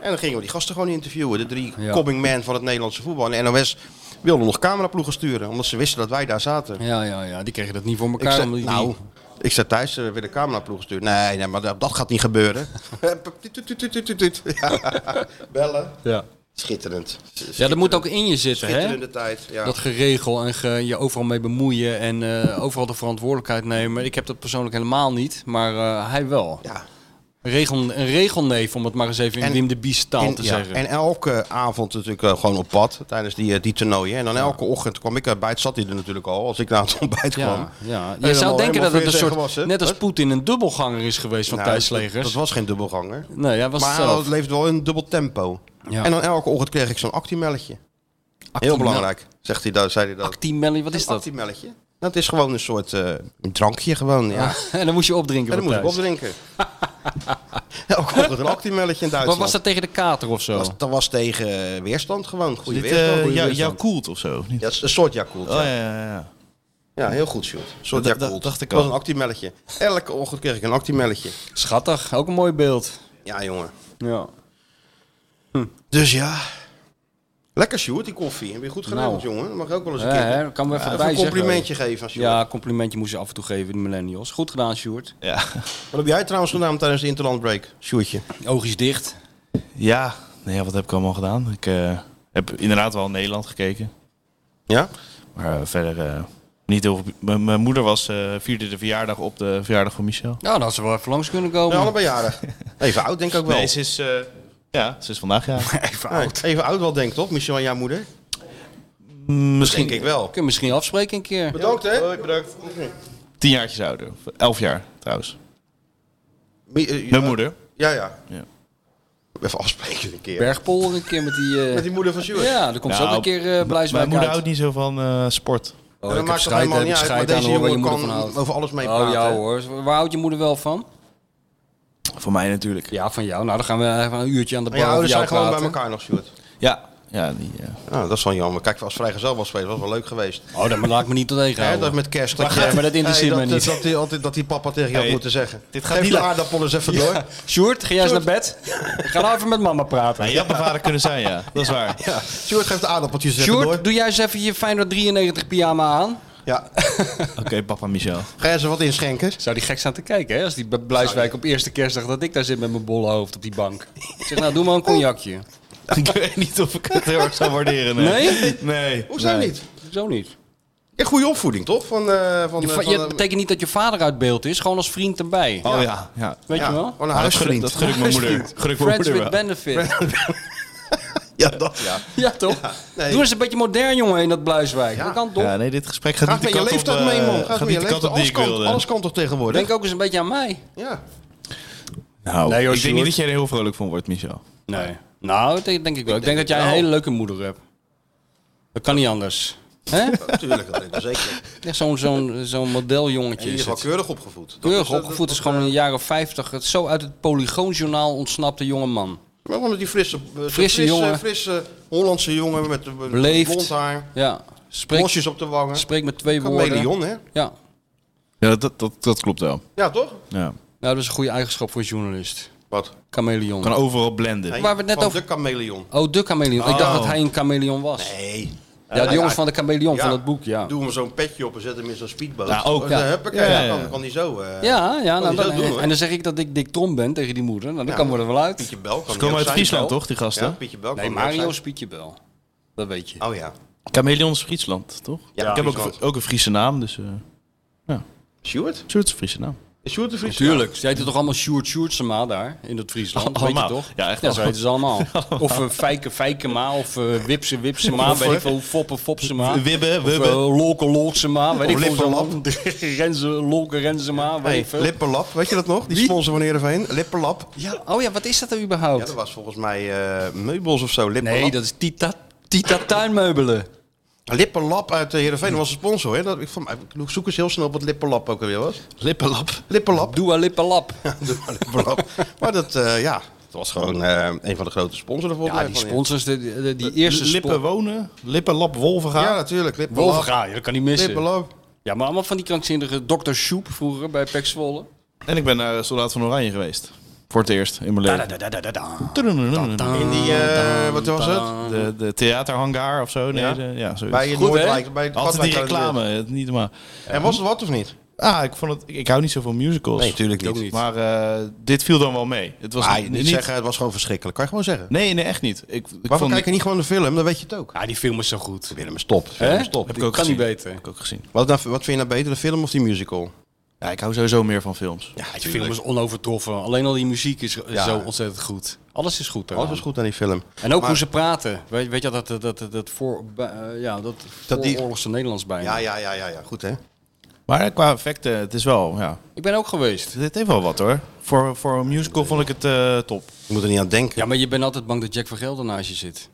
Speaker 2: En dan gingen we die gasten gewoon interviewen. De drie
Speaker 3: Ja.
Speaker 2: coming men van het Nederlandse voetbal. En NOS wilde nog cameraploegen sturen. Omdat ze wisten dat wij daar zaten.
Speaker 3: ja, ja, ja. Die kregen dat niet voor
Speaker 2: Ik
Speaker 3: elkaar.
Speaker 2: zei,
Speaker 3: omdat die-
Speaker 2: nou, ik zei thuis, eh, weer de cameraploeg sturen. Nee, nee, maar dat, dat gaat niet gebeuren. Tuut, tuut, tuut, tuut, tuut, tuut. Ja, Bellen.
Speaker 3: ja.
Speaker 2: Schitterend.
Speaker 3: ja, dat moet ook in je zitten, hè?
Speaker 2: Schitterende tijd. Ja.
Speaker 3: Dat geregel en ge- je overal mee bemoeien en eh, overal de verantwoordelijkheid nemen. Ik heb dat persoonlijk helemaal niet, maar eh, hij wel.
Speaker 2: ja.
Speaker 3: Regel, een regelneef, om het maar eens even in
Speaker 2: En-
Speaker 3: Wim de Bies taal
Speaker 2: En,
Speaker 3: te
Speaker 2: ja,
Speaker 3: zeggen.
Speaker 2: en elke avond natuurlijk eh, gewoon op pad tijdens die, eh, die toernooien. En dan elke ochtend kwam ik uit bijt, zat hij er natuurlijk al, als ik naar het ontbijt kwam. Eh,
Speaker 3: Ja, ja. Je
Speaker 2: Helemaal-
Speaker 3: zou denken dat
Speaker 2: helemaal
Speaker 3: het een
Speaker 2: fris en
Speaker 3: soort,
Speaker 2: gewassen.
Speaker 3: net als
Speaker 2: Wat?
Speaker 3: Poetin, een dubbelganger is geweest van
Speaker 2: Nou, Dat,
Speaker 3: thuislegers.
Speaker 2: dat was geen dubbelganger.
Speaker 3: nee, hij was
Speaker 2: maar
Speaker 3: zelf.
Speaker 2: het leefde wel in een dubbel tempo.
Speaker 3: Ja.
Speaker 2: En dan elke ochtend kreeg ik zo'n actiemelletje. Heel belangrijk, zegt hij dat, zei hij dat.
Speaker 3: Actimeli, wat is
Speaker 2: Een
Speaker 3: dat?
Speaker 2: actiemelletje? Dat is gewoon een soort eh, een drankje gewoon, ja.
Speaker 3: en dan moest je opdrinken.
Speaker 2: En dan
Speaker 3: voor
Speaker 2: moest ik
Speaker 3: thuis.
Speaker 2: opdrinken. elke ochtend een actiemelletje in Duitsland.
Speaker 3: Maar was dat tegen de kater of zo?
Speaker 2: was, dat was tegen eh, weerstand gewoon. Goede
Speaker 4: Dit,
Speaker 2: weerstand.
Speaker 4: eh,
Speaker 2: goede
Speaker 4: jou, jou
Speaker 2: weerstand.
Speaker 4: koelt of zo? of Niet?
Speaker 2: Ja, een soort Yakult.
Speaker 4: Oh ja, ja, ja.
Speaker 2: Ja, heel goed, Sjoerd. Een soort
Speaker 4: Dat- dat-
Speaker 2: Yakult.
Speaker 4: dacht ik
Speaker 2: Het was
Speaker 4: al.
Speaker 2: een actiemelletje. Elke ochtend kreeg ik een actiemelletje.
Speaker 3: Schattig, ook een mooi beeld.
Speaker 2: Ja, jongen.
Speaker 3: Ja.
Speaker 2: Dus ja. Lekker, Sjoerd, die koffie. Heb je goed gedaan,
Speaker 3: Nou.
Speaker 2: jongen. Dat mag ook wel eens een
Speaker 3: Ja,
Speaker 2: keer.
Speaker 3: hè, kan we
Speaker 2: Ja,
Speaker 3: even
Speaker 2: even
Speaker 3: bij
Speaker 2: een
Speaker 3: zeggen.
Speaker 2: complimentje geven aan Sjoerd.
Speaker 3: Ja, complimentje moest je af en toe geven, de millennials. Goed gedaan, Sjoerd.
Speaker 4: Ja,
Speaker 2: Wat heb jij trouwens gedaan tijdens de Interlandbreak, Sjoerdje?
Speaker 3: Oogjes dicht.
Speaker 4: ja. Nee, ja, wat heb ik allemaal gedaan? Ik eh, heb inderdaad wel in Nederland gekeken.
Speaker 2: Ja?
Speaker 4: Maar eh, verder eh, niet heel... veel- Mijn mijn moeder was, eh, vierde de verjaardag op de verjaardag van Michel.
Speaker 3: Nou, dan had ze wel even langs kunnen
Speaker 2: Ja,
Speaker 3: komen.
Speaker 2: allebei jaren. Even oud, denk ik ook wel.
Speaker 4: Nee, ze is... eh, ja, ze is vandaag, ja.
Speaker 3: even
Speaker 2: Nee,
Speaker 3: oud.
Speaker 2: even oud wel, denk ik, toch? Michel en jouw moeder?
Speaker 4: Misschien
Speaker 2: Denk ik wel.
Speaker 3: Kun je misschien afspreken een keer.
Speaker 2: Bedankt, hè? bedankt.
Speaker 4: tien jaartjes ouder. Of Elf jaar, trouwens. Mijn moeder.
Speaker 2: eh, Ja, ja.
Speaker 4: Ja.
Speaker 2: Even afspreken een keer.
Speaker 3: Bergpol een keer met die... eh,
Speaker 2: Met die moeder van Sjoerd.
Speaker 3: Ja, dan komt ze
Speaker 4: Nou,
Speaker 3: ook een keer eh Blijswijk
Speaker 4: Mijn moeder
Speaker 3: uit.
Speaker 4: houdt niet zo van eh, sport.
Speaker 3: Oh,
Speaker 2: En
Speaker 3: ik
Speaker 2: dat
Speaker 3: heb
Speaker 2: maakt toch
Speaker 3: scheid-
Speaker 2: helemaal
Speaker 3: heb
Speaker 2: niet
Speaker 3: ik
Speaker 2: uit.
Speaker 3: scheid
Speaker 2: Maar deze
Speaker 3: aan hoor, waar je
Speaker 2: jongen
Speaker 3: moeder van houdt.
Speaker 2: kan over alles mee praten.
Speaker 3: Oh ja
Speaker 2: hè?
Speaker 3: hoor, waar houdt je moeder wel van?
Speaker 4: Van mij natuurlijk.
Speaker 3: Ja, van jou. Nou, dan gaan we even een uurtje aan de
Speaker 2: Maar
Speaker 3: bar
Speaker 2: je ouders
Speaker 3: over jou
Speaker 2: zijn gewoon bij
Speaker 3: praten.
Speaker 2: elkaar nog, Sjoerd.
Speaker 4: Ja. Ja, die, eh,
Speaker 2: Nou, dat is wel jammer. Kijk, als vrijgezel was spelen, was wel leuk geweest.
Speaker 3: Oh, dat laat ik me niet tot tegen
Speaker 2: Hè,
Speaker 3: houden.
Speaker 2: dat met kerst.
Speaker 3: Maar gaat- maar dat interesseert
Speaker 2: Hey,
Speaker 3: mij
Speaker 2: dat-
Speaker 3: niet.
Speaker 2: Dat, die, altijd, dat die papa tegen je had
Speaker 4: Hey,
Speaker 2: moeten zeggen.
Speaker 4: dit gaat
Speaker 2: Geef
Speaker 4: niet
Speaker 2: de
Speaker 4: leuk.
Speaker 2: aardappel eens even door.
Speaker 3: Sjoerd, ga jij eens naar bed? Ga nou even met mama praten.
Speaker 4: Nou, je had mijn vader kunnen zijn, ja. Dat is waar.
Speaker 2: Ja. Sjoerd geeft de aardappeltjes eens even door.
Speaker 3: Sjoerd, doe jij eens even je Feyenoord 93 pyjama aan.
Speaker 2: Ja.
Speaker 4: Oké, papa Michel.
Speaker 2: Ga jij ze wat inschenken?
Speaker 3: Zou die gek staan te kijken, hè? Als die bij Bluiswijk op eerste kerstdag dat ik daar zit met mijn bolle hoofd op die bank. Ik zeg, nou, doe maar een cognacje.
Speaker 4: ik weet niet of ik het heel erg zou waarderen.
Speaker 3: Nee?
Speaker 4: Nee.
Speaker 2: Hoezo
Speaker 3: Nee.
Speaker 2: niet?
Speaker 3: Zo niet.
Speaker 2: Ja, goede opvoeding, toch? Van, eh van,
Speaker 3: Je,
Speaker 2: eh,
Speaker 3: va-
Speaker 2: van,
Speaker 3: je-
Speaker 2: eh,
Speaker 3: het betekent niet dat je vader uit beeld is, gewoon als vriend erbij.
Speaker 4: Oh ja. ja.
Speaker 3: Weet
Speaker 2: ja,
Speaker 3: je wel?
Speaker 2: Van een
Speaker 4: Ah, dat gun ik-
Speaker 2: huisvriend.
Speaker 4: dat gun ik mijn moeder. Gun ik mijn
Speaker 3: Friends
Speaker 4: moeder
Speaker 3: with
Speaker 4: wel.
Speaker 3: benefit.
Speaker 2: Ja, dat ja.
Speaker 3: Ja, toch?
Speaker 2: nee.
Speaker 3: Doe eens een beetje modern, jongen, in dat Bluiswijk.
Speaker 2: Ja.
Speaker 3: Dat kan toch?
Speaker 4: Ja, nee, dit gesprek gaat
Speaker 2: Gaat
Speaker 4: niet
Speaker 2: met
Speaker 4: de
Speaker 2: je
Speaker 4: kant
Speaker 2: leeftijd
Speaker 4: op, eh,
Speaker 2: mee, man.
Speaker 4: Gaat
Speaker 2: Gaat met
Speaker 4: niet
Speaker 2: je
Speaker 4: de kant
Speaker 2: leeftijd.
Speaker 4: op die
Speaker 2: Alles
Speaker 4: ik
Speaker 2: kan,
Speaker 4: wilde.
Speaker 2: alles kan toch tegenwoordig?
Speaker 3: Denk ook eens een beetje aan mij.
Speaker 2: Ja.
Speaker 4: Nou,
Speaker 3: Nee, joh,
Speaker 4: ik denk niet
Speaker 3: Sjoerd.
Speaker 4: dat jij er heel vrolijk van wordt, Michel.
Speaker 3: Nee. Nou, dat denk, denk ik wel. Ik denk dat jij een hele leuke moeder hebt. Dat kan niet anders. Hè?
Speaker 2: Natuurlijk, dat denk ik wel zeker.
Speaker 3: Echt zo'n zo'n zo'n
Speaker 2: En
Speaker 3: modeljongetje
Speaker 2: in ieder
Speaker 3: is
Speaker 2: geval
Speaker 3: het.
Speaker 2: keurig opgevoed. Dat
Speaker 3: Keurig
Speaker 2: is- dat- eh,
Speaker 3: opgevoed is gewoon in de jaren 50. Het zo uit het Polygoonjournaal ontsnapte jonge man.
Speaker 2: Maar wel met die frisse, eh, zo'n
Speaker 3: Frisse jongen.
Speaker 2: frisse Hollandse jongen met eh,
Speaker 3: Beleefd.
Speaker 2: blond haar,
Speaker 3: Ja. Spreek,
Speaker 2: bosjes op de wangen.
Speaker 3: spreek met twee woorden.
Speaker 2: Chameleon, hè?
Speaker 3: Ja.
Speaker 4: Ja, dat, dat, dat klopt wel.
Speaker 2: Ja, toch?
Speaker 4: Ja.
Speaker 3: Nou, dat is een goede eigenschap voor een journalist.
Speaker 2: Wat?
Speaker 3: Chameleon.
Speaker 4: Kan overal blenden.
Speaker 2: Nee,
Speaker 3: Waar we het net
Speaker 2: van
Speaker 3: over-
Speaker 2: de chameleon.
Speaker 3: Oh, de chameleon. Ik dacht
Speaker 4: Oh.
Speaker 3: dat hij een chameleon was.
Speaker 2: Nee.
Speaker 3: Ja, de jongens
Speaker 2: ja.
Speaker 3: van de chameleon
Speaker 2: Ja.
Speaker 3: van het boek, ja.
Speaker 2: Doe hem zo'n petje op en zet hem in zo'n speedboot.
Speaker 4: Ja, ook.
Speaker 2: Oh,
Speaker 4: Ja.
Speaker 2: dan huppakee,
Speaker 4: Ja, ja, ja.
Speaker 2: Dan kan- kan hij zo. eh
Speaker 3: Ja, ja nou,
Speaker 2: die zou
Speaker 3: dan-
Speaker 2: doen, hoor.
Speaker 3: en dan zeg ik dat ik Dick Trom ben tegen die moeder. Nou,
Speaker 2: Ja.
Speaker 3: dan kan we er wel uit.
Speaker 2: Pietje Bel. Kan
Speaker 4: Ze komen
Speaker 2: die ook
Speaker 4: uit
Speaker 2: zijn.
Speaker 4: Friesland, toch, die
Speaker 2: Ja,
Speaker 4: gasten?
Speaker 2: Pietje Bel. kan
Speaker 3: Nee,
Speaker 2: die ook
Speaker 3: Mario
Speaker 2: zijn.
Speaker 3: spiet je wel. Dat weet je.
Speaker 2: Oh ja.
Speaker 4: Chameleons Friesland, toch?
Speaker 2: Ja,
Speaker 4: ik heb ook,
Speaker 2: Friesland.
Speaker 4: ook een Friese naam, dus... eh
Speaker 2: Stuart?
Speaker 4: Sjoerd is een Friese naam.
Speaker 2: Is Stuart de Fries?
Speaker 3: Tuurlijk. Ze heten toch allemaal Sjoerd Sjoerdsema daar in dat Friesland?
Speaker 4: Allemaal.
Speaker 3: Weet je toch?
Speaker 4: Ja, echt
Speaker 3: Ja, zo
Speaker 4: allemaal.
Speaker 3: heten ze allemaal. Of eh, Fijke Fijkema, of eh, Wipse Wipsema, weet ik veel, Foppe Fopsema.
Speaker 4: Wibbe,
Speaker 3: Of
Speaker 4: Wibbe.
Speaker 3: eh, Lolke Lolksema, weet ik veel.
Speaker 2: Lippenlap.
Speaker 3: zo'n- Renze, Lolke Renzema, weet
Speaker 2: Hey,
Speaker 3: ik veel.
Speaker 2: Lippenlap, weet je dat nog? Die sponsor van Heerenveen. Lippenlap.
Speaker 3: Ja, oh ja, wat is dat er
Speaker 2: Ja,
Speaker 3: überhaupt?
Speaker 2: dat was volgens mij eh meubels of zo. Lippenlap.
Speaker 3: nee, dat is Tita, Tita Tuinmeubelen.
Speaker 2: Lippenlap uit eh, Heerenveen dat was een sponsor. Hè? Dat, ik, vond, ik zoek eens heel snel op wat Lippenlap ook alweer was.
Speaker 4: Lippenlap.
Speaker 2: Lippenlap.
Speaker 3: Dua Lippalap.
Speaker 2: Doe maar Lippenlap. maar dat, eh, ja, dat was gewoon eh, een van de grote sponsoren volgens
Speaker 3: Ja,
Speaker 2: mij.
Speaker 3: die
Speaker 2: van
Speaker 3: sponsors, de, de- die eerste
Speaker 4: Lippen
Speaker 3: spon-
Speaker 4: wonen. Lippenlap
Speaker 2: Heerenveen. Ja,
Speaker 4: Wolvenga.
Speaker 2: natuurlijk. Lippenlap.
Speaker 3: Wolvenga, ja, dat kan niet missen.
Speaker 2: Lippenlap.
Speaker 3: Ja, maar allemaal van die krankzinnige Dr. Shoep vroeger bij Pek Zwolle.
Speaker 4: En ik ben naar eh, Soldaat van Oranje geweest. Voor het eerst in mijn leven.
Speaker 2: In die, eh, wat was het?
Speaker 4: De, de theaterhangar of zo. Nee,
Speaker 2: Ja.
Speaker 4: de- ja, zoiets.
Speaker 2: Bij het
Speaker 3: Goed, hè?
Speaker 2: Noordwijk. Bij het
Speaker 4: Altijd die
Speaker 2: Katwijk-
Speaker 4: reclame, het niet maar.
Speaker 2: En was het wat of niet?
Speaker 4: Ah, ik vond het. Ik, ik hou niet zo van musicals.
Speaker 2: natuurlijk
Speaker 3: niet. niet.
Speaker 4: Maar eh, dit viel dan wel mee. Het was
Speaker 2: Ah,
Speaker 4: niet,
Speaker 2: niet, zeggen, het was gewoon verschrikkelijk. Kan je gewoon zeggen.
Speaker 4: Nee, nee, echt niet. Ik, ik
Speaker 2: Waarom
Speaker 4: vond
Speaker 2: kijk je niet gewoon de film? Dan weet je het ook.
Speaker 3: Ja, die film is zo goed.
Speaker 2: Willem, stop.
Speaker 3: Hè?
Speaker 2: Willem, stop.
Speaker 4: Heb
Speaker 3: Die
Speaker 4: ik ook
Speaker 3: kan
Speaker 4: gezien.
Speaker 3: niet beter.
Speaker 4: heb ik ook gezien.
Speaker 2: Wat, dan, wat vind je nou beter, de film of die musical?
Speaker 4: Ja, ik hou sowieso meer van films.
Speaker 2: Ja,
Speaker 3: Die film is onovertroffen. Alleen al die muziek is
Speaker 2: Ja.
Speaker 3: zo ontzettend goed. Alles is goed.
Speaker 2: Alles
Speaker 3: daaraan.
Speaker 2: was goed aan die film.
Speaker 3: En ook
Speaker 2: Maar-
Speaker 3: hoe ze praten. Weet, weet je dat, dat, dat, dat, voor, eh, ja, dat,
Speaker 2: Dat die-
Speaker 3: vooroorlogse Nederlands bijna.
Speaker 2: Ja, ja, ja, ja, ja. Goed, hè?
Speaker 4: Maar eh, qua effecten, het is wel. Ja,
Speaker 3: Ik ben ook geweest.
Speaker 4: dit heeft wel wat hoor. Voor, voor een musical vond ik het eh, top.
Speaker 2: Je moet er niet aan denken.
Speaker 3: Ja, maar je bent altijd bang dat Jack van Gelder naast je zit.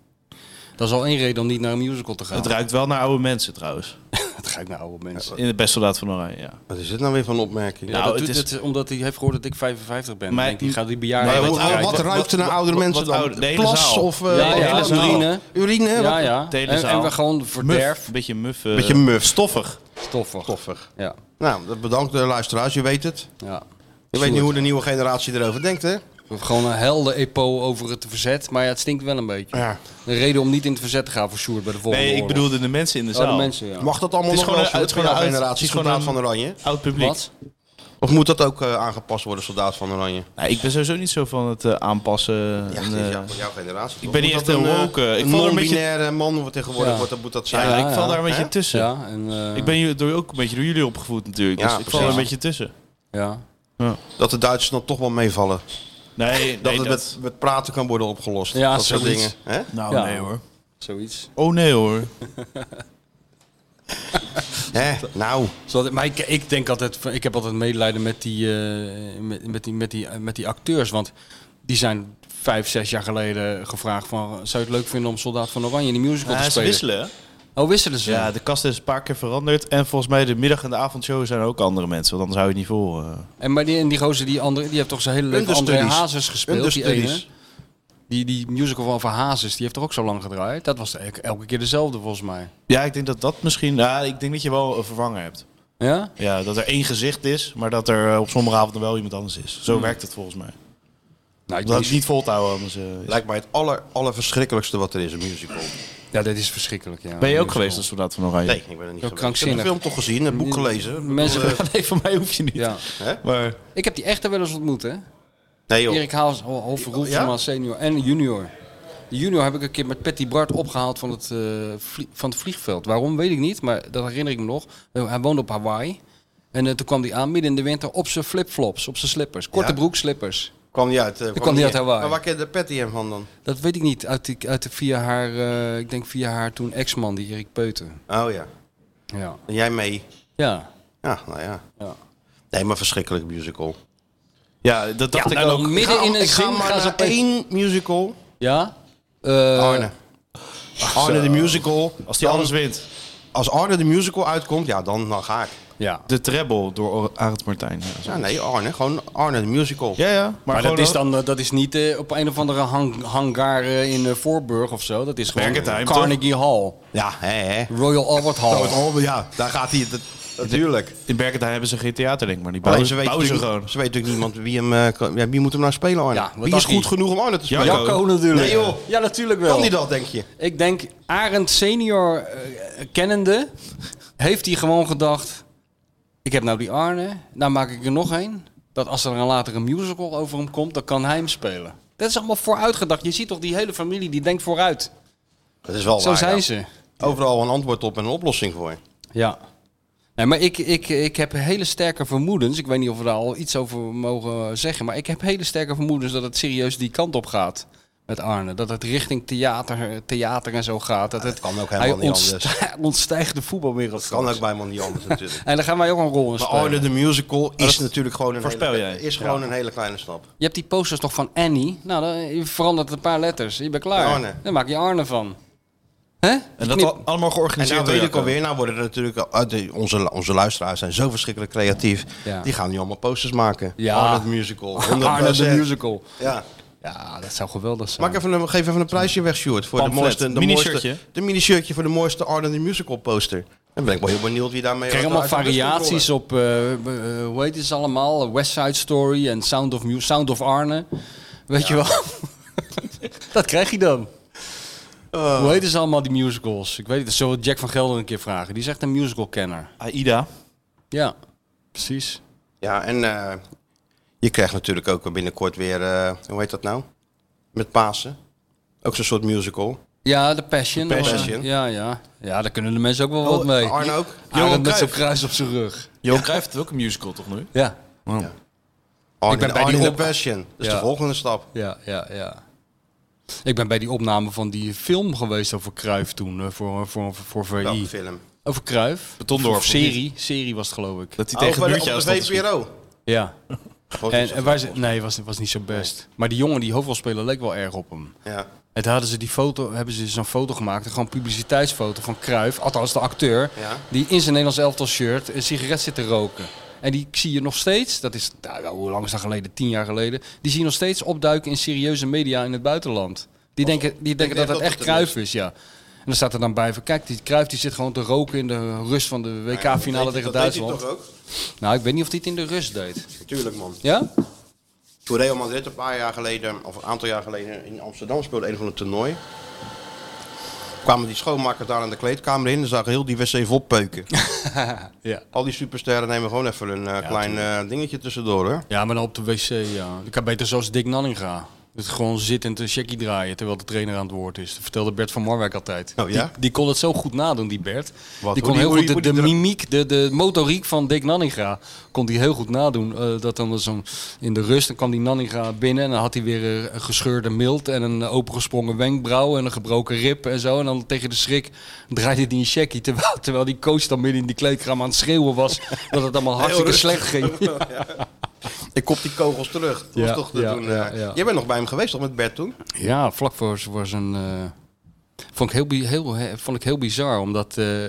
Speaker 3: Dat is al één reden om niet naar een musical te gaan.
Speaker 4: Het ruikt wel naar oude mensen trouwens.
Speaker 3: Het ruikt naar nou, oude mensen.
Speaker 4: In de beste soldaat van Oranje. Ja.
Speaker 2: Wat is dit nou weer van een opmerking?
Speaker 3: Ja,
Speaker 4: Nou,
Speaker 3: dat
Speaker 4: het
Speaker 3: doet
Speaker 4: is-
Speaker 3: het omdat hij heeft gehoord dat ik 55 ben.
Speaker 4: Maar-
Speaker 3: Maar, die gaat die bejaarden...
Speaker 4: Nee,
Speaker 2: Maar
Speaker 4: wat-
Speaker 2: wat, wat,
Speaker 4: ruikt-
Speaker 2: wat
Speaker 4: wat-
Speaker 2: ruikt er naar
Speaker 4: wat-
Speaker 2: oude
Speaker 4: wat-
Speaker 2: mensen
Speaker 4: wat
Speaker 2: dan?
Speaker 4: oude- de hele
Speaker 2: Plas
Speaker 4: zaal.
Speaker 2: of eh,
Speaker 3: Ja,
Speaker 2: wat-
Speaker 3: ja,
Speaker 2: wat-
Speaker 3: de urine.
Speaker 2: Urine, hè?
Speaker 3: Ja,
Speaker 2: Wat-
Speaker 3: ja.
Speaker 4: de hele
Speaker 3: En,
Speaker 4: zaal.
Speaker 3: en we gewoon verderf.
Speaker 4: Muff, beetje muff. eh,
Speaker 2: Beetje muf.
Speaker 4: Stoffig.
Speaker 3: Stoffig.
Speaker 2: Toffig.
Speaker 3: Ja.
Speaker 2: Nou, dat bedankt de luisteraars. Je weet het.
Speaker 3: ja.
Speaker 2: Je weet niet hoe de nieuwe generatie erover denkt, hè?
Speaker 3: We hebben gewoon een helder epo over het verzet. Maar ja, het stinkt wel een beetje.
Speaker 2: Ja.
Speaker 3: Een reden om niet in het verzet te gaan voor Sjoerd bij de volgende
Speaker 4: Nee, ik
Speaker 3: oorlog.
Speaker 4: bedoelde de mensen in de
Speaker 3: Oh, de
Speaker 4: zaal.
Speaker 3: mensen, ja.
Speaker 2: Mag dat allemaal
Speaker 4: Het is
Speaker 2: nog
Speaker 4: gewoon
Speaker 2: wel?
Speaker 4: een-
Speaker 2: Sjoerd,
Speaker 4: het is
Speaker 2: van
Speaker 4: gewoon
Speaker 2: jouw
Speaker 4: een oud-
Speaker 2: generatie,
Speaker 4: het is gewoon
Speaker 2: Soldaat
Speaker 4: een-
Speaker 2: van Oranje?
Speaker 4: Oud publiek.
Speaker 3: Wat?
Speaker 2: Of moet dat ook eh, aangepast worden, Soldaat van Oranje?
Speaker 4: Nou, ik ben sowieso niet zo van het eh, aanpassen.
Speaker 2: Ja,
Speaker 4: en,
Speaker 2: het is
Speaker 4: eh,
Speaker 2: jou- van jouw generatie. toch?
Speaker 4: ben
Speaker 2: Moet
Speaker 4: niet
Speaker 2: dat
Speaker 4: echt
Speaker 2: een,
Speaker 4: een
Speaker 2: eh,
Speaker 4: woke, eh, ik
Speaker 2: een
Speaker 4: vond er een beetje-
Speaker 2: non-binaire man wat tegenwoordig
Speaker 3: Ja.
Speaker 2: wordt, dat moet dat zijn.
Speaker 4: ja,
Speaker 3: Ja,
Speaker 4: ik val
Speaker 3: ja.
Speaker 4: daar een beetje
Speaker 2: Hè?
Speaker 4: tussen.
Speaker 3: Ja, en, eh,
Speaker 4: Ik ben hier door, ook een beetje door jullie opgevoed natuurlijk.
Speaker 2: Ja,
Speaker 4: dus ik val er een
Speaker 2: precies.
Speaker 4: beetje tussen.
Speaker 3: Ja.
Speaker 2: Dat de Duitsers dan toch wel meevallen.
Speaker 4: Nee,
Speaker 2: Dat
Speaker 4: nee,
Speaker 2: het met, met praten kan worden opgelost.
Speaker 3: Ja,
Speaker 2: dat soort
Speaker 3: zoiets.
Speaker 2: dingen. Hè?
Speaker 4: Nou,
Speaker 3: Ja.
Speaker 4: nee hoor.
Speaker 3: Zoiets.
Speaker 4: Oh nee hoor.
Speaker 2: Hè? Nou,
Speaker 3: Zodat, maar ik, ik denk altijd, van- ik heb altijd medelijden met die, eh, met, met, die, met, die, met die acteurs. Want die zijn vijf, zes jaar geleden gevraagd van... Zou je het leuk vinden om Soldaat van Oranje in die musical te
Speaker 4: Ja, ze
Speaker 3: spelen?
Speaker 4: wisselen. hè?
Speaker 3: Oh, wisselen ze?
Speaker 4: Ja, de kast is een paar keer veranderd. En volgens mij de middag- en de avondshow zijn er ook andere mensen. Want dan zou je het niet voor. eh.
Speaker 3: En maar die, en die gozer, die, andere, die heeft toch zijn hele leuke André
Speaker 2: Understudies.
Speaker 3: Hazes gespeeld, die ene.
Speaker 2: understudies.
Speaker 3: Die, die musical van Van Hazes, die heeft er ook zo lang gedraaid. Dat was elke, elke keer dezelfde, volgens mij.
Speaker 4: Ja, ik denk dat dat misschien. Ja, ik denk dat je wel een vervanger hebt.
Speaker 3: Ja?
Speaker 4: Ja, dat er één gezicht is, maar dat er eh, op sommige avonden wel iemand anders is. Zo werkt het volgens mij.
Speaker 3: Nou,
Speaker 4: Dat
Speaker 3: ik denk,
Speaker 4: is niet vol te houden. Anders, eh, is-
Speaker 2: Lijkt mij het aller, allerverschrikkelijkste wat er is, een musical.
Speaker 3: ja, dit is verschrikkelijk, ja.
Speaker 4: Ben je ook geweest als soldaat van Oranje?
Speaker 2: Nee, ik ben er niet
Speaker 3: Zo
Speaker 2: geweest. Ik
Speaker 3: krankzinnig. Mm,
Speaker 2: heb de film toch gezien, het boek gelezen.
Speaker 3: Mensen,
Speaker 4: Nee, voor mij hoef je niet.
Speaker 3: ja.
Speaker 4: Maar
Speaker 3: Ik heb die echter wel eens ontmoet, hè.
Speaker 2: Nee joh.
Speaker 3: Erik Haas, Ho- Hof, Roelfman
Speaker 2: Ja?
Speaker 3: senior en junior. De junior heb ik een keer met Patty Bart opgehaald van het, eh, vlie- van het vliegveld. Waarom weet ik niet, maar dat herinner ik me nog. Eh, Hij woonde op Hawaii. En eh, toen kwam hij aan midden in de winter op zijn flipflops, op zijn slippers. Korte
Speaker 2: Ja.
Speaker 3: broek slippers.
Speaker 2: Kwam niet uit. eh,
Speaker 3: kwam niet uit Hawaii.
Speaker 2: Maar waar kende Patty hem van dan?
Speaker 3: Dat weet ik niet. Uit, die, uit de, via haar, eh, ik denk via haar toen ex-man, die Erik Peuten.
Speaker 2: Oh ja.
Speaker 3: Ja.
Speaker 2: En jij mee?
Speaker 3: Ja.
Speaker 2: Ja, nou ja.
Speaker 3: ja.
Speaker 2: Nee, maar verschrikkelijk musical.
Speaker 4: Ja, dat dacht ik
Speaker 3: nou,
Speaker 4: ook.
Speaker 3: dan midden in een
Speaker 2: ik ga
Speaker 3: zin
Speaker 2: maar
Speaker 3: gaan ze
Speaker 2: naar
Speaker 3: opeens-
Speaker 2: één musical.
Speaker 3: Ja? Eh,
Speaker 2: Arne. Arne de musical.
Speaker 4: Als die
Speaker 2: Dan-
Speaker 4: alles wint.
Speaker 2: Als Arne de musical uitkomt, ja, dan, dan ga ik.
Speaker 3: Ja.
Speaker 4: De treble door Arend Martijn. Ja, zo.
Speaker 2: Ja, nee, Arne. Gewoon Arne de musical.
Speaker 4: ja, ja,
Speaker 3: Maar, dat, is
Speaker 4: dan.
Speaker 3: dan, eh, dat is niet eh, op een of andere hang- hangar eh, in eh, Voorburg of zo. Dat is gewoon
Speaker 4: Bergentheim,
Speaker 3: Carnegie Hall.
Speaker 2: Ja, hè, hè.
Speaker 3: Royal Albert Hall.
Speaker 2: Oh, ja, daar gaat hij. dat- Natuurlijk.
Speaker 4: In Berkendijk hebben ze geen theater, denk ik, maar die bouwen,
Speaker 2: Alleen ze
Speaker 4: ze,
Speaker 2: weten
Speaker 4: bouwen ze
Speaker 2: natuurlijk-
Speaker 4: gewoon.
Speaker 2: Ze weten natuurlijk niemand wie hem. eh, kan- ja, wie moet hem nou spelen, Arne?
Speaker 3: Ja, wat
Speaker 2: wie
Speaker 3: dacht
Speaker 2: is goed
Speaker 3: hij?
Speaker 2: genoeg om Arne te spelen?
Speaker 4: Jacco.
Speaker 3: Jacco natuurlijk.
Speaker 2: Nee, joh.
Speaker 3: Ja, natuurlijk wel.
Speaker 2: Kan die dat, denk je?
Speaker 3: Ik denk, Arend senior eh, kennende, heeft hij gewoon gedacht... Ik heb nou die Arne, nou maak ik er nog één. Dat als er dan later een musical over hem komt, dan kan hij hem spelen. Dat is allemaal vooruitgedacht. Je ziet toch die hele familie, die denkt vooruit.
Speaker 2: Dat is wel
Speaker 3: Zo
Speaker 2: waar,
Speaker 3: zijn
Speaker 2: ja.
Speaker 3: ze.
Speaker 2: Overal een antwoord op en een oplossing voor.
Speaker 3: Ja. Nee, maar ik, ik, ik heb hele sterke vermoedens. Ik weet niet of we daar al iets over mogen zeggen. Maar ik heb hele sterke vermoedens dat het serieus die kant op gaat. Met Arne. Dat het richting theater, theater en zo gaat. Dat het,
Speaker 2: kan ook helemaal
Speaker 3: hij
Speaker 2: niet
Speaker 3: ontstijgt, ontstijgt de voetbalwereld.
Speaker 2: Kan
Speaker 3: straks.
Speaker 2: ook bij iemand niet anders natuurlijk.
Speaker 3: En daar gaan wij ook een rol in
Speaker 2: Maar
Speaker 3: spelen.
Speaker 2: Arne de Musical is natuurlijk gewoon een,
Speaker 4: voorspel
Speaker 2: hele,
Speaker 4: jij.
Speaker 2: Is gewoon een hele kleine stap.
Speaker 3: Je hebt die posters toch van Annie? Nou, dan je verandert een paar letters. Je bent klaar.
Speaker 2: Arne.
Speaker 3: Dan maak je Arne van. Hè?
Speaker 4: En dat
Speaker 3: Knip-
Speaker 4: al- allemaal
Speaker 2: En
Speaker 4: georganiseerd
Speaker 2: nou weet
Speaker 4: door
Speaker 2: ik
Speaker 4: Jacco.
Speaker 3: eh,
Speaker 2: alweer, nou worden er natuurlijk al- uit de- onze, onze luisteraars zijn zo verschrikkelijk creatief.
Speaker 3: Ja.
Speaker 2: Die gaan nu allemaal posters maken.
Speaker 3: Ja.
Speaker 2: Arne de Musical. 100%.
Speaker 3: Arne de musical.
Speaker 2: Ja.
Speaker 3: Ja, dat zou geweldig zijn.
Speaker 2: Maak even een, geef even een prijsje weg, Stuart. Voor
Speaker 4: Pamflet.
Speaker 2: de mooiste, de
Speaker 4: Mini-shirtje.
Speaker 2: mooiste, de mini-shirtje voor de mooiste Arne de Musical poster. Dan ben ik wel heel benieuwd wie daarmee...
Speaker 3: Ik krijg
Speaker 2: uit de
Speaker 3: allemaal
Speaker 2: bus komt
Speaker 3: variaties op, eh, eh, hoe heet het allemaal? West Side Story en Sound of, Mu- Sound of Arne. Weet je wel? dat krijg je dan.
Speaker 2: rollen. Eh,
Speaker 3: Hoe heet het allemaal, die musicals? Ik weet het, dat zullen we Jack van Gelder een keer vragen. Die is echt een musical-kenner.
Speaker 4: Aida.
Speaker 3: Ja, precies.
Speaker 2: ja, en eh, je krijgt natuurlijk ook binnenkort weer... eh, hoe heet dat nou? Met Pasen. Ook zo'n soort musical.
Speaker 3: Ja, de Passion.
Speaker 2: De Passion.
Speaker 3: eh, ja, ja. Ja, daar kunnen de mensen ook wel wat
Speaker 2: Oh,
Speaker 3: mee.
Speaker 2: Arne ook?
Speaker 3: Arend met
Speaker 4: Cruijff.
Speaker 3: zo'n kruis op zijn rug.
Speaker 4: Johan Cruijff heeft ook een musical, toch nu?
Speaker 3: Ja,
Speaker 2: Arne,
Speaker 3: Ik ben bij
Speaker 2: Arne
Speaker 3: die
Speaker 2: in
Speaker 3: op-
Speaker 2: de Passion. Dat is
Speaker 3: Ja.
Speaker 2: de volgende stap.
Speaker 3: ja, ja, ja. Ik ben bij die opname van die film geweest over Kruif toen, eh, voor, voor, voor, voor
Speaker 2: Welke
Speaker 3: VI.
Speaker 2: film?
Speaker 3: Over Kruif.
Speaker 4: Betondorp,
Speaker 3: Of serie. Serie was het geloof ik.
Speaker 4: Dat hij
Speaker 2: Oh,
Speaker 4: tegen
Speaker 2: bij
Speaker 4: het
Speaker 2: de-
Speaker 4: muurtje
Speaker 2: op de
Speaker 4: aan stond te
Speaker 2: VPRO.
Speaker 3: Ja.
Speaker 2: Wat is
Speaker 3: En,
Speaker 2: dat?
Speaker 3: en waar ze, nee, was, was niet zo best. Maar die jongen, die hoofdrolspeler, leek wel erg op hem.
Speaker 2: Ja.
Speaker 3: En toen hadden ze die foto, hebben ze zo'n foto gemaakt. Gewoon een publiciteitsfoto van Kruif, althans de acteur.
Speaker 2: Ja.
Speaker 3: Die in zijn Nederlands elftal shirt een sigaret zit te roken. En die zie je nog steeds, dat is, nou, wel, hoe lang is dat geleden? Tien jaar geleden. Die zie je nog steeds opduiken in serieuze media in het buitenland. Die denken, die denken dat
Speaker 2: echt
Speaker 3: dat
Speaker 2: dat
Speaker 3: echt
Speaker 2: het er
Speaker 3: Kruif is, ja. En dan staat er dan bij van, kijk, die Kruif die zit gewoon te roken in de rust van de WK-finale tegen Duitsland.
Speaker 2: Dat ook?
Speaker 3: Nou, ik weet niet of hij het in de rust deed.
Speaker 2: Tuurlijk, man.
Speaker 3: Ja?
Speaker 2: Toen Real Madrid een paar jaar geleden, of een aantal jaar geleden in Amsterdam speelde een van het toernooi. Kwamen die schoonmakers daar in de kleedkamer in en zagen heel die wc vol peuken.
Speaker 3: Ja.
Speaker 2: Al die supersterren nemen gewoon even een eh, klein eh, dingetje tussendoor hoor.
Speaker 3: Ja, maar dan op de wc, ja. Ik kan beter zoals Dick Nanninga. Het gewoon zittend een checkie draaien terwijl de trainer aan het woord is. Dat vertelde Bert van Marwijk altijd.
Speaker 2: Oh, ja?
Speaker 3: die, die kon het zo goed nadoen, die Bert.
Speaker 2: Wat? Hoe
Speaker 3: Die kon
Speaker 2: die- hoe
Speaker 3: heel goed
Speaker 2: die-
Speaker 3: de, de
Speaker 2: hoe die-
Speaker 3: mimiek, de, de motoriek van Dick Nanninga, kon die heel goed nadoen. Eh, dat dan zo'n in de rust, dan kwam die Nanninga binnen en dan had hij weer eh, een gescheurde milt en een opengesprongen wenkbrauw en een gebroken rib en zo. En dan tegen de schrik draaide hij een checkie, terwijl, terwijl die coach dan midden in die kleedkamer aan het schreeuwen was dat het allemaal hartstikke
Speaker 2: rustig.
Speaker 3: slecht ging.
Speaker 2: Ik kop die kogels terug. Dat
Speaker 3: Ja,
Speaker 2: was toch de,
Speaker 3: ja,
Speaker 2: toen, eh,
Speaker 3: ja, ja.
Speaker 2: Jij bent nog bij hem geweest, toch met Bert toen?
Speaker 3: Ja, vlak voor, z- voor zijn. eh, vond, ik heel, bi- heel, he- vond ik heel bizar, omdat. eh,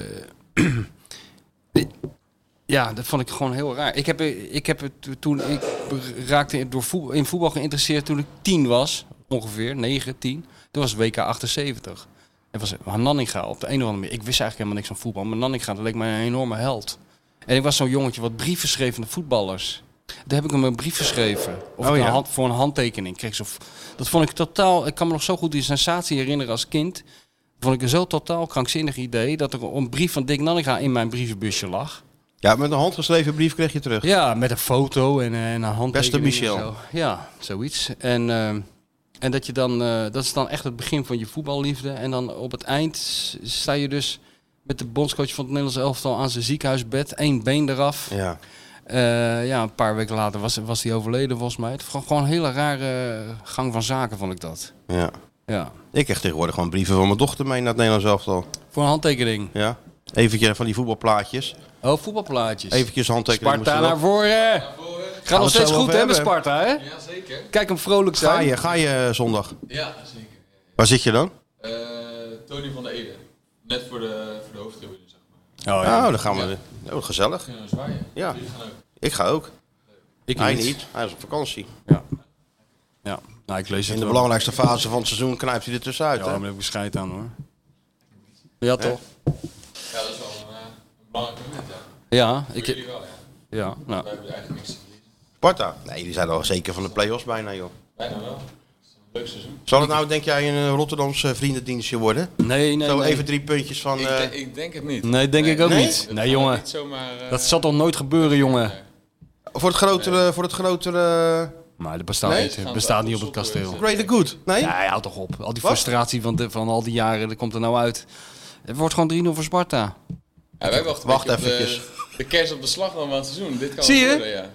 Speaker 3: ja, dat vond ik gewoon heel raar. Ik heb, eh, ik heb het to- toen. Ik raakte door voetbal, in voetbal geïnteresseerd toen ik tien was, ongeveer, 9, 10. Toen was het WK 78. En was Nanninga op de een of andere manier. Ik wist eigenlijk helemaal niks van voetbal, maar Nanninga dat leek mij een enorme held. En ik was zo'n jongetje wat brieven schreef aan de voetballers. Daar heb ik hem een brief geschreven. Of
Speaker 2: Oh,
Speaker 3: ik een
Speaker 2: ja.
Speaker 3: hand, voor een handtekening kreeg. Zo, dat vond ik totaal. Ik kan me nog zo goed die sensatie herinneren als kind. Dat vond ik een zo totaal krankzinnig idee dat er een brief van Dick Nanninga in mijn brievenbusje lag.
Speaker 2: Ja, met een handgeschreven brief kreeg je terug.
Speaker 3: Ja, met een foto en, eh, en een handtekening.
Speaker 2: Beste Michel.
Speaker 3: en zo. Ja, zoiets. En, ehm, En dat, je dan, eh, dat is dan echt het begin van je voetballiefde. En dan op het eind s- sta je dus met de bondscoach van het Nederlands elftal aan zijn ziekenhuisbed. één been eraf.
Speaker 2: Ja.
Speaker 3: Eh, ja, een paar weken later was, was hij overleden volgens mij. Het was gewoon een hele rare gang van zaken vond ik dat.
Speaker 2: ja.
Speaker 3: Ja.
Speaker 2: Ik krijg tegenwoordig gewoon brieven van mijn dochter mee naar het Nederlands elftal.
Speaker 3: Voor een handtekening.
Speaker 2: Ja. Eventjes van die voetbalplaatjes.
Speaker 3: Oh, voetbalplaatjes.
Speaker 2: Eventjes handtekening.
Speaker 3: Sparta naar voren. Gaat nog
Speaker 2: het
Speaker 3: steeds
Speaker 2: zo
Speaker 3: goed
Speaker 2: over
Speaker 3: hè met
Speaker 2: hebben.
Speaker 3: Sparta hè?
Speaker 5: Jazeker.
Speaker 3: Kijk hem vrolijk zijn.
Speaker 2: Ga je, ga je eh, zondag?
Speaker 5: Ja, zeker.
Speaker 2: Waar zit je dan?
Speaker 5: Eh, Tony van der Ede. Net voor de, voor de hoofdtribune, zeg maar.
Speaker 3: Oh, ja.
Speaker 2: Nou, dan gaan we. Oh, gezellig.
Speaker 5: Kunnen we zwaaien?
Speaker 2: Ja.
Speaker 5: Jullie gaan ook.
Speaker 2: Ik ga ook.
Speaker 3: ik
Speaker 2: Hij niet. Hij is op vakantie.
Speaker 3: Ja. ja. Nou, ik lees het
Speaker 2: In de
Speaker 3: wel.
Speaker 2: belangrijkste fase van het seizoen knijpt hij er tussenuit.
Speaker 3: Ja,
Speaker 2: hè?
Speaker 3: daar heb ik scheid aan hoor. Ja toch?
Speaker 5: Ja, dat is wel een, eh, een belangrijk moment, ja. Voor
Speaker 3: Ja, ik,
Speaker 5: jullie wel, ja.
Speaker 3: ja nou.
Speaker 5: Wij hebben eigenlijk niks te verliezen.
Speaker 2: Sparta. Nee, die zijn al zeker van de play-offs bijna, joh.
Speaker 5: Bijna wel. Het is een leuk seizoen.
Speaker 2: Zal het nou, denk jij, een Rotterdamse vriendendienstje worden?
Speaker 3: Nee, nee,
Speaker 2: Zo
Speaker 3: nee.
Speaker 2: even drie puntjes van...
Speaker 5: Ik,
Speaker 2: eh,
Speaker 5: denk- ik denk het niet.
Speaker 3: Nee, denk ik ook
Speaker 5: nee.
Speaker 3: niet.
Speaker 5: Dat
Speaker 3: Nee,
Speaker 5: gaan we
Speaker 3: jongen.
Speaker 5: Niet zomaar, eh,
Speaker 3: Dat zal toch nooit gebeuren jongen?
Speaker 2: voor het grotere... Voor het grotere
Speaker 3: Maar dat bestaat
Speaker 2: Nee?
Speaker 3: niet. Het
Speaker 5: Gaan
Speaker 3: bestaat
Speaker 5: we
Speaker 3: niet op het
Speaker 5: opzoeken.
Speaker 3: kasteel.
Speaker 2: greater good. Nee?
Speaker 3: Ja, ja, hou toch op. Al die
Speaker 2: Wat?
Speaker 3: frustratie van, de, van al die jaren, dat komt er nou uit. Het wordt gewoon 3-0 voor Sparta.
Speaker 5: Ja, wij wachten
Speaker 2: Wacht
Speaker 5: een beetje op
Speaker 2: eventjes.
Speaker 5: De, de kerst op de slag dan van het seizoen. Dit kan
Speaker 3: Zie
Speaker 5: het
Speaker 3: je?
Speaker 5: worden, ja.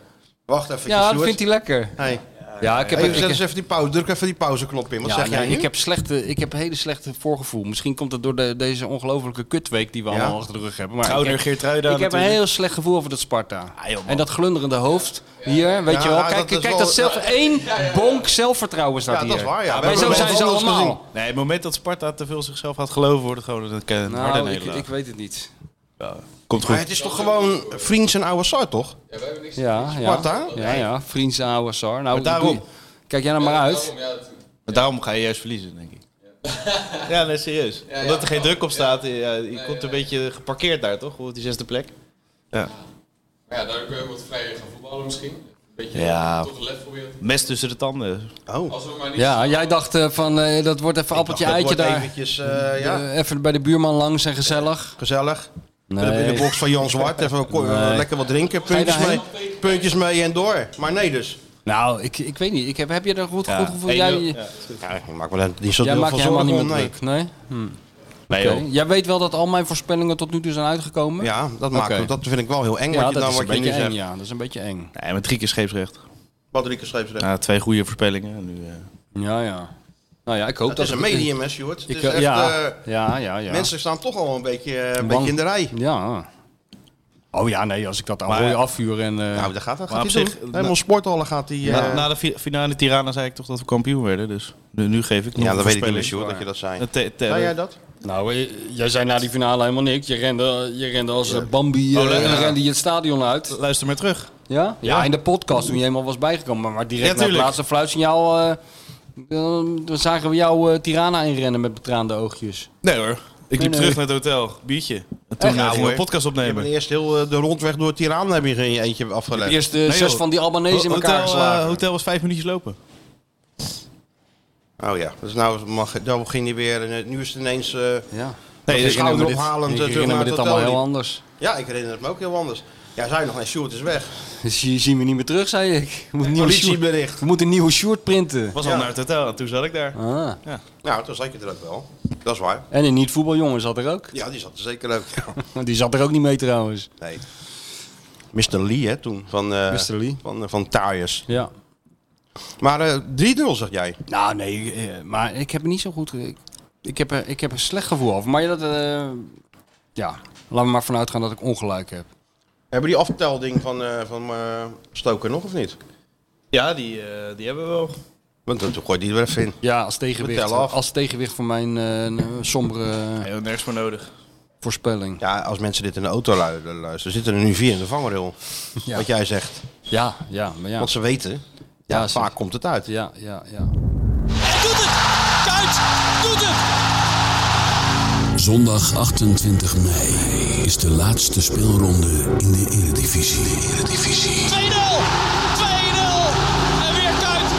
Speaker 2: Wacht even,
Speaker 3: Ja, dat
Speaker 2: Sjoerd.
Speaker 3: vindt hij lekker.
Speaker 2: Hey.
Speaker 3: Ja, ik heb...
Speaker 2: Even,
Speaker 3: ik-
Speaker 2: zet eens even die pauze, druk even die pauzeknop in. Wat
Speaker 3: ja,
Speaker 2: zeg jij
Speaker 3: nee,
Speaker 2: nu?
Speaker 3: ik heb slechte, ik heb hele slechte voorgevoel. Misschien komt dat door de, deze ongelofelijke kutweek die we allemaal achter de rug hebben. Maar ik
Speaker 4: Trouwner
Speaker 3: heb,
Speaker 4: Geertruida
Speaker 3: ik heb een
Speaker 4: natuurlijk.
Speaker 3: heel slecht gevoel over dat Sparta.
Speaker 4: Ah, joh, man.
Speaker 3: en dat glunderende hoofd hier, weet
Speaker 2: Ja, nou,
Speaker 3: je wel.
Speaker 2: dat
Speaker 3: Kijk,
Speaker 2: is
Speaker 3: kijk dat
Speaker 2: wel-
Speaker 3: zelf één bonk zelfvertrouwen staat
Speaker 2: Ja,
Speaker 3: hier.
Speaker 2: dat is waar, ja. We
Speaker 3: Maar
Speaker 2: hebben
Speaker 3: zo
Speaker 2: wel
Speaker 3: zijn ze
Speaker 2: anders gezien.
Speaker 3: allemaal.
Speaker 4: Nee, het moment dat Sparta te veel zichzelf had geloven, wordt het gewoon een een harde
Speaker 3: Nou, ik,
Speaker 4: nederlaag.
Speaker 3: ik weet het niet.
Speaker 4: Komt
Speaker 2: Maar
Speaker 4: goed.
Speaker 2: het is toch gewoon vriends en oude sar, toch?
Speaker 5: Ja, wij hebben niks te
Speaker 3: Ja, ja.
Speaker 2: Sparta?
Speaker 3: Ja, ja. Vriends ouwe Sar. Nou,
Speaker 4: daarom.
Speaker 3: doe- Kijk jij nou maar
Speaker 5: verliezen.
Speaker 3: uit.
Speaker 5: Daarom, ja, dat-
Speaker 4: Maar daarom ga je juist verliezen, denk ik. Ja, nee, serieus.
Speaker 5: ja.
Speaker 4: Omdat er geen druk op staat. eh, Ja, je komt een beetje geparkeerd daar, toch? Op die zesde plek.
Speaker 5: maar ja, daar kun je ook wat vrijer gaan voetballen misschien. Een beetje
Speaker 4: Ja.
Speaker 5: toch een lef proberen.
Speaker 4: Mes tussen de tanden.
Speaker 2: Oh.
Speaker 5: Als we maar niet...
Speaker 3: Ja, jij dacht eh, van eh, dat wordt even appeltje
Speaker 2: Dat
Speaker 3: eitje
Speaker 2: wordt
Speaker 3: daar.
Speaker 2: eventjes, eh, ja,
Speaker 3: Eh, even bij de buurman langs en gezellig.
Speaker 2: gezellig.
Speaker 3: Nee.
Speaker 2: In de box van Jan Zwart, even ko- eh, lekker wat drinken,
Speaker 3: je
Speaker 2: puntjes mee,
Speaker 3: daarheen?
Speaker 2: puntjes mee en door. Maar nee dus.
Speaker 3: Nou, ik, ik weet niet. Ik heb, heb je er goed, goed gevoel?
Speaker 4: 1-0.
Speaker 3: Jij,
Speaker 4: Ja.
Speaker 2: Ja, ik maak me daar niet zo
Speaker 3: jij
Speaker 2: heel
Speaker 3: maakt
Speaker 2: veel
Speaker 3: je
Speaker 2: zorgen
Speaker 3: helemaal niet meer
Speaker 2: om, nee.
Speaker 3: druk. Nee?
Speaker 4: Nee,
Speaker 3: Oké.
Speaker 4: joh.
Speaker 3: Jij weet wel dat al mijn voorspellingen tot nu toe zijn uitgekomen?
Speaker 2: Ja, dat, maakt,
Speaker 3: Oké.
Speaker 2: dat vind ik wel heel eng
Speaker 3: Ja,
Speaker 2: wat je,
Speaker 3: dat
Speaker 2: dan,
Speaker 3: is een
Speaker 2: wat je nu
Speaker 3: beetje eng.
Speaker 2: zegt.
Speaker 3: Ja, dat is een beetje eng.
Speaker 4: Nee, met drie keer scheepsrecht.
Speaker 2: Patrick schreef eh, ze.
Speaker 4: Ja, twee goede voorspellingen. En Nu, eh,
Speaker 3: Ja, ja. Nou ja, ik hoop
Speaker 2: Het
Speaker 3: dat...
Speaker 2: is een
Speaker 3: het-
Speaker 2: medium, hè, Stuart. Het
Speaker 3: Ik,
Speaker 2: is
Speaker 3: eh,
Speaker 2: echt,
Speaker 3: ja,
Speaker 2: eh,
Speaker 3: ja, ja, ja.
Speaker 2: Mensen staan toch al een beetje, eh, een
Speaker 3: Bang.
Speaker 2: beetje in de rij.
Speaker 3: Ja. Oh ja, nee, als ik dat aan
Speaker 4: Maar-
Speaker 3: hoor afvuren en... eh,
Speaker 2: Nou, daar gaat, dat
Speaker 4: Maar
Speaker 2: gaat hij
Speaker 4: op zich,
Speaker 2: doen. Helemaal sporthallen gaat hij... eh,
Speaker 4: na, na de fi- finale Tirana zei ik toch dat we kampioen werden. Dus nu, nu geef ik nog
Speaker 2: ja,
Speaker 4: een
Speaker 2: dat weet ik niet meer,
Speaker 4: voorspelling.
Speaker 2: Stuart, dat je dat zei.
Speaker 4: Een te- te-
Speaker 2: Zei jij dat?
Speaker 3: Nou, eh, jij zei na die finale helemaal niks. Je rende, je rende als eh, Bambi
Speaker 2: Oh,
Speaker 3: eh, rende je het stadion uit.
Speaker 4: Luister maar terug.
Speaker 3: Ja? ja? in de podcast toen je helemaal was bijgekomen. Maar, maar direct
Speaker 4: Ja,
Speaker 3: na het
Speaker 4: tuurlijk.
Speaker 3: laatste fluitsignaal... eh dan dan zagen we jou eh, Tirana inrennen met betraande oogjes.
Speaker 4: Nee hoor. Ik liep
Speaker 3: nee.
Speaker 4: terug naar het hotel. Biertje. En toen
Speaker 2: nou,
Speaker 4: eh, gingen we
Speaker 2: hoor.
Speaker 4: een podcast
Speaker 2: Je
Speaker 4: opnemen.
Speaker 2: hebt eerst heel eh, de rondweg door Tiraan heb je in je eentje afgelegd.
Speaker 3: Eerst eh,
Speaker 4: Nee,
Speaker 3: zes
Speaker 4: joh.
Speaker 3: van die Albanese in elkaar
Speaker 4: hotel,
Speaker 3: geslagen.
Speaker 4: eh, hotel was vijf minuutjes lopen.
Speaker 2: Oh ja, dus nou mag, dan ging hij weer, en, eh, nu is het ineens eh
Speaker 3: ja.
Speaker 4: Nee,
Speaker 2: de
Speaker 4: dus
Speaker 2: schouder
Speaker 3: dit-
Speaker 2: ophalend. eh,
Speaker 3: Ik
Speaker 2: terug
Speaker 3: herinner
Speaker 2: naar
Speaker 3: me
Speaker 2: het
Speaker 3: dit
Speaker 2: hotel
Speaker 3: allemaal heel
Speaker 2: liep.
Speaker 3: anders.
Speaker 2: Ja, ik herinner het me ook heel anders. Ja, zei nog, en Sjoerd is weg.
Speaker 3: Dus je zien we niet meer terug, zei ik. We moeten, een nieuwe Sjoerd-
Speaker 2: Politiebericht.
Speaker 3: we moeten een nieuwe short printen.
Speaker 4: was al naar het hotel en toen zat ik daar.
Speaker 3: Ah.
Speaker 2: Nou, toen zat je er ook wel. Dat is waar.
Speaker 3: En een niet-voetbaljongen zat er ook.
Speaker 2: Ja, die zat er zeker ook.
Speaker 3: Die zat er ook niet mee trouwens.
Speaker 2: Nee. Mr. Lee, hè, toen. Van, eh
Speaker 3: Mr. Lee.
Speaker 2: Van, eh, van Tyres.
Speaker 3: Ja.
Speaker 2: Maar eh 3-0, zeg jij.
Speaker 3: Nou, nee, eh, maar ik heb niet zo goed. Ik, ik, heb, er- ik heb een slecht gevoel over. Maar ja, dat, eh, ja, laten we maar vanuit gaan dat ik ongelijk heb.
Speaker 2: Hebben die aftelding van, eh, van eh, Stoker nog of niet?
Speaker 4: Ja, die, eh, die hebben we wel.
Speaker 2: Want toen gooit die er weer even in.
Speaker 3: Ja, als tegenwicht,
Speaker 2: Vertel af.
Speaker 3: als tegenwicht voor mijn eh, sombere eh,
Speaker 4: Heel nergens voor nodig.
Speaker 3: voorspelling.
Speaker 2: Ja, als mensen dit in de auto lu- luisteren, zitten er nu vier in de vangrail.
Speaker 3: Ja.
Speaker 2: Wat jij zegt.
Speaker 3: Ja, ja, maar ja.
Speaker 2: Want ze weten, ja,
Speaker 3: Ja, ze-
Speaker 2: vaak komt het uit.
Speaker 3: Ja, ja, ja.
Speaker 6: Zondag 28 mei is de laatste speelronde in de Eredivisie. De Eredivisie.
Speaker 7: 2-0! 2-0! En weer Kuit!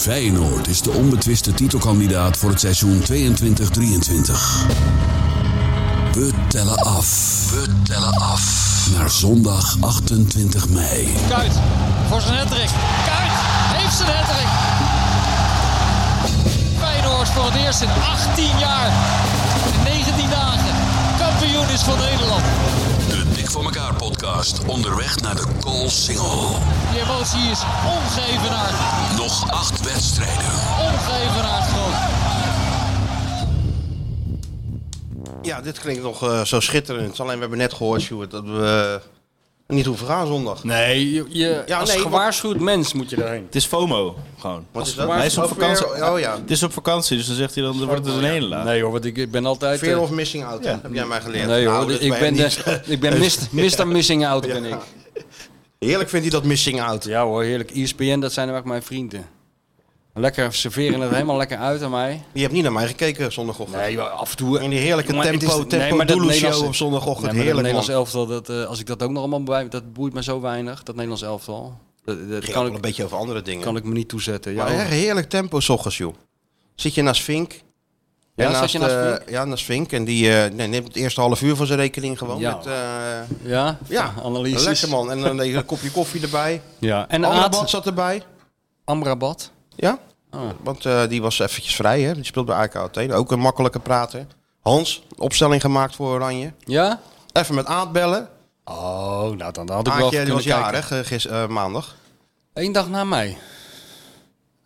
Speaker 6: Feyenoord is de onbetwiste titelkandidaat voor het seizoen 22-23. We tellen af. We tellen af. Naar zondag 28 mei.
Speaker 7: Kuit voor zijn hattrick. Kuit heeft zijn hattrick. Feyenoord voor het eerst in 18 jaar en 19 dagen kampioen is van Nederland.
Speaker 6: De Dik voor elkaar podcast onderweg naar de goal single.
Speaker 7: Die emotie is ongevenaard,
Speaker 6: Nog acht wedstrijden.
Speaker 7: ongevenaard groot.
Speaker 2: Ja, dit klinkt nog eh, zo schitterend. Alleen we hebben net gehoord, Sjoerd, dat we eh, niet hoeven gaan zondag.
Speaker 3: Nee, je, je-
Speaker 2: Ja,
Speaker 3: als
Speaker 2: nee,
Speaker 3: gewaarschuwd mens moet je daarheen.
Speaker 4: Het is FOMO, gewoon.
Speaker 2: Wat is
Speaker 4: Hij is op
Speaker 2: Oh, fear-
Speaker 4: vakantie.
Speaker 2: oh ja,
Speaker 4: Het is op vakantie, dus dan zegt hij dan, dan wordt het een hele laag.
Speaker 3: Nee hoor, want ik, ik ben altijd...
Speaker 2: fear
Speaker 3: eh,
Speaker 2: of missing out, hè, heb jij mij geleerd.
Speaker 3: nee hoor,
Speaker 2: Nou, dat
Speaker 3: ik
Speaker 2: bij
Speaker 3: ben,
Speaker 2: hem
Speaker 3: de,
Speaker 2: niet.
Speaker 3: ik ben mist, Mr. Missing Out ben ik.
Speaker 2: Heerlijk vindt hij dat missing out.
Speaker 3: Ja hoor, heerlijk. E ESPN, dat zijn ook mijn vrienden. Lekker serveren het helemaal lekker uit aan mij.
Speaker 2: Je hebt niet naar mij gekeken zondagochtend.
Speaker 3: Nee, joh, af en toe... eh,
Speaker 2: In die heerlijke
Speaker 3: Jongen, het
Speaker 2: tempo,
Speaker 3: is-
Speaker 2: tempo
Speaker 3: maar dat
Speaker 2: Doeloe
Speaker 3: Nederlandse-
Speaker 2: show op zondagochtend.
Speaker 3: Nee, maar dat
Speaker 2: heerlijk
Speaker 3: Nederlands
Speaker 2: man.
Speaker 3: elftal, dat, eh, als ik dat ook nog allemaal bij, dat boeit me zo weinig. Dat Nederlands elftal. Dat, dat
Speaker 2: Het
Speaker 3: kan,
Speaker 2: wel een
Speaker 3: ik,
Speaker 2: beetje over andere dingen.
Speaker 3: kan ik me niet toezetten. Ja, oh.
Speaker 2: maar echt heerlijk tempo s ochtends, joh. Zit je naast Vink?
Speaker 3: Ja,
Speaker 2: En
Speaker 3: zat je naast
Speaker 2: eh,
Speaker 3: Vink?
Speaker 2: ja, naast Vink. En die eh, nee, neemt het eerste half uur van zijn rekening gewoon.
Speaker 3: Ja.
Speaker 2: Met, eh,
Speaker 3: ja?
Speaker 2: ja,
Speaker 3: analyses.
Speaker 2: lekker man. En dan een kopje koffie erbij.
Speaker 3: Ja. En
Speaker 2: Amrabat
Speaker 3: Aad,
Speaker 2: zat erbij.
Speaker 3: Amrabat.
Speaker 2: Ja,
Speaker 3: Ah.
Speaker 2: want eh, die was eventjes vrij. Hè? Die speelt bij AEK Athene. Ook een makkelijke prater. Hans, opstelling gemaakt voor Oranje.
Speaker 3: Ja?
Speaker 2: Even met Aad bellen.
Speaker 3: Oh, nou dan, dan had ik wel
Speaker 2: Aadje die
Speaker 3: kunnen
Speaker 2: was
Speaker 3: kijken.
Speaker 2: jarig eh, gis, eh, maandag.
Speaker 3: Eén dag na mij.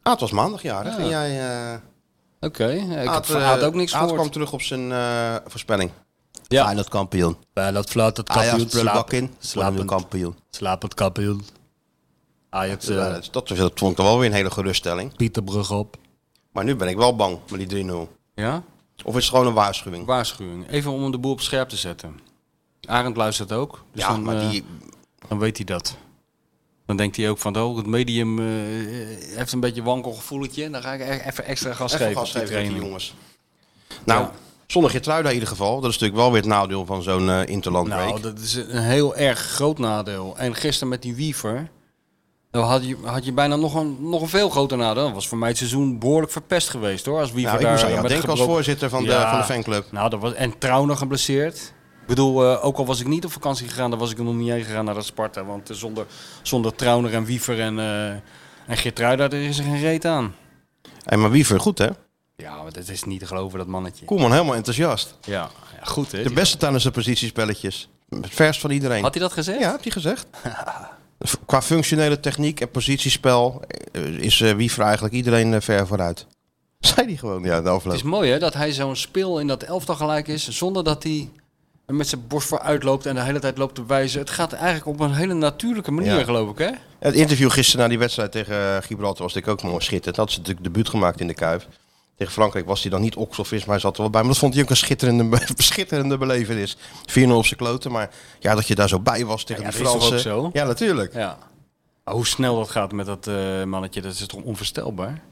Speaker 2: Aad was maandag jarig. En jij, eh
Speaker 3: Oké. Ik
Speaker 2: Aad,
Speaker 3: had
Speaker 2: eh,
Speaker 3: had ook niks
Speaker 2: Aad
Speaker 3: gehoord.
Speaker 2: kwam terug op zijn eh, voorspelling.
Speaker 3: Ja.
Speaker 2: Feyenoord kampioen.
Speaker 3: Bij dat fluit het
Speaker 2: Ajax
Speaker 3: kampioen.
Speaker 2: prullenbak in. Slapend
Speaker 3: Slapend.
Speaker 2: kampioen.
Speaker 3: Slapend kampioen. Ajax eh,
Speaker 2: Ja, dat, dat, dat vond ik dan wel weer een hele geruststelling.
Speaker 3: Pieterbrug op.
Speaker 2: Maar nu ben ik wel bang met die 3-0.
Speaker 3: Ja?
Speaker 2: Of is het gewoon een waarschuwing?
Speaker 3: Waarschuwing. Even om de boel op scherp te zetten. Arend luistert ook. Dus
Speaker 2: ja,
Speaker 3: dan,
Speaker 2: maar
Speaker 3: eh,
Speaker 2: die...
Speaker 3: dan weet hij dat. Dan denkt hij ook van, oh, het medium eh, heeft een beetje een wankel gevoeletje. Dan ga ik e- even extra gas
Speaker 2: Even
Speaker 3: geven. op
Speaker 2: gas
Speaker 3: die
Speaker 2: geven aan die
Speaker 3: training.
Speaker 2: jongens. Nou, zonder Geertruida in ieder geval. Dat is natuurlijk wel weer het nadeel van zo'n eh interland
Speaker 3: Nou,
Speaker 2: break.
Speaker 3: dat is een heel erg groot nadeel. En gisteren met die wiever, dan had je, had je bijna nog een, nog een veel groter nadeel. Dat was voor mij het seizoen behoorlijk verpest geweest hoor. Als wiever
Speaker 2: Nou, ik
Speaker 3: daar
Speaker 2: moest aan jou
Speaker 3: met
Speaker 2: denken als
Speaker 3: gebroken-
Speaker 2: voorzitter van de,
Speaker 3: Ja.
Speaker 2: van de fanclub.
Speaker 3: Nou, dat was, en Trauner geblesseerd. Ik bedoel, eh, ook al was ik niet op vakantie gegaan, dan was ik er nog niet heen gegaan naar dat Sparta. Want eh, zonder, zonder Trauner en Wiever en, eh en Geertruida, er is er geen reet aan.
Speaker 2: Hey, maar Wiever, goed hè?
Speaker 3: Ja, maar dat is niet te geloven, dat mannetje.
Speaker 2: Koeman helemaal enthousiast.
Speaker 3: Ja, ja, goed hè.
Speaker 2: De beste tijdens de positiespelletjes. Het verst van iedereen.
Speaker 3: Had hij dat gezegd?
Speaker 2: Ja, heeft hij gezegd. V- Qua functionele techniek en positiespel eh, is eh, Wiever eigenlijk iedereen eh, ver vooruit. Zei hij gewoon, ja, de afloop.
Speaker 3: Het is mooi hè, dat hij zo'n speel in dat elftal gelijk is, zonder dat hij er met zijn borst vooruit loopt en de hele tijd loopt te wijzen. Het gaat eigenlijk op een hele natuurlijke manier,
Speaker 2: Ja.
Speaker 3: geloof ik hè.
Speaker 2: Het interview gisteren na die wedstrijd tegen eh, Gibraltar was natuurlijk ook mooi schitterend. Dat ze natuurlijk debuut gemaakt in de Kuip. Tegen Frankrijk was hij dan niet okselvis, maar hij zat er wel bij. Maar dat vond hij ook een schitterende, be- schitterende belevenis. 4-0 op zijn kloten, maar ja, dat je daar zo bij was tegen
Speaker 3: Ja,
Speaker 2: die
Speaker 3: dat is toch
Speaker 2: Fransen.
Speaker 3: ook zo?
Speaker 2: Ja, natuurlijk. Ja.
Speaker 3: Ja. Maar hoe snel dat gaat met dat eh, mannetje, dat is toch onvoorstelbaar?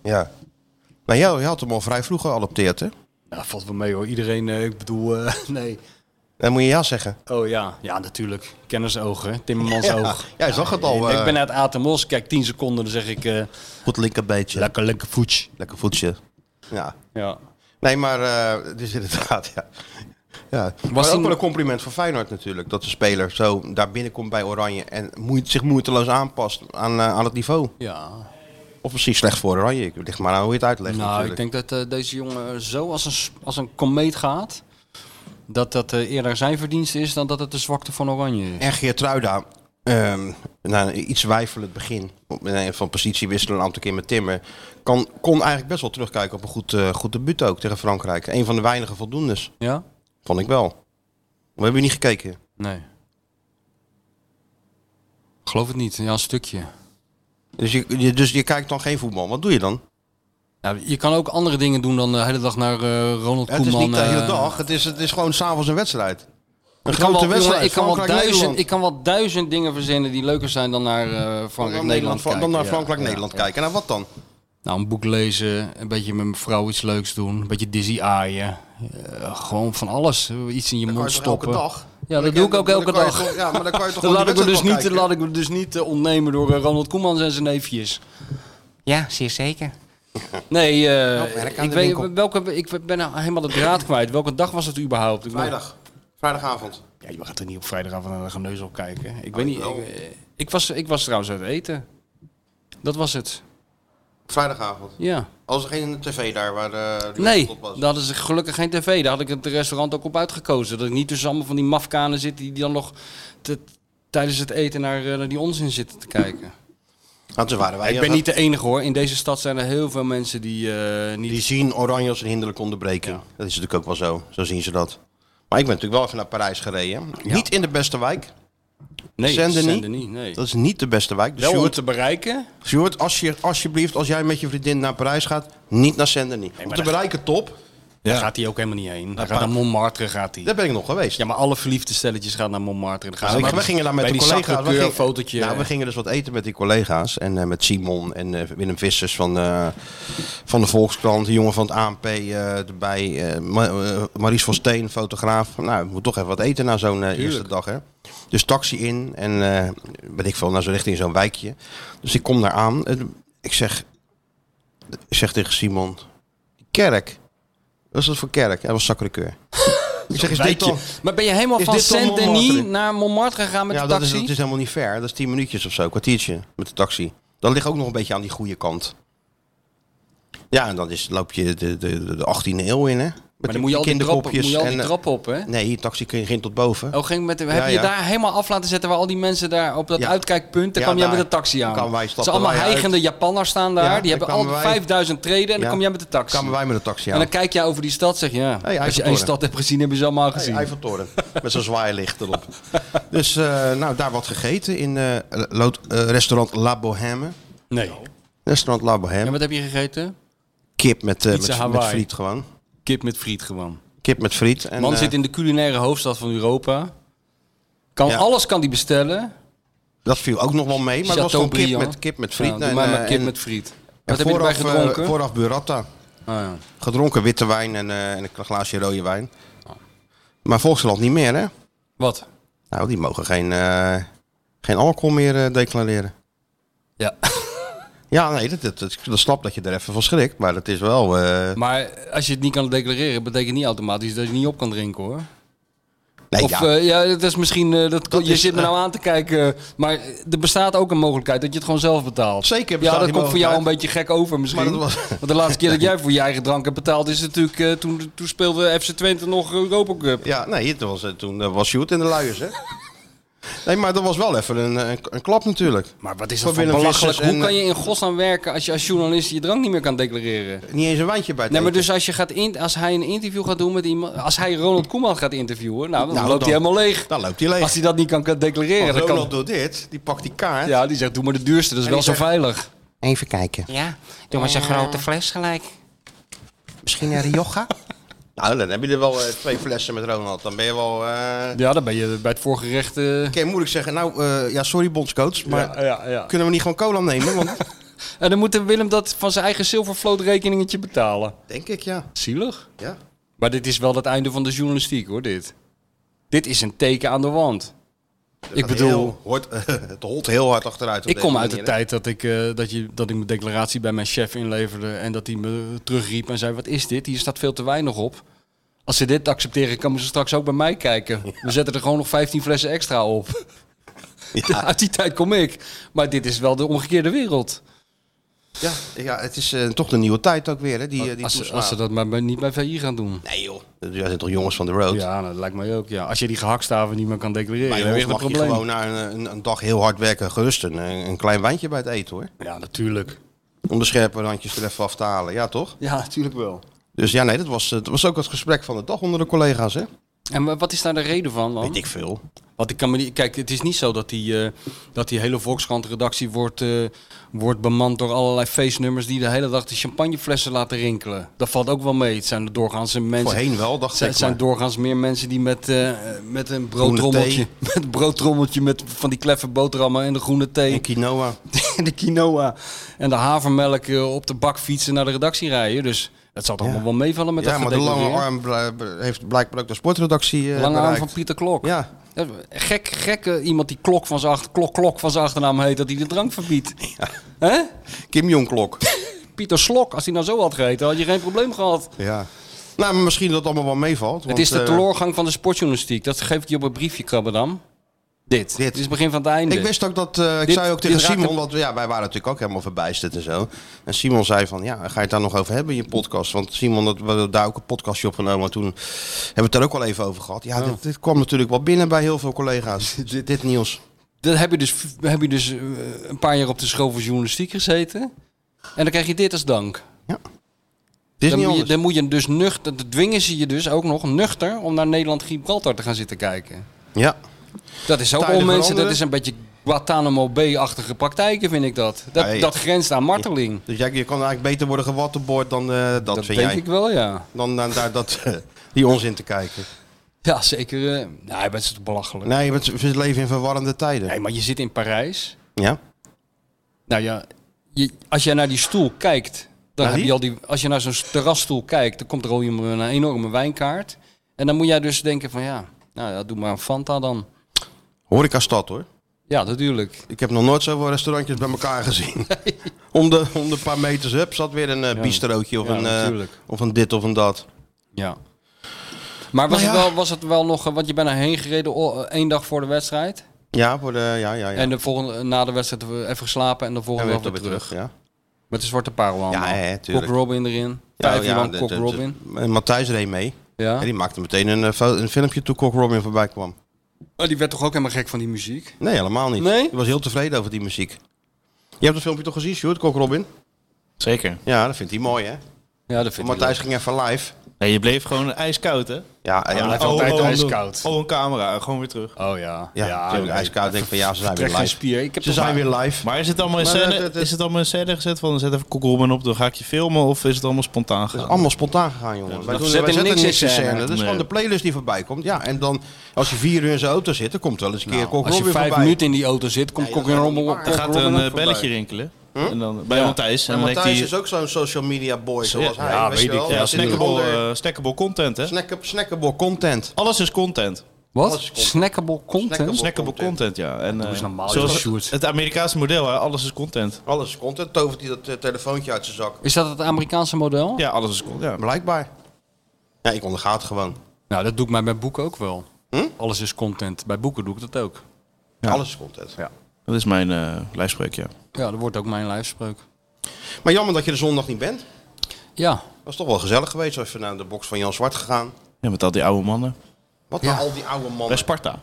Speaker 2: Nou, jij, jij had hem al vrij vroeg geadopteerd, hè?
Speaker 3: Nou, valt wel mee hoor. Iedereen, eh, ik bedoel, eh, nee.
Speaker 2: Dan moet je ja zeggen.
Speaker 3: Oh ja, ja natuurlijk. Kennersogen, hè. Timmermans oog.
Speaker 2: Jij zag het al.
Speaker 3: Oh. ik
Speaker 2: eh
Speaker 3: ben uit Atemos, kijk 10 seconden, dan zeg ik eh,
Speaker 2: Goed linkerbeetje. Lekker,
Speaker 3: lekker, lekker
Speaker 2: voetje.
Speaker 3: voetje.
Speaker 2: Ja.
Speaker 3: Ja.
Speaker 2: Nee, maar eh dus inderdaad, ja. ja.
Speaker 3: Was
Speaker 2: Was ook
Speaker 3: toen-
Speaker 2: wel een compliment voor Feyenoord natuurlijk. Dat de speler zo daar binnenkomt bij Oranje en moe- zich moeiteloos aanpast aan, eh, aan het niveau.
Speaker 3: Ja.
Speaker 2: Of misschien slecht voor Oranje. Ik ligt maar aan hoe je het uitlegt
Speaker 3: nou,
Speaker 2: natuurlijk.
Speaker 3: ik denk dat eh, deze jongen zo als een, s- als een komeet gaat, dat dat eh, eerder zijn verdienste is dan dat het de zwakte van Oranje is.
Speaker 2: En Geertruida, ehm na een iets wijfelend begin, op- eh, van positie wisselen een aantal keer met Timmer, kan, kon eigenlijk best wel terugkijken op een goed, eh, goed debuut ook tegen Frankrijk. Een van de weinige voldoendes,
Speaker 3: Ja?
Speaker 2: vond ik wel. We hebben niet gekeken.
Speaker 3: Nee. Geloof het niet, ja, een stukje.
Speaker 2: Dus je, je- dus je kijkt dan geen voetbal. Wat doe je dan?
Speaker 3: Ja, je kan ook andere dingen doen dan de hele dag naar eh, Ronald
Speaker 2: Ja, het is
Speaker 3: Koeman.
Speaker 2: niet de hele
Speaker 3: eh,
Speaker 2: dag, het is, het is gewoon s'avonds een wedstrijd. Een
Speaker 3: Ik kan,
Speaker 2: grote
Speaker 3: wel,
Speaker 2: wedstrijd.
Speaker 3: jongen, ik, kan wel duizend,
Speaker 2: Frankrijk-Nederland.
Speaker 3: ik kan wel duizend dingen verzinnen die leuker zijn dan naar eh,
Speaker 2: Dan
Speaker 3: Frankrijk-Nederland
Speaker 2: Nederland-
Speaker 3: kijken.
Speaker 2: Dan naar
Speaker 3: Ja,
Speaker 2: Frankrijk-Nederland
Speaker 3: ja, ja.
Speaker 2: kijken. Nou, wat dan?
Speaker 3: Nou, een boek lezen, een beetje met mijn vrouw iets leuks doen, een beetje dizzy aaien. Eh, gewoon van alles. eh, Iets in je
Speaker 2: Kan je
Speaker 3: mond
Speaker 2: toch elke
Speaker 3: stoppen.
Speaker 2: dag?
Speaker 3: Ja, dat
Speaker 2: Dan
Speaker 3: doe ik
Speaker 2: kan-
Speaker 3: ook
Speaker 2: dan
Speaker 3: elke
Speaker 2: kan je
Speaker 3: dag.
Speaker 2: toch- Ja, maar dan kan je toch
Speaker 3: Dan
Speaker 2: gewoon
Speaker 3: laat
Speaker 2: die
Speaker 3: ik, me dus
Speaker 2: wedstrijd
Speaker 3: niet,
Speaker 2: wel
Speaker 3: laat ik me dus niet eh, ontnemen door eh, Ronald Koeman en zijn neefjes. Ja, zeer zeker. Nee, eh,
Speaker 2: Nou, werk aan
Speaker 3: ik,
Speaker 2: de
Speaker 3: weet,
Speaker 2: winkel.
Speaker 3: welke, ik ben nou helemaal de draad kwijt. Welke dag was het überhaupt? Ik
Speaker 2: kijken. Vrijdag. Vrijdagavond.
Speaker 3: Ja, je gaat er niet op vrijdagavond naar de geneus op kijken.
Speaker 2: Oh,
Speaker 3: Ik weet niet. Ik, eh, ik was, ik was trouwens uit eten. Dat was het.
Speaker 2: Vrijdagavond.
Speaker 3: Ja.
Speaker 2: Als er geen tv daar waar de, die
Speaker 3: Nee,
Speaker 2: wedstrijd op was.
Speaker 3: daar hadden ze gelukkig geen tv. Daar had ik het restaurant ook op uitgekozen. Dat ik niet tussen allemaal van die mafkanen zit die die dan nog te- tijdens het eten naar, eh, naar die onzin zitten te kijken.
Speaker 2: Want ze waren wij.
Speaker 3: ik ben niet de enige hoor. In deze stad zijn er heel veel mensen die eh, niet...
Speaker 2: Die zien oranje als een hinderlijke onderbreking.
Speaker 3: Ja.
Speaker 2: Dat is natuurlijk ook wel zo. Zo zien ze dat. Maar ik ben natuurlijk wel even naar Parijs gereden.
Speaker 3: Ja.
Speaker 2: Niet in de beste wijk.
Speaker 3: nee,
Speaker 2: Saint-Denis?
Speaker 3: Saint-Denis, nee.
Speaker 2: Dat is niet de beste wijk. Dus
Speaker 3: Wel om
Speaker 2: Sjoerd,
Speaker 3: het te bereiken.
Speaker 2: Sjoerd, als je, alsjeblieft, als jij met je vriendin naar Parijs gaat, niet naar Saint-Denis. Om
Speaker 3: maar
Speaker 2: te
Speaker 3: dat-
Speaker 2: bereiken top,
Speaker 3: Daar gaat hij ook helemaal niet heen. Hij
Speaker 2: pa-
Speaker 3: gaat naar Montmartre gaat hij.
Speaker 2: daar ben ik nog geweest.
Speaker 3: Ja, maar alle verliefde stelletjes gaan naar Montmartre. Dan gaan
Speaker 2: Ja,
Speaker 3: ze
Speaker 2: maar
Speaker 3: bij
Speaker 2: we
Speaker 3: die-
Speaker 2: gingen daar met
Speaker 3: bij
Speaker 2: de
Speaker 3: die
Speaker 2: collega's. We
Speaker 3: Sacré-Cœur
Speaker 2: gingen,
Speaker 3: fotootje.
Speaker 2: nou, we gingen dus wat eten met die collega's. En eh, met Simon en eh, Willem Vissers van, eh, van de Volkskrant. De jongen van het ANP eh, erbij. eh Ma- eh, Maries van Steen, fotograaf. Nou, we moeten toch even wat eten na zo'n eh, eerste dag. Hè? Dus taxi in. En eh ben ik veel, nou zo richting zo'n wijkje. Dus ik kom daar aan. en ik zeg, ik zeg tegen Simon. Kerk. Wat is dat voor kerk? Hij was sacré ik zeg, is dit
Speaker 3: Wijkje.
Speaker 2: dan...
Speaker 3: Maar ben je helemaal
Speaker 2: Is
Speaker 3: van
Speaker 2: dit dan
Speaker 3: Saint-Denis
Speaker 2: Montmartre?
Speaker 3: naar Montmartre gegaan met
Speaker 2: ja,
Speaker 3: de
Speaker 2: dat
Speaker 3: taxi?
Speaker 2: is, dat is helemaal niet ver. Dat is 10 minuutjes of zo, kwartiertje met de taxi. Dat ligt ook nog een beetje aan die goede kant. Ja, en dan is, loop je de, de, de, de 18e eeuw in, hè? Met die
Speaker 3: maar dan moet je al die trappen, moet
Speaker 2: kinderkopjes
Speaker 3: je al die
Speaker 2: en, eh,
Speaker 3: trappen op, hè?
Speaker 2: Nee, die taxi ging, ging tot boven.
Speaker 3: Oh, ging met de, heb
Speaker 2: Ja,
Speaker 3: je
Speaker 2: ja.
Speaker 3: daar helemaal af laten zetten waar al die mensen daar op dat
Speaker 2: Ja.
Speaker 3: uitkijkpunt, daar
Speaker 2: Ja,
Speaker 3: kwam jij
Speaker 2: daar
Speaker 3: met de taxi aan.
Speaker 2: kwamen wij,
Speaker 3: Ze
Speaker 2: stapten
Speaker 3: allemaal
Speaker 2: wij uit.
Speaker 3: heigende Japanners staan daar,
Speaker 2: Ja,
Speaker 3: die
Speaker 2: daar
Speaker 3: hebben al
Speaker 2: kwamen wij.
Speaker 3: 5000 treden en
Speaker 2: Ja.
Speaker 3: dan kom jij met de taxi.
Speaker 2: kwamen wij met de taxi
Speaker 3: En
Speaker 2: aan.
Speaker 3: dan kijk jij over die stad, zeg je, ja,
Speaker 2: Hey,
Speaker 3: als je één
Speaker 2: Eiffeltoren.
Speaker 3: stad hebt gezien, hebben ze allemaal gezien.
Speaker 2: Hey, Eiffeltoren, met zo'n zwaailicht erop. dus eh, nou, daar wat gegeten in eh, lo- eh, restaurant La Bohème.
Speaker 3: nee.
Speaker 2: Restaurant La Bohème.
Speaker 3: En wat heb je gegeten?
Speaker 2: Kip met, eh,
Speaker 3: Pizza
Speaker 2: met, met
Speaker 3: Hawaii.
Speaker 2: friet gewoon.
Speaker 3: Kip met friet gewoon.
Speaker 2: Kip met friet. En,
Speaker 3: Man
Speaker 2: eh,
Speaker 3: zit in de culinaire hoofdstad van Europa. Kan
Speaker 2: Ja.
Speaker 3: alles kan die bestellen.
Speaker 2: Dat viel ook nog wel mee, maar dat was gewoon kip
Speaker 3: Chateaubriand.
Speaker 2: met, kip met friet.
Speaker 3: Ja, Nou, doe
Speaker 2: En,
Speaker 3: maar
Speaker 2: eh,
Speaker 3: maar kip
Speaker 2: en-
Speaker 3: met friet.
Speaker 2: En
Speaker 3: Wat heb je erbij
Speaker 2: vooraf, eh,
Speaker 3: gedronken?
Speaker 2: vooraf burrata.
Speaker 3: Ah, ja.
Speaker 2: Gedronken witte wijn en, eh, en een glaasje rode wijn. Maar Volksland niet meer, hè?
Speaker 3: Wat?
Speaker 2: Nou, die mogen geen, eh, geen alcohol meer eh, declareren.
Speaker 3: Ja.
Speaker 2: Ja, nee, dat, dat, dat, dat snap dat je er even van schrikt. Maar dat is wel... eh,
Speaker 3: Maar als je het niet kan declareren, betekent niet automatisch dat je niet op kan drinken hoor.
Speaker 2: nee,
Speaker 3: of
Speaker 2: Eh,
Speaker 3: eh,
Speaker 2: ja.
Speaker 3: ja, ja dat is misschien. eh, dat,
Speaker 2: Dat
Speaker 3: je
Speaker 2: is,
Speaker 3: zit me
Speaker 2: eh,
Speaker 3: nou aan te kijken. Maar er bestaat ook een mogelijkheid dat je het gewoon zelf betaalt.
Speaker 2: Zeker
Speaker 3: Ja,
Speaker 2: bestaat
Speaker 3: dat
Speaker 2: die
Speaker 3: komt voor jou een
Speaker 2: mogelijkheid.
Speaker 3: beetje gek over misschien.
Speaker 2: Maar dat was-
Speaker 3: Want de laatste keer dat jij voor je eigen drank hebt betaald, is natuurlijk. eh, toen, toen speelde FC Twente nog Europa Cup.
Speaker 2: ja, nee, het was, eh, toen eh, was Sjoerd in de luiers, hè? nee, maar dat was wel even een, een, een klap natuurlijk.
Speaker 3: Maar wat is
Speaker 2: Voor
Speaker 3: dat voor
Speaker 2: Willem
Speaker 3: belachelijk?
Speaker 2: Vissers
Speaker 3: Hoe
Speaker 2: en, eh,
Speaker 3: kan je in godsnaam werken als je als journalist je drank niet meer kan declareren?
Speaker 2: Niet eens een wijntje bij het
Speaker 3: Nee, maar
Speaker 2: eten.
Speaker 3: dus als, je gaat in, als hij een interview gaat doen met iemand. Als hij Ronald Koeman gaat interviewen, nou, dan
Speaker 2: Nou,
Speaker 3: loopt hij
Speaker 2: dan-
Speaker 3: helemaal leeg.
Speaker 2: Dan loopt hij leeg.
Speaker 3: Als hij dat niet kan declareren,
Speaker 2: Want
Speaker 3: dan
Speaker 2: Ronald
Speaker 3: kan...
Speaker 2: doet dit, die pakt die kaart.
Speaker 3: Ja, die zegt, doe maar de duurste, dat is wel zo veilig.
Speaker 2: Even kijken.
Speaker 8: Ja, doe maar zo'n grote fles gelijk.
Speaker 2: Misschien een Rioja? nou, dan heb je er wel eh, twee flessen met Ronald. Dan ben je wel... eh,
Speaker 3: Ja, dan ben je bij het voorgerecht... eh,
Speaker 2: Ik kan moeilijk zeggen, nou, eh, ja, sorry bondscoach, maar eh,
Speaker 3: ja, ja, ja.
Speaker 2: kunnen we niet gewoon cola nemen? Want,
Speaker 3: En dan moet Willem dat van zijn eigen Silvervloot rekeningetje betalen.
Speaker 2: denk ik, ja.
Speaker 3: Zielig.
Speaker 2: ja.
Speaker 3: Maar dit is wel het einde van de journalistiek, hoor, dit. Dit is een teken aan de wand. Ik bedoel,
Speaker 2: Heel, hoort, het holt heel hard achteruit. op
Speaker 3: ik
Speaker 2: deze
Speaker 3: kom uit de
Speaker 2: manier, hè.
Speaker 3: tijd dat ik, eh, dat, je, dat ik mijn declaratie bij mijn chef inleverde... en dat hij me terugriep en zei, wat is dit? Hier staat veel te weinig op. Als ze dit accepteren, komen ze straks ook bij mij kijken. We zetten er gewoon nog 15 flessen extra op. Uit die tijd kom ik. Maar dit is wel de omgekeerde wereld.
Speaker 2: Ja, ja, het is eh, toch de nieuwe tijd ook weer, hè? Die, eh, die
Speaker 3: als, ze,
Speaker 2: toeslaan.
Speaker 3: als ze dat maar bij- niet bij VI gaan doen.
Speaker 2: Nee joh, jij zijn toch jongens van de road?
Speaker 3: Ja, nou, dat lijkt mij ook. Ja. Als je die gehaktstaven niet meer kan declareren,
Speaker 2: Maar
Speaker 3: dan
Speaker 2: jongens,
Speaker 3: heb je
Speaker 2: mag
Speaker 3: een
Speaker 2: je
Speaker 3: probleem.
Speaker 2: gewoon na een, een, een dag heel hard werken gerust een, een klein wijntje bij het eten, hoor.
Speaker 3: Ja, natuurlijk.
Speaker 2: Om de scherpe randjes er even af te halen, ja toch?
Speaker 3: Ja, natuurlijk wel.
Speaker 2: Dus ja, nee, dat was, eh, dat was ook het gesprek van de dag onder de collega's, hè?
Speaker 3: En wa- wat is daar de reden van dan?
Speaker 2: Weet ik veel.
Speaker 3: Want ik kan me niet, kijk, het is niet zo dat die, eh, dat die hele Volkskrant-redactie wordt, eh, wordt bemand door allerlei feestnummers die de hele dag de champagneflessen laten rinkelen. Dat valt ook wel mee. Het zijn doorgaans mensen.
Speaker 2: Voorheen wel, dacht
Speaker 3: Het zijn,
Speaker 2: ik,
Speaker 3: zijn
Speaker 2: maar-
Speaker 3: doorgaans meer mensen die met, eh, met een broodtrommeltje,
Speaker 2: thee.
Speaker 3: met een broodtrommeltje met van die kleffe boterhammen en de groene thee.
Speaker 2: En quinoa.
Speaker 3: en de quinoa en de havermelk eh, op de bak fietsen naar de redactie rijden. Dus dat zal toch allemaal wel meevallen met
Speaker 2: Ja,
Speaker 3: dat
Speaker 2: maar de lange
Speaker 3: gedeclareerd.
Speaker 2: arm bl- bl- heeft blijkbaar ook de sportredactie eh,
Speaker 3: Lange arm
Speaker 2: bereikt.
Speaker 3: van Pieter Klok.
Speaker 2: Ja,
Speaker 3: Ja, Gek, gek eh, iemand die klok van zijn achter, klok, klok van zijn achternaam heet, dat hij de drank verbiedt. Hè?
Speaker 2: Kim Jong-klok.
Speaker 3: Pieter Slok, als hij nou zo had geheten, had je geen probleem gehad.
Speaker 2: ja. Nou, maar misschien dat het allemaal wel meevalt.
Speaker 3: het
Speaker 2: want,
Speaker 3: is de
Speaker 2: eh,
Speaker 3: teleurgang van de sportjournalistiek. Dat geef ik je op een briefje, Krabbedam. Dit.
Speaker 2: Dit.
Speaker 3: Dit is het begin van het einde.
Speaker 2: Ik wist ook dat, eh, ik
Speaker 3: Dit-
Speaker 2: zei ook
Speaker 3: dit
Speaker 2: tegen
Speaker 3: raakt
Speaker 2: Simon,
Speaker 3: hem-
Speaker 2: want ja, wij waren natuurlijk ook helemaal verbijsterd en zo. En Simon zei van, ja, ga je het daar nog over hebben in je podcast? Want Simon, dat, we hebben daar ook een podcastje opgenomen, maar toen hebben we het daar ook wel even over gehad.
Speaker 3: Oh.
Speaker 2: Ja, dit, dit kwam natuurlijk wel binnen bij heel veel collega's, dit, dit nieuws.
Speaker 3: Dan heb je dus, heb je dus eh, een paar jaar op de school voor journalistiek gezeten. En dan krijg je dit als dank.
Speaker 2: Dit is niet
Speaker 3: dan, moet je,
Speaker 2: anders.
Speaker 3: dan moet je dus nuchter, dan dwingen ze je dus ook nog nuchter om naar Nederland-Gibraltar te gaan zitten kijken.
Speaker 2: Ja,
Speaker 3: Dat is ook
Speaker 2: Tijden
Speaker 3: onmensen,
Speaker 2: veranderen.
Speaker 3: dat is een beetje Guantanamo Bay-achtige praktijken vind ik dat. Dat,
Speaker 2: Ja, ja.
Speaker 3: dat grenst aan marteling.
Speaker 2: dus jij, je kan eigenlijk beter worden gewattenboord dan eh, dat,
Speaker 3: dat
Speaker 2: vind
Speaker 3: denk
Speaker 2: jij.
Speaker 3: ik wel, ja.
Speaker 2: Dan, dan daar dat, die onzin te kijken.
Speaker 3: Ja, zeker. eh nou, je bent zo belachelijk. Nee.
Speaker 2: Nee, want we leven in verwarrende tijden.
Speaker 3: maar je zit in Parijs.
Speaker 2: Ja,
Speaker 3: Nou ja, je, als jij naar die stoel kijkt, dan
Speaker 2: Naar
Speaker 3: heb
Speaker 2: die?
Speaker 3: je al die, als je naar zo'n terrasstoel kijkt, dan komt er al iemand met een enorme wijnkaart. En dan moet jij dus denken van ja, nou ja, doe maar een Fanta dan.
Speaker 2: horecastad hoor.
Speaker 3: Ja, natuurlijk.
Speaker 2: Ik heb nog nooit zoveel restaurantjes bij elkaar gezien. om, de, om de paar meters up zat weer een eh, bistrootje of,
Speaker 3: Ja,
Speaker 2: een, eh,
Speaker 3: natuurlijk.
Speaker 2: of een dit of een dat.
Speaker 3: Ja. Maar was,
Speaker 2: Nou ja.
Speaker 3: Het wel, was het wel nog, eh, want je bent erheen gereden o- eh, één dag voor de wedstrijd.
Speaker 2: Ja, voor de, ja, ja, ja.
Speaker 3: En de volgende, na de wedstrijd even geslapen en de
Speaker 2: En
Speaker 3: volgende
Speaker 2: weer
Speaker 3: dag weer terug.
Speaker 2: Ja,
Speaker 3: Met de zwarte parel allemaal.
Speaker 2: Ja, hè,
Speaker 3: Cock
Speaker 2: tuurlijk. oh
Speaker 3: Robin erin. Vijf uur lang
Speaker 2: de-
Speaker 3: Cock
Speaker 2: de- de-
Speaker 3: Robin.
Speaker 2: En Matthijs reed mee.
Speaker 3: Ja.
Speaker 2: En die maakte meteen een, eh, fo- een filmpje toen Cock Robin voorbij kwam.
Speaker 3: Oh, die werd toch ook helemaal gek van die muziek?
Speaker 2: Nee, helemaal niet.
Speaker 3: Nee?
Speaker 2: Die was heel tevreden over die muziek. Je hebt het filmpje toch gezien, Sjoerd? Cock Robin?
Speaker 4: Zeker.
Speaker 2: Ja, dat vindt hij mooi, hè?
Speaker 3: Ja, dat vind ik
Speaker 2: Matthijs ging even live.
Speaker 4: Nee, je bleef gewoon ijskoud, hè?
Speaker 2: Ja, ja,
Speaker 3: blijft
Speaker 2: ja,
Speaker 3: altijd
Speaker 4: oh,
Speaker 3: ijskoud.
Speaker 4: Oh, een camera. Gewoon weer terug.
Speaker 3: leuk. Oh ja.
Speaker 2: ja, natuurlijk,
Speaker 3: nee.
Speaker 2: ijskoud. Denk van, ja, ze zijn
Speaker 3: Trek
Speaker 2: weer
Speaker 3: geen
Speaker 2: live.
Speaker 3: spier. Ik heb
Speaker 2: Ze zijn weer live.
Speaker 4: Maar is het allemaal in
Speaker 2: Maar dat-
Speaker 4: scène,
Speaker 2: dat- dat-
Speaker 4: is het allemaal in scène gezet van zet even Koekelman op, dan ga ik je filmen? Of is het allemaal spontaan
Speaker 2: Het
Speaker 4: gegaan?
Speaker 2: is allemaal spontaan gegaan, jongen. wij doen,
Speaker 3: zetten
Speaker 2: wij zetten
Speaker 3: niks
Speaker 2: niks
Speaker 3: in
Speaker 2: in scène.
Speaker 3: scène.
Speaker 2: Dat is
Speaker 4: Nee.
Speaker 2: gewoon de playlist die voorbij komt. Ja, en dan als je vier uur in zijn auto zit, dan komt wel eens een keer Cock
Speaker 3: Nou, Als je
Speaker 2: Robin
Speaker 3: vijf
Speaker 2: voorbij.
Speaker 3: minuten in die auto zit, komt
Speaker 2: Nee,
Speaker 3: Cock
Speaker 2: dat gaat
Speaker 3: Robin
Speaker 2: niet
Speaker 3: op.
Speaker 2: waar.
Speaker 4: Dan
Speaker 3: Cock
Speaker 4: gaat er
Speaker 3: Robin
Speaker 4: een
Speaker 3: ook
Speaker 4: eh,
Speaker 3: voorbij.
Speaker 4: belletje rinkelen. En dan, bij
Speaker 3: Ja.
Speaker 4: Matthijs. En
Speaker 2: En
Speaker 4: dan heeft
Speaker 2: Matthijs
Speaker 4: hij
Speaker 2: is ook zo'n social media boy zoals
Speaker 4: Ja,
Speaker 2: hij.
Speaker 3: ja,
Speaker 2: je
Speaker 3: weet
Speaker 2: wel.
Speaker 3: ik.
Speaker 2: Hij
Speaker 4: ja,
Speaker 2: zit onder-
Speaker 4: snackable, eh, snackable content, hè?
Speaker 2: snack- snackable content.
Speaker 4: Alles is content.
Speaker 3: Wat?
Speaker 2: Alles komt.
Speaker 3: Snackable content?
Speaker 2: Snackable.
Speaker 4: Snackable
Speaker 2: content.
Speaker 4: content, ja. En, eh,
Speaker 3: eens normaal, joh,
Speaker 4: zoals
Speaker 3: Sjoerd.
Speaker 4: het, het Amerikaanse model, hè? alles is content.
Speaker 2: Alles is content. Tovert hij dat eh, telefoontje uit zijn zak.
Speaker 3: Is dat het Amerikaanse model?
Speaker 4: Ja, alles is content. Ja.
Speaker 2: Blijkbaar. Ja, ik onderga het gewoon.
Speaker 3: Nou, dat doe ik mij bij boeken ook wel.
Speaker 2: Hm?
Speaker 3: Alles is content. Bij boeken doe ik dat ook.
Speaker 2: Alles is content.
Speaker 4: Dat is mijn eh lijfspreuk, ja.
Speaker 3: Ja, dat wordt ook mijn lijfspreuk.
Speaker 2: Maar jammer dat je er zondag niet bent.
Speaker 3: Ja.
Speaker 2: Was toch wel gezellig geweest. Zo even naar de box van Jan Zwart gegaan.
Speaker 4: Ja, met al die oude mannen. Oh,
Speaker 2: Wat
Speaker 3: Ja.
Speaker 2: nou al die oude
Speaker 4: Bij
Speaker 2: mannen.
Speaker 4: Sparta.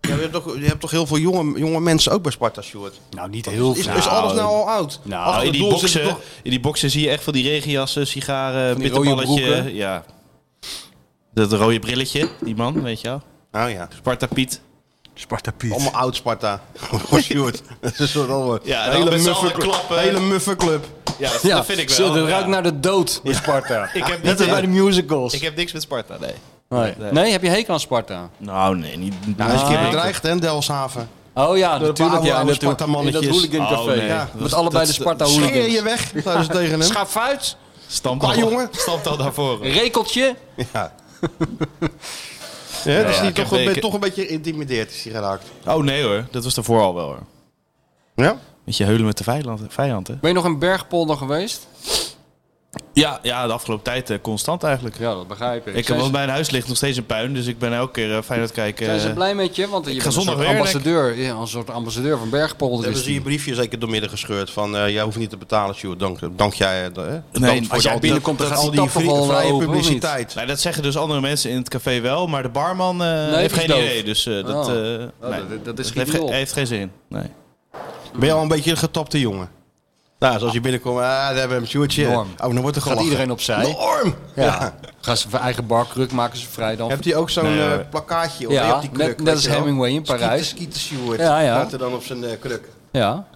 Speaker 2: Ja, je, hebt toch, je hebt toch heel veel jonge, jonge mensen ook bij Sparta, Sjoerd?
Speaker 3: Nou, niet heel
Speaker 2: Is,
Speaker 3: veel.
Speaker 2: is alles nou al oud?
Speaker 3: Nou,
Speaker 2: Achter
Speaker 4: in,
Speaker 2: het
Speaker 4: die
Speaker 2: doel zit
Speaker 4: boxen,
Speaker 2: toch-
Speaker 4: in die boxen zie je echt van die regenjassen, sigaren,
Speaker 3: Van die rode
Speaker 4: bitterballetje.
Speaker 3: broeken.
Speaker 4: Ja. Dat rode brilletje, die man, weet je wel.
Speaker 2: Nou ja.
Speaker 4: Sparta Piet.
Speaker 3: Sparta
Speaker 2: Allemaal oud Sparta. Voor Sjoerd. Dat is een soort allemaal-
Speaker 4: Ja,
Speaker 2: een
Speaker 4: dan
Speaker 2: hele
Speaker 4: met z'n
Speaker 2: muffe
Speaker 4: allen
Speaker 2: club.
Speaker 4: klappen.
Speaker 2: hele muffe club.
Speaker 4: Ja, dat,
Speaker 3: Ja,
Speaker 4: dat vind ik wel.
Speaker 3: Dat
Speaker 4: ja.
Speaker 3: ruikt naar de dood bij Sparta.
Speaker 4: Ik heb
Speaker 3: Net
Speaker 4: niet- eh,
Speaker 3: als bij de musicals.
Speaker 4: Ik heb eh, niks met Sparta, nee.
Speaker 3: nee.
Speaker 4: nee.
Speaker 3: Nee, heb je hekel aan Sparta?
Speaker 4: Nou, nee, niet. niet-
Speaker 2: Hij is een
Speaker 3: Ah.
Speaker 2: keer bedreigd, hè, Delshaven.
Speaker 3: Oh ja,
Speaker 2: Door een paar
Speaker 3: natuurlijk.
Speaker 2: oude
Speaker 3: Ja, en dat-
Speaker 2: Sparta-mannetjes.
Speaker 3: In dat hooligancafé.
Speaker 4: Oh, nee.
Speaker 3: ja.
Speaker 4: Dat-
Speaker 3: Met allebei de
Speaker 4: dat-
Speaker 3: sparta
Speaker 2: Scheer
Speaker 3: hooligans.
Speaker 2: je weg, zeiden ze tegen hem.
Speaker 3: Schaaf uit,
Speaker 4: Stamp
Speaker 2: Ah,
Speaker 4: al,
Speaker 2: jongen.
Speaker 4: Stamp al naar voren.
Speaker 3: rekeltje.
Speaker 2: Ja. Ja, dus
Speaker 4: ja,
Speaker 2: die
Speaker 4: ik
Speaker 2: toch,
Speaker 4: heb
Speaker 2: een, be-
Speaker 4: ik-
Speaker 2: toch een beetje geïntimideerd is hij geraakt.
Speaker 4: Oh nee hoor, dat was daarvoor al wel hoor.
Speaker 2: Ja?
Speaker 4: Met je heulen met de vijand, vijand hè?
Speaker 3: Ben je nog in Bergpolder geweest?
Speaker 4: Ja, ja, de afgelopen tijd eh, constant eigenlijk.
Speaker 3: Ja, dat begrijp
Speaker 4: Ik heb,
Speaker 3: zijn,
Speaker 4: want
Speaker 3: ze,
Speaker 4: mijn huis ligt nog steeds in puin, dus ik ben elke keer eh, Feyenoord kijken.
Speaker 3: zijn ze
Speaker 4: eh,
Speaker 3: blij met je? Want je bent een
Speaker 4: zondag
Speaker 3: soort
Speaker 4: weer, Nick.
Speaker 3: ambassadeur. Ja, een soort ambassadeur van Bergpolder.
Speaker 2: Hebben
Speaker 3: is
Speaker 2: ze je
Speaker 3: die.
Speaker 2: briefje zeker doormidden gescheurd van eh, jij hoeft niet te betalen, Sjoerd. Dank, dank jij. eh, hè?
Speaker 4: Nee,
Speaker 2: Dank
Speaker 4: als jij
Speaker 2: al-
Speaker 3: binnenkomt, dan
Speaker 2: dat-
Speaker 3: gaat
Speaker 2: al
Speaker 3: die
Speaker 2: die
Speaker 3: tap
Speaker 2: vrije-
Speaker 3: toch wel, eh,
Speaker 2: vrije
Speaker 3: open, of niet?
Speaker 2: publiciteit.
Speaker 4: Nou, dat zeggen dus andere mensen in het café wel, maar de barman eh, heeft
Speaker 3: die
Speaker 4: geen
Speaker 3: is doof.
Speaker 4: idee. Dus eh, dat,
Speaker 3: Oh.
Speaker 4: eh,
Speaker 3: Oh,
Speaker 4: nee.
Speaker 3: dat- dat is geen
Speaker 4: heeft, ge-
Speaker 3: rol.
Speaker 4: heeft geen zin. Nee.
Speaker 2: Ben je al een beetje een getapte jongen? Nou, zoals je binnenkomt, ah, daar hebben we hem, Sjoerdje.
Speaker 3: Norm.
Speaker 2: Oh, dan wordt er
Speaker 3: Gaat
Speaker 2: gelachen.
Speaker 3: iedereen opzij?
Speaker 2: Norm!
Speaker 3: Ja. Gaan ze voor eigen barkruk maken ze vrij dan.
Speaker 2: Heeft hij ook zo'n
Speaker 4: Nee,
Speaker 2: eh,
Speaker 4: hoor.
Speaker 2: plakkaatje op,
Speaker 3: Ja,
Speaker 2: hè, op die
Speaker 3: net-
Speaker 2: kruk?
Speaker 3: net
Speaker 2: weet
Speaker 3: als
Speaker 2: je wel?
Speaker 3: Hemingway in
Speaker 2: Skieten,
Speaker 3: Parijs.
Speaker 2: Skieten Sjoerd.
Speaker 3: Ja, ja.
Speaker 2: Staat er dan op zijn eh, kruk.
Speaker 3: Ja.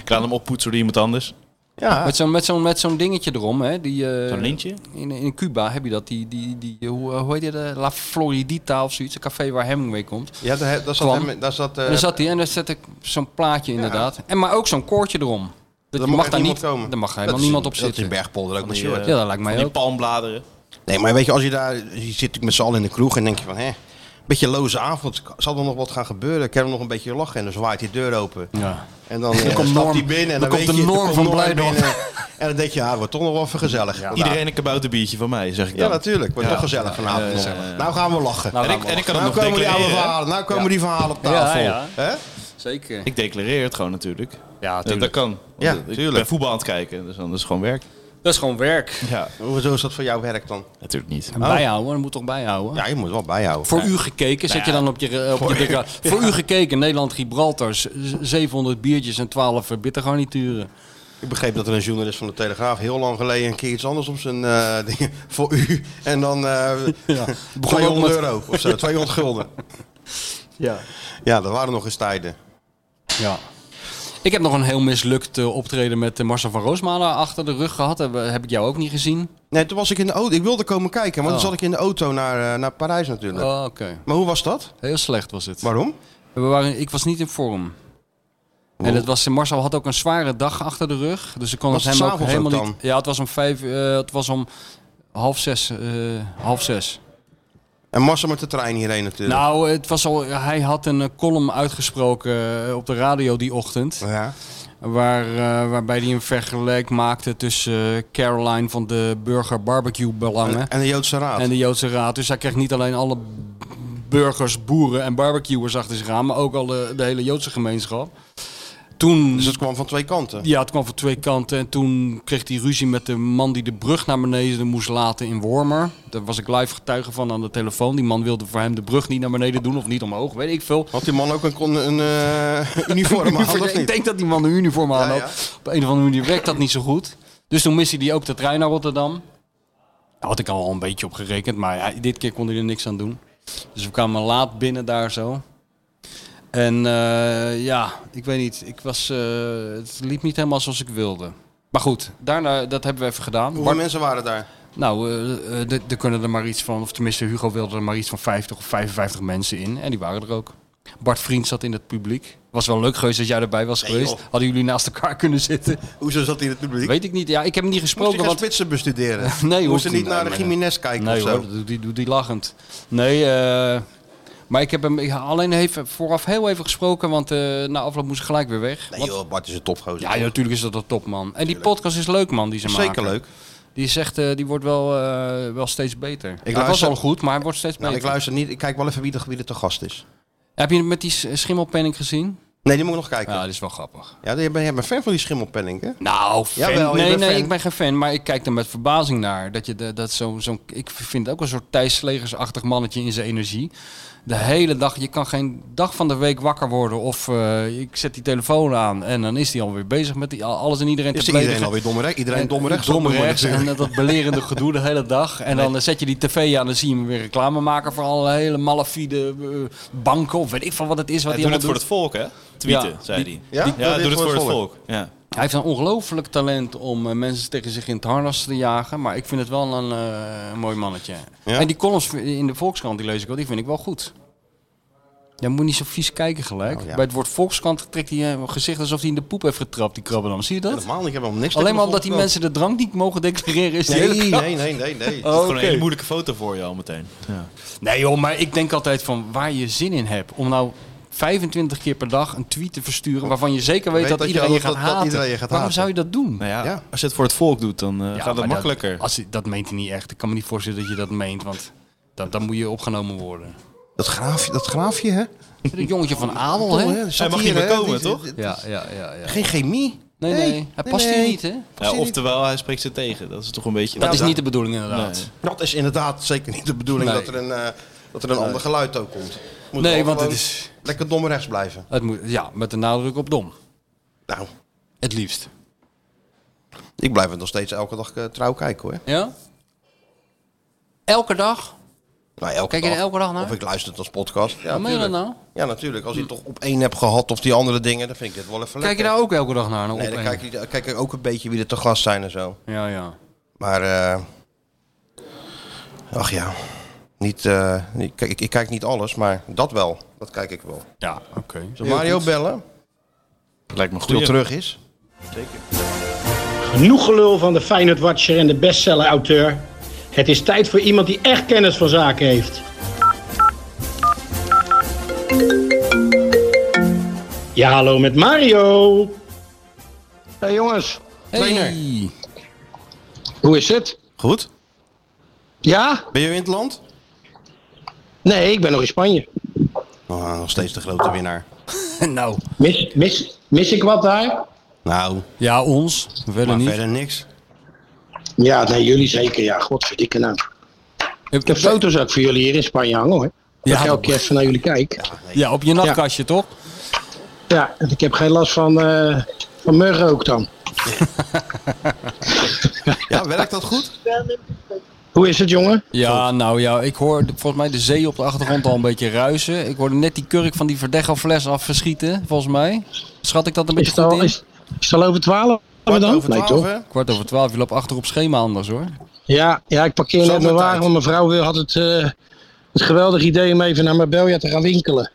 Speaker 4: Ik laat hem oppoetsen door iemand anders.
Speaker 2: Ja.
Speaker 3: Met zo'n met zo'n met zo'n dingetje erom, hè? Die, eh,
Speaker 4: Zo'n lintje?
Speaker 3: In, in Cuba heb je dat, die, die, die hoe, hoe heet het? eh, La Floridita of zoiets, een café waar Hemingway komt.
Speaker 2: Ja, daar, daar zat...
Speaker 3: Kwam.
Speaker 2: Hem, daar zat, eh,
Speaker 3: En dan zat hij en dan zet ik zo'n plaatje inderdaad. En maar ook zo'n koordje erom. Dat
Speaker 2: daar
Speaker 3: je mag
Speaker 2: echt
Speaker 3: daar
Speaker 2: niemand
Speaker 3: niet,
Speaker 2: komen.
Speaker 3: daar mag
Speaker 2: Dat
Speaker 3: helemaal
Speaker 2: is-
Speaker 3: niemand op
Speaker 2: Dat is in
Speaker 3: zitten. eh,
Speaker 2: Bergpolder ook met
Speaker 4: die,
Speaker 2: Sjoerd.
Speaker 4: eh,
Speaker 3: ja, dat lijkt mij
Speaker 4: Die
Speaker 3: ook.
Speaker 4: palmbladeren.
Speaker 2: Nee, maar weet je, als je daar... Je zit natuurlijk met z'n allen in de kroeg en denk je van... Hè, beetje loze avond. Zal er nog wat gaan gebeuren? Kan er nog een beetje lachen? En dan zwaait die deur open.
Speaker 3: Ja.
Speaker 2: En dan, eh,
Speaker 3: komt
Speaker 2: stapt
Speaker 3: Norm-
Speaker 2: hij binnen. En
Speaker 3: dan
Speaker 2: dan,
Speaker 3: komt
Speaker 2: weet
Speaker 3: de
Speaker 2: je,
Speaker 3: Norm
Speaker 2: dan
Speaker 3: van
Speaker 2: komt Norm
Speaker 3: Blijdorp.
Speaker 2: binnen. En dan denk je, ja, het wordt toch nog wel even gezellig. Ja,
Speaker 4: Iedereen een kabouterbiertje van mij, zeg ik
Speaker 2: ja
Speaker 4: dan.
Speaker 2: natuurlijk. Wordt toch gezellig vanavond nog. Nou gaan we lachen.
Speaker 3: Nou,
Speaker 2: Nou,
Speaker 4: en, ik, en ik kan het nog
Speaker 2: komen die oude
Speaker 4: declareren. hè?
Speaker 2: verhalen. Nou komen die verhalen op
Speaker 3: Ja,
Speaker 2: tafel.
Speaker 3: ja.
Speaker 2: Hè?
Speaker 3: Zeker.
Speaker 4: Ik declareer het gewoon natuurlijk. Ja,
Speaker 3: Ja,
Speaker 4: dat,
Speaker 3: tuurlijk.
Speaker 4: kan. Want
Speaker 2: Ja,
Speaker 4: ik
Speaker 2: tuurlijk.
Speaker 4: ben voetbal aan het kijken, dus dan is het gewoon werk.
Speaker 3: Dat is gewoon werk.
Speaker 4: Ja,
Speaker 2: Hoezo is dat voor jouw werk dan?
Speaker 4: natuurlijk niet.
Speaker 3: Oh. Bijhouden, dat moet toch bijhouden?
Speaker 2: Ja, je moet wel bijhouden.
Speaker 3: Voor u gekeken, zet je dan op je... eh, Op je dikke- voor u gekeken, Nederland-Gibraltar, z- 700 biertjes en 12 bittergarnituren.
Speaker 2: Ik begreep dat er een journalist van de Telegraaf heel lang geleden een keer iets anders op zijn eh, ding- voor u. En dan eh
Speaker 3: Begon ook
Speaker 2: 200
Speaker 3: met-
Speaker 2: euro of zo, 200 gulden.
Speaker 3: Ja.
Speaker 2: Ja, dat waren nog eens tijden.
Speaker 3: Ja. Ik heb nog een heel mislukt eh, optreden met eh, Marcel van Roosmalen achter de rug gehad. Heb, heb ik jou ook niet gezien?
Speaker 2: Nee, toen was ik in de auto. Ik wilde komen kijken, maar
Speaker 3: Oh.
Speaker 2: toen zat ik in de auto naar, eh, naar Parijs natuurlijk.
Speaker 3: Oh, Oké.
Speaker 2: Maar hoe was dat?
Speaker 3: Heel slecht was het.
Speaker 2: Waarom?
Speaker 3: We waren, ik was niet in vorm. En het was, Marcel had ook een zware dag achter de rug. Dus ik kon
Speaker 2: Was
Speaker 3: het
Speaker 2: het
Speaker 3: hem ook
Speaker 2: s'avonds ook
Speaker 3: helemaal
Speaker 2: dan?
Speaker 3: niet. Ja, het was om vijf. eh, het was om half zes. eh, half zes.
Speaker 2: En Marcel met de trein hierheen natuurlijk.
Speaker 3: Nou, het was al, hij had een eh, column uitgesproken eh, op de radio die ochtend.
Speaker 2: Oh, Ja.
Speaker 3: Waar, eh, waarbij hij een vergelijk maakte tussen eh, Caroline van de Burger Barbecue Belangen.
Speaker 2: En, en de Joodse Raad.
Speaker 3: En de Joodse Raad. Dus hij kreeg niet alleen alle burgers, boeren en barbecuers achter zich aan, maar ook al de, de hele Joodse gemeenschap. Toen,
Speaker 2: Dus het kwam van twee kanten.
Speaker 3: ja, het kwam van twee kanten. En toen kreeg hij ruzie met de man die de brug naar beneden moest laten in Wormer. Daar was ik live getuige van aan de telefoon. Die man wilde voor hem de brug niet naar beneden doen of niet omhoog, weet ik veel.
Speaker 2: Had die man ook een, kon- een eh, uniform aan, of
Speaker 3: ik
Speaker 2: niet?
Speaker 3: denk dat die man een uniform aan had.
Speaker 2: ja.
Speaker 3: Op een of andere manier werkt dat niet zo goed. Dus toen miste hij ook de trein naar Rotterdam. Daar had ik al een beetje op gerekend, maar ja, dit keer kon hij er niks aan doen. Dus we kwamen laat binnen daar zo. En eh, ja, ik weet niet. Ik was, eh, het liep niet helemaal zoals ik wilde. Maar goed, daarna, dat hebben we even gedaan.
Speaker 2: Hoeveel
Speaker 3: Bart-
Speaker 2: mensen waren daar?
Speaker 3: nou, eh, eh, d- er kunnen er maar iets van, of tenminste Hugo wilde er maar iets van 50 of 55 mensen in. En die waren er ook. Bart Vriend zat in het publiek. Was wel leuk geweest dat jij erbij was geweest.
Speaker 2: joh.
Speaker 3: Hadden jullie naast elkaar kunnen zitten?
Speaker 2: Hoezo zat hij in het publiek?
Speaker 3: Weet ik niet. Ja, ik heb hem niet
Speaker 2: Moest hij
Speaker 3: gesproken.
Speaker 2: gaan
Speaker 3: Want...
Speaker 2: spitsen bestuderen?
Speaker 3: hoeft
Speaker 2: Moest hij
Speaker 3: hij
Speaker 2: niet naar de
Speaker 3: nee.
Speaker 2: Jiménez kijken
Speaker 3: Nee
Speaker 2: of
Speaker 3: hoor,
Speaker 2: zo?
Speaker 3: dat doet die, doet die lachend. Nee, eh, maar ik heb hem ik- alleen even vooraf heel even gesproken, want eh, na afloop moest ik gelijk weer weg.
Speaker 2: Nee
Speaker 3: Want-
Speaker 2: joh, Bart is een topgozer.
Speaker 3: ja, natuurlijk is dat een topman. En die podcast is leuk man, die ze maken.
Speaker 2: Zeker leuk.
Speaker 3: Die is echt, eh, die wordt wel, eh, wel steeds beter. Ik Hij was
Speaker 2: luister-
Speaker 3: al goed, maar hij wordt steeds
Speaker 2: Nou,
Speaker 3: beter.
Speaker 2: ik luister niet. Ik kijk wel even wie er, wie er te gast is.
Speaker 3: Heb je het met die s- schimmelpenning gezien?
Speaker 2: Nee, die moet ik nog kijken.
Speaker 3: Ja,
Speaker 2: Ja,
Speaker 3: dat is wel grappig.
Speaker 2: jij bent, jij bent fan van die schimmelpenning, hè?
Speaker 3: Nou, fan.
Speaker 2: Jawel, je
Speaker 3: nee,
Speaker 2: bent
Speaker 3: nee,
Speaker 2: fan.
Speaker 3: ik ben geen fan, maar ik kijk er met verbazing naar. Dat je de, dat zo, zo, ik vind het ook een soort Thijs Slegers-achtig mannetje in zijn energie. De hele dag, je kan geen dag van de week wakker worden. Of eh, ik zet die telefoon aan en dan is hij alweer bezig met die, alles en iedereen
Speaker 2: Is
Speaker 3: te
Speaker 2: iedereen
Speaker 3: plegen.
Speaker 2: alweer domme rechts? Iedereen domme rechts?
Speaker 3: Domme
Speaker 2: Domme
Speaker 3: rechts
Speaker 2: rechts.
Speaker 3: en eh, dat belerende gedoe de hele dag. En dan eh, zet je die tv aan en zie je hem weer reclame maken voor alle hele malafide eh, banken of weet ik van wat het is. Wat
Speaker 4: Hij
Speaker 3: hij
Speaker 4: doet
Speaker 3: allemaal
Speaker 4: het voor
Speaker 3: doet.
Speaker 4: het volk, hè? Tweeten,
Speaker 3: Ja.
Speaker 4: zei
Speaker 3: Die-
Speaker 4: hij.
Speaker 2: Ja?
Speaker 4: Ja,
Speaker 2: Dat
Speaker 4: hij
Speaker 2: is
Speaker 4: doet het voor het volk. Ja.
Speaker 3: Hij heeft een ongelooflijk talent om eh, mensen tegen zich in het harnas te jagen. Maar ik vind het wel een eh, een mooi mannetje.
Speaker 2: Ja?
Speaker 3: En die columns in de Volkskrant, die lees ik wel, die vind ik wel goed. Jij moet niet zo vies kijken gelijk.
Speaker 2: Oh, ja.
Speaker 3: Bij het woord Volkskrant trekt hij eh, een gezicht alsof hij in de poep heeft getrapt, die krabbenam. Zie je dat?
Speaker 2: Helemaal niet, ik heb helemaal niks
Speaker 3: Alleen
Speaker 2: tegen
Speaker 3: maar
Speaker 2: de
Speaker 3: omdat die
Speaker 2: volkskrant.
Speaker 3: mensen de drank niet mogen declareren is die hele
Speaker 2: Nee,
Speaker 3: krant.
Speaker 2: nee, nee, nee, nee.
Speaker 3: Oh,
Speaker 4: Gewoon een
Speaker 3: oké.
Speaker 4: hele moeilijke foto voor je al meteen. Ja.
Speaker 3: Nee joh, maar ik denk altijd van waar je zin in hebt. Om nou 25 keer per dag een tweet te versturen waarvan je zeker weet,
Speaker 2: Weet
Speaker 3: dat,
Speaker 2: dat je
Speaker 3: iedereen
Speaker 2: al-
Speaker 3: je gaat
Speaker 2: dat- dat
Speaker 3: haten.
Speaker 2: iedereen je gaat
Speaker 3: Waarom
Speaker 2: haten?
Speaker 3: zou je dat doen?
Speaker 4: Nou ja,
Speaker 2: Ja.
Speaker 4: als je het voor het volk doet, dan eh, gaat
Speaker 3: maar
Speaker 4: het makkelijker.
Speaker 3: Dat, als, je- dat meent hij niet echt. Ik kan me niet voorstellen dat je dat meent, want dan, dan moet je opgenomen worden.
Speaker 2: Dat graafje, dat graafje hè?
Speaker 3: Een jongetje van adel,
Speaker 2: Oh, hè?
Speaker 3: hè?
Speaker 2: Zat
Speaker 4: Hij mag niet
Speaker 2: hier,
Speaker 4: meer
Speaker 2: hè?
Speaker 4: komen,
Speaker 2: Dit-
Speaker 4: toch?
Speaker 2: dit-
Speaker 3: Ja, ja, ja. ja.
Speaker 2: Geen chemie.
Speaker 3: Nee, nee, Hij past
Speaker 2: nee,
Speaker 3: hier
Speaker 2: nee.
Speaker 3: niet, hè?
Speaker 4: Ja, oftewel, hij spreekt ze tegen. Dat is toch een beetje...
Speaker 3: Dat
Speaker 4: Ja,
Speaker 3: is niet de bedoeling, inderdaad.
Speaker 4: Nee.
Speaker 2: Dat is inderdaad zeker niet de bedoeling
Speaker 3: Nee.
Speaker 2: dat er een, eh, dat er een ander geluid ook komt. Moet
Speaker 3: Nee,
Speaker 2: wel
Speaker 3: want het
Speaker 2: gewoon
Speaker 3: is-
Speaker 2: Lekker dom rechts blijven.
Speaker 3: Het moet, ja, met de nadruk op dom.
Speaker 2: Nou,
Speaker 3: Het liefst.
Speaker 2: ik blijf het nog steeds elke dag eh, trouw kijken hoor.
Speaker 3: Ja? Elke dag?
Speaker 2: Nou, elke
Speaker 3: Kijk je er elke dag naar?
Speaker 2: Of ik luister het als podcast. Ja,
Speaker 3: Wat meen je dat
Speaker 2: natuurlijk.
Speaker 3: nou?
Speaker 2: Ja, natuurlijk. Als je het toch op één hebt gehad of die andere dingen, dan vind ik dit wel even
Speaker 3: Kijk je
Speaker 2: lekker.
Speaker 3: daar ook elke dag naar? naar
Speaker 2: Nee, dan
Speaker 3: op-
Speaker 2: kijk, je- dan kijk ik ook een beetje wie er te gast zijn en zo.
Speaker 3: Ja, ja.
Speaker 2: Maar, eh, ach ja. Niet, eh, niet- kijk, ik, ik kijk niet alles, maar dat wel. Dat kijk ik wel.
Speaker 3: Ja, oké.
Speaker 2: Zullen we Mario bellen?
Speaker 4: Lijkt me
Speaker 2: Toen
Speaker 4: goed.
Speaker 2: hij terug is.
Speaker 9: Genoeg gelul van de Feyenoord Watcher en de bestseller auteur. Het is tijd voor iemand die echt kennis van zaken heeft. Ja, hallo met Mario. Hey jongens,
Speaker 3: Trainer.
Speaker 9: hoe is het?
Speaker 2: Goed?
Speaker 9: Ja?
Speaker 2: Ben je in het land?
Speaker 9: Nee, ik ben nog in Spanje.
Speaker 2: Oh, nog steeds de grote winnaar.
Speaker 3: nou,
Speaker 9: Mis, mis, mis ik wat daar?
Speaker 2: Nou,
Speaker 3: ja, ons. Verder
Speaker 2: maar
Speaker 3: niet.
Speaker 2: verder niks.
Speaker 9: Ja, nee, jullie zeker. Ja, godverdikke nou. Ik heb foto's ook voor jullie hier in Spanje hangen hoor. Dat
Speaker 3: Ja,
Speaker 9: ik elke keer even naar jullie kijk.
Speaker 3: ja, op je nachtkastje, toch?
Speaker 9: Ja, en ik heb geen last van, eh van muggen ook dan.
Speaker 2: Ja, werkt dat goed?
Speaker 9: Hoe is het jongen?
Speaker 3: Ja, nou ja, ik hoor de- volgens mij de zee op de achtergrond al een beetje ruisen. Ik hoorde net die kurk van die Verdecho-fles afschieten, volgens mij. Schat ik dat een
Speaker 9: Is
Speaker 3: beetje
Speaker 9: het
Speaker 3: goed
Speaker 9: al,
Speaker 3: in?
Speaker 9: is, is het al over twaalf?
Speaker 2: Kwart
Speaker 9: dan?
Speaker 2: over
Speaker 9: nee
Speaker 2: twaalf,
Speaker 9: toch?
Speaker 2: hè?
Speaker 3: Kwart over twaalf, je loopt achter op schema anders hoor.
Speaker 9: Ja, ja, ik parkeer net mijn
Speaker 2: Zomertijd.
Speaker 9: wagen, want mijn vrouw wil- had het, eh, het geweldig idee om even naar Marbella te gaan winkelen.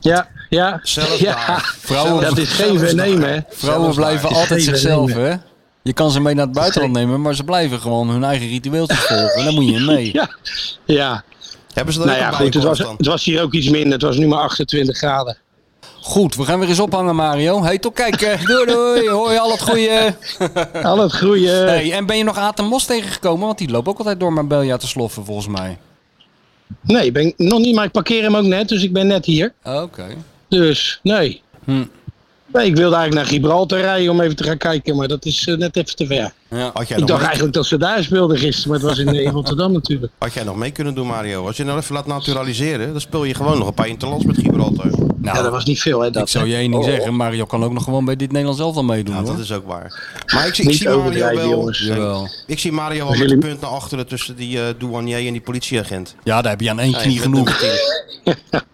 Speaker 9: ja, ja.
Speaker 2: Zelfs
Speaker 9: ja.
Speaker 2: daar.
Speaker 3: Vrouwen,
Speaker 9: Dat is geen
Speaker 2: Zelfs
Speaker 9: vernemen, hè?
Speaker 3: vrouwen blijven
Speaker 9: waar.
Speaker 3: altijd
Speaker 9: nou, Geen
Speaker 3: zichzelf
Speaker 9: idee
Speaker 3: hè. Je kan ze mee naar het buitenland nemen, maar ze blijven gewoon hun eigen ritueeltjes volgen. En dan moet je in mee.
Speaker 9: Ja, ja.
Speaker 2: Hebben ze dat
Speaker 9: nou ja,
Speaker 2: ook een
Speaker 9: goed. Het was,
Speaker 2: bijkorf dan?
Speaker 9: het was hier ook iets minder. Het was nu maar 28 graden.
Speaker 3: Goed, we gaan weer eens ophangen Mario. Hey, tot kijken. Doei doei. Hoi, al het
Speaker 9: Eh.
Speaker 3: goede.
Speaker 9: Al het groeien.
Speaker 3: Hey, en ben je nog Aten Mos tegengekomen? Want die loopt ook altijd door Marbella te sloffen volgens mij.
Speaker 9: Nee, ik ben nog niet, maar ik parkeer hem ook net, dus ik ben net hier.
Speaker 3: Oké.
Speaker 9: Dus nee.
Speaker 3: Hm.
Speaker 9: Nee, ik wilde eigenlijk naar Gibraltar rijden om even te gaan kijken, maar dat is eh, net even te ver.
Speaker 3: Ja.
Speaker 2: Had jij,
Speaker 9: ik
Speaker 2: nog
Speaker 9: dacht
Speaker 2: mee,
Speaker 9: eigenlijk dat ze daar speelden gisteren, maar het was in, eh, in Rotterdam natuurlijk.
Speaker 2: had jij nog mee kunnen doen, Mario? Als je nou even laat naturaliseren, dan speel je gewoon nog een paar interlands met Gibraltar.
Speaker 3: Nou,
Speaker 9: Ja, dat was niet veel, hè? Oh.
Speaker 3: ik
Speaker 9: Dat,
Speaker 3: zou je één ding zeggen. Mario kan ook nog gewoon bij dit Nederlands elftal meedoen
Speaker 2: Ja,
Speaker 3: hoor.
Speaker 2: dat is ook waar. Maar ik, zie- ik
Speaker 9: Niet
Speaker 2: zie Mario
Speaker 9: overdrijven,
Speaker 2: wel...
Speaker 9: jongens.
Speaker 3: Jawel.
Speaker 2: Ik zie Mario wel met een punt naar achteren tussen die eh, douanier en die politieagent.
Speaker 3: Ja, daar heb je aan één knie
Speaker 2: met
Speaker 3: genoeg.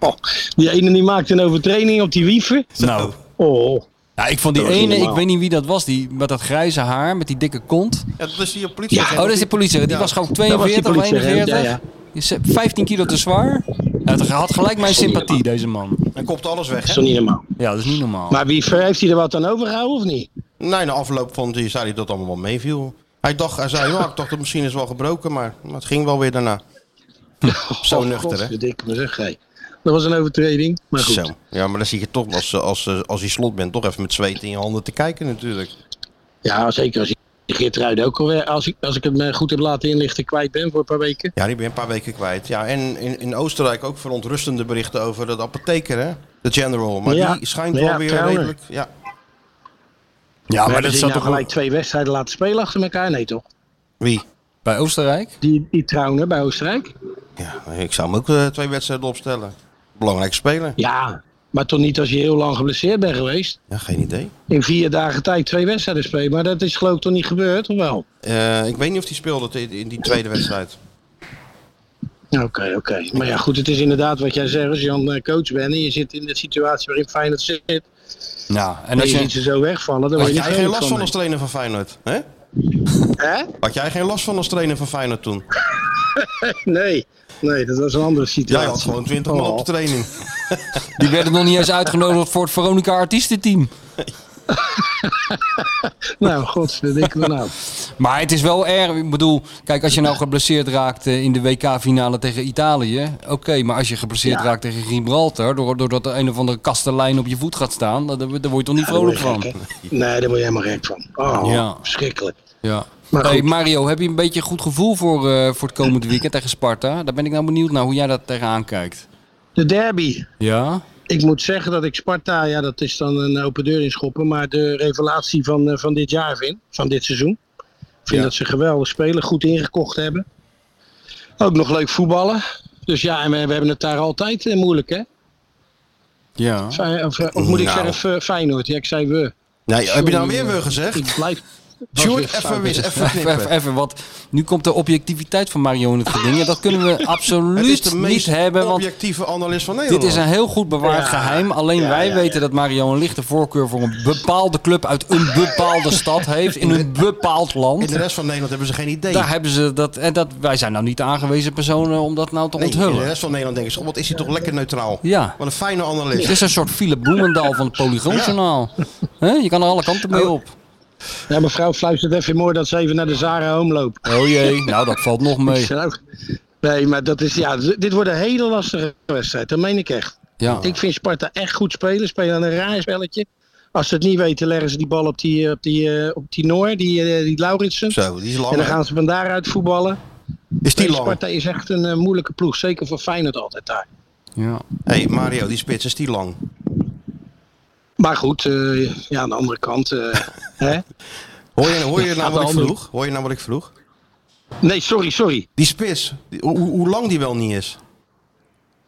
Speaker 9: Oh, die ene die maakte een overtraining op die wieven.
Speaker 3: Nou,
Speaker 9: Oh,
Speaker 3: ja, ik vond die
Speaker 9: was niet
Speaker 3: ene, ik
Speaker 9: normaal.
Speaker 3: weet niet wie dat was, die met dat grijze haar, met die dikke kont.
Speaker 2: Ja, dat is die politieagent.
Speaker 3: Oh, dat is die politie. Die
Speaker 2: Ja.
Speaker 3: was gewoon
Speaker 9: dat was die
Speaker 3: 42 of
Speaker 9: politie. hè?
Speaker 3: 41.
Speaker 9: Ja, ja.
Speaker 3: Die is, eh, 15 kilo te zwaar. Ja, het had gelijk mijn sympathie, deze man.
Speaker 2: Hij kopt alles
Speaker 9: Dat
Speaker 2: weg,
Speaker 9: is
Speaker 2: hè?
Speaker 9: toch niet normaal.
Speaker 3: Ja, dat is niet normaal.
Speaker 9: Maar wieven, heeft hij er wat aan overgehouden of niet?
Speaker 2: Nee, na afloop van die zei hij dat allemaal wel meeviel. Hij, dacht, hij zei, ja, ik dacht dat misschien is wel gebroken, maar het ging wel weer daarna. Zo
Speaker 9: Oh,
Speaker 2: nuchter, hè?
Speaker 9: godverdikke me zeg, hé. Dat was een overtreding, maar goed.
Speaker 2: Zo. Ja, maar dan zie je toch als, eh, als, eh, als je slot bent, toch even met zweet in je handen te kijken natuurlijk.
Speaker 9: Ja, zeker als ik Geertruiden ook alweer, als ik, als ik het me goed heb laten inlichten, kwijt ben voor een paar weken.
Speaker 2: Ja, die ben je een paar weken kwijt. Ja, en in, in Oostenrijk ook verontrustende berichten over dat apotheker, hè? De general. Maar
Speaker 9: Ja.
Speaker 2: die schijnt
Speaker 9: Ja,
Speaker 2: wel weer
Speaker 9: trouwens.
Speaker 2: redelijk... Ja,
Speaker 3: ja,
Speaker 9: Maar dat
Speaker 3: is
Speaker 9: is nou gelijk twee wedstrijden laten spelen achter elkaar, nee toch?
Speaker 2: wie?
Speaker 3: bij Oostenrijk.
Speaker 9: Die, die trouwen bij Oostenrijk?
Speaker 2: Ja, ik zou hem ook eh, twee wedstrijden opstellen. Belangrijk speler.
Speaker 9: Ja, maar toch niet als je heel lang geblesseerd bent geweest.
Speaker 2: Ja, geen idee.
Speaker 9: In vier dagen tijd twee wedstrijden spelen, maar dat is geloof ik toch niet gebeurd, of wel?
Speaker 2: Eh, ik weet niet of die speelde te- in die tweede wedstrijd.
Speaker 9: Oké, oké. Maar ja, goed, het is inderdaad wat jij zegt. Als je dan eh, coach bent en je zit in de situatie waarin Feyenoord zit, en,
Speaker 3: Ja, Nou, en
Speaker 9: je
Speaker 3: als
Speaker 9: ziet
Speaker 3: je,
Speaker 9: ze zo wegvallen, dan
Speaker 2: Had
Speaker 9: word je niet
Speaker 2: jij geen
Speaker 9: vrolijk
Speaker 2: last van
Speaker 9: van.
Speaker 2: als trainer van Feyenoord? Hè?
Speaker 9: Hè?
Speaker 2: Had jij geen last van als trainer van Feyenoord toen?
Speaker 9: Nee, nee, dat was een andere
Speaker 2: Jij
Speaker 9: situatie.
Speaker 2: had gewoon 20 man
Speaker 9: Oh.
Speaker 2: op de training.
Speaker 3: die werden nog niet eens uitgenodigd voor het Veronica Artiestenteam.
Speaker 9: Nou, godverdikke me nou.
Speaker 3: Maar het is wel erg. Ik bedoel, kijk, als je nou geblesseerd raakt eh, in de WK-finale tegen Italië. Oké, maar als je geblesseerd
Speaker 9: Ja.
Speaker 3: raakt tegen Gibraltar. door- doordat er een of andere kastelein op je voet gaat staan. dan- dan- daar word je toch niet
Speaker 9: Daar word
Speaker 3: vrolijk
Speaker 9: je
Speaker 3: van.
Speaker 9: gek, hè? Nee, daar word je helemaal gek van. Oh,
Speaker 3: Ja.
Speaker 9: verschrikkelijk.
Speaker 3: Ja.
Speaker 9: Maar
Speaker 3: hey,
Speaker 9: goed.
Speaker 3: Mario, heb je een beetje goed gevoel voor, eh, voor het komende weekend tegen Sparta? Daar ben ik nou benieuwd naar hoe jij dat tegenaan kijkt.
Speaker 9: De derby.
Speaker 3: Ja?
Speaker 9: Ik moet zeggen dat ik Sparta, ja, dat is dan een open deur in schoppen, maar de revelatie van, eh, van dit jaar vind, van dit seizoen. Ik vind
Speaker 3: Ja.
Speaker 9: dat ze geweldig spelen, goed ingekocht hebben. Ook nog leuk voetballen. Dus ja, en we, we hebben het daar altijd eh, moeilijk, hè?
Speaker 3: Ja.
Speaker 9: Fey- Of, eh, of moet ik
Speaker 2: Nou.
Speaker 9: zeggen Fe- Feyenoord? Ja, ik zei we.
Speaker 2: Nee, heb je nou weer
Speaker 9: Sorry,
Speaker 2: weer gezegd?
Speaker 9: Ik blijf... was weer
Speaker 2: Sjoerd,
Speaker 9: fout
Speaker 2: even,
Speaker 9: met
Speaker 2: weer-
Speaker 9: het-
Speaker 2: even
Speaker 3: Even,
Speaker 2: knippen.
Speaker 3: even, want nu komt de objectiviteit van Mario in het geding. En dat kunnen we
Speaker 2: Het is de
Speaker 3: absoluut niet
Speaker 2: meest
Speaker 3: hebben. Want
Speaker 2: objectieve analist van Nederland.
Speaker 3: Dit is een heel goed bewaard
Speaker 9: Ja.
Speaker 3: geheim. Alleen
Speaker 9: Ja,
Speaker 3: wij
Speaker 9: ja,
Speaker 3: weten dat Mario een lichte voorkeur voor een bepaalde club uit een bepaalde stad heeft. In een bepaald
Speaker 2: In de
Speaker 3: land.
Speaker 2: rest van Nederland hebben ze geen idee.
Speaker 3: Daar hebben ze dat, en dat. Wij zijn nou niet de aangewezen personen om dat nou te
Speaker 2: Nee, in de
Speaker 3: onthullen.
Speaker 2: rest van Nederland denken ze, oh, wat is hij toch lekker neutraal.
Speaker 3: Ja.
Speaker 2: Wat een fijne analist.
Speaker 3: Het is een soort Philip Bloemendaal van het Polygoonjournaal. Hè? Je kan er alle kanten mee op.
Speaker 9: Ja, mevrouw fluistert even mooi dat ze even naar de Zara Home loopt.
Speaker 3: Oh jee, nou dat valt nog mee.
Speaker 9: Ik zei ook, Nee, maar dat is, ja, d- dit wordt een hele lastige wedstrijd. Dat meen ik echt.
Speaker 10: Ja.
Speaker 9: Ik vind Sparta echt goed spelen. Spelen een raar spelletje. Als ze het niet weten, leggen ze die bal op die, op die, eh, op die Noor, die, eh, die Lauritsen.
Speaker 2: Zo, die is lang.
Speaker 9: En dan
Speaker 2: hè?
Speaker 9: gaan ze van daaruit voetballen.
Speaker 2: Is die
Speaker 9: Nee,
Speaker 2: lang?
Speaker 9: Sparta is echt een eh, moeilijke ploeg. Zeker voor Feyenoord altijd daar.
Speaker 10: ja.
Speaker 2: Hé, hey, Mario, die spits, is die lang?
Speaker 9: Maar goed, eh, ja, aan de andere kant. eh, hè?
Speaker 2: Hoor je, hoor je nou
Speaker 9: de
Speaker 2: wat ik
Speaker 9: andere-
Speaker 2: vroeg? Hoor je nou wat ik vroeg?
Speaker 9: Nee, sorry, sorry.
Speaker 2: Die spits, die- hoe, hoe- hoe lang die wel niet is?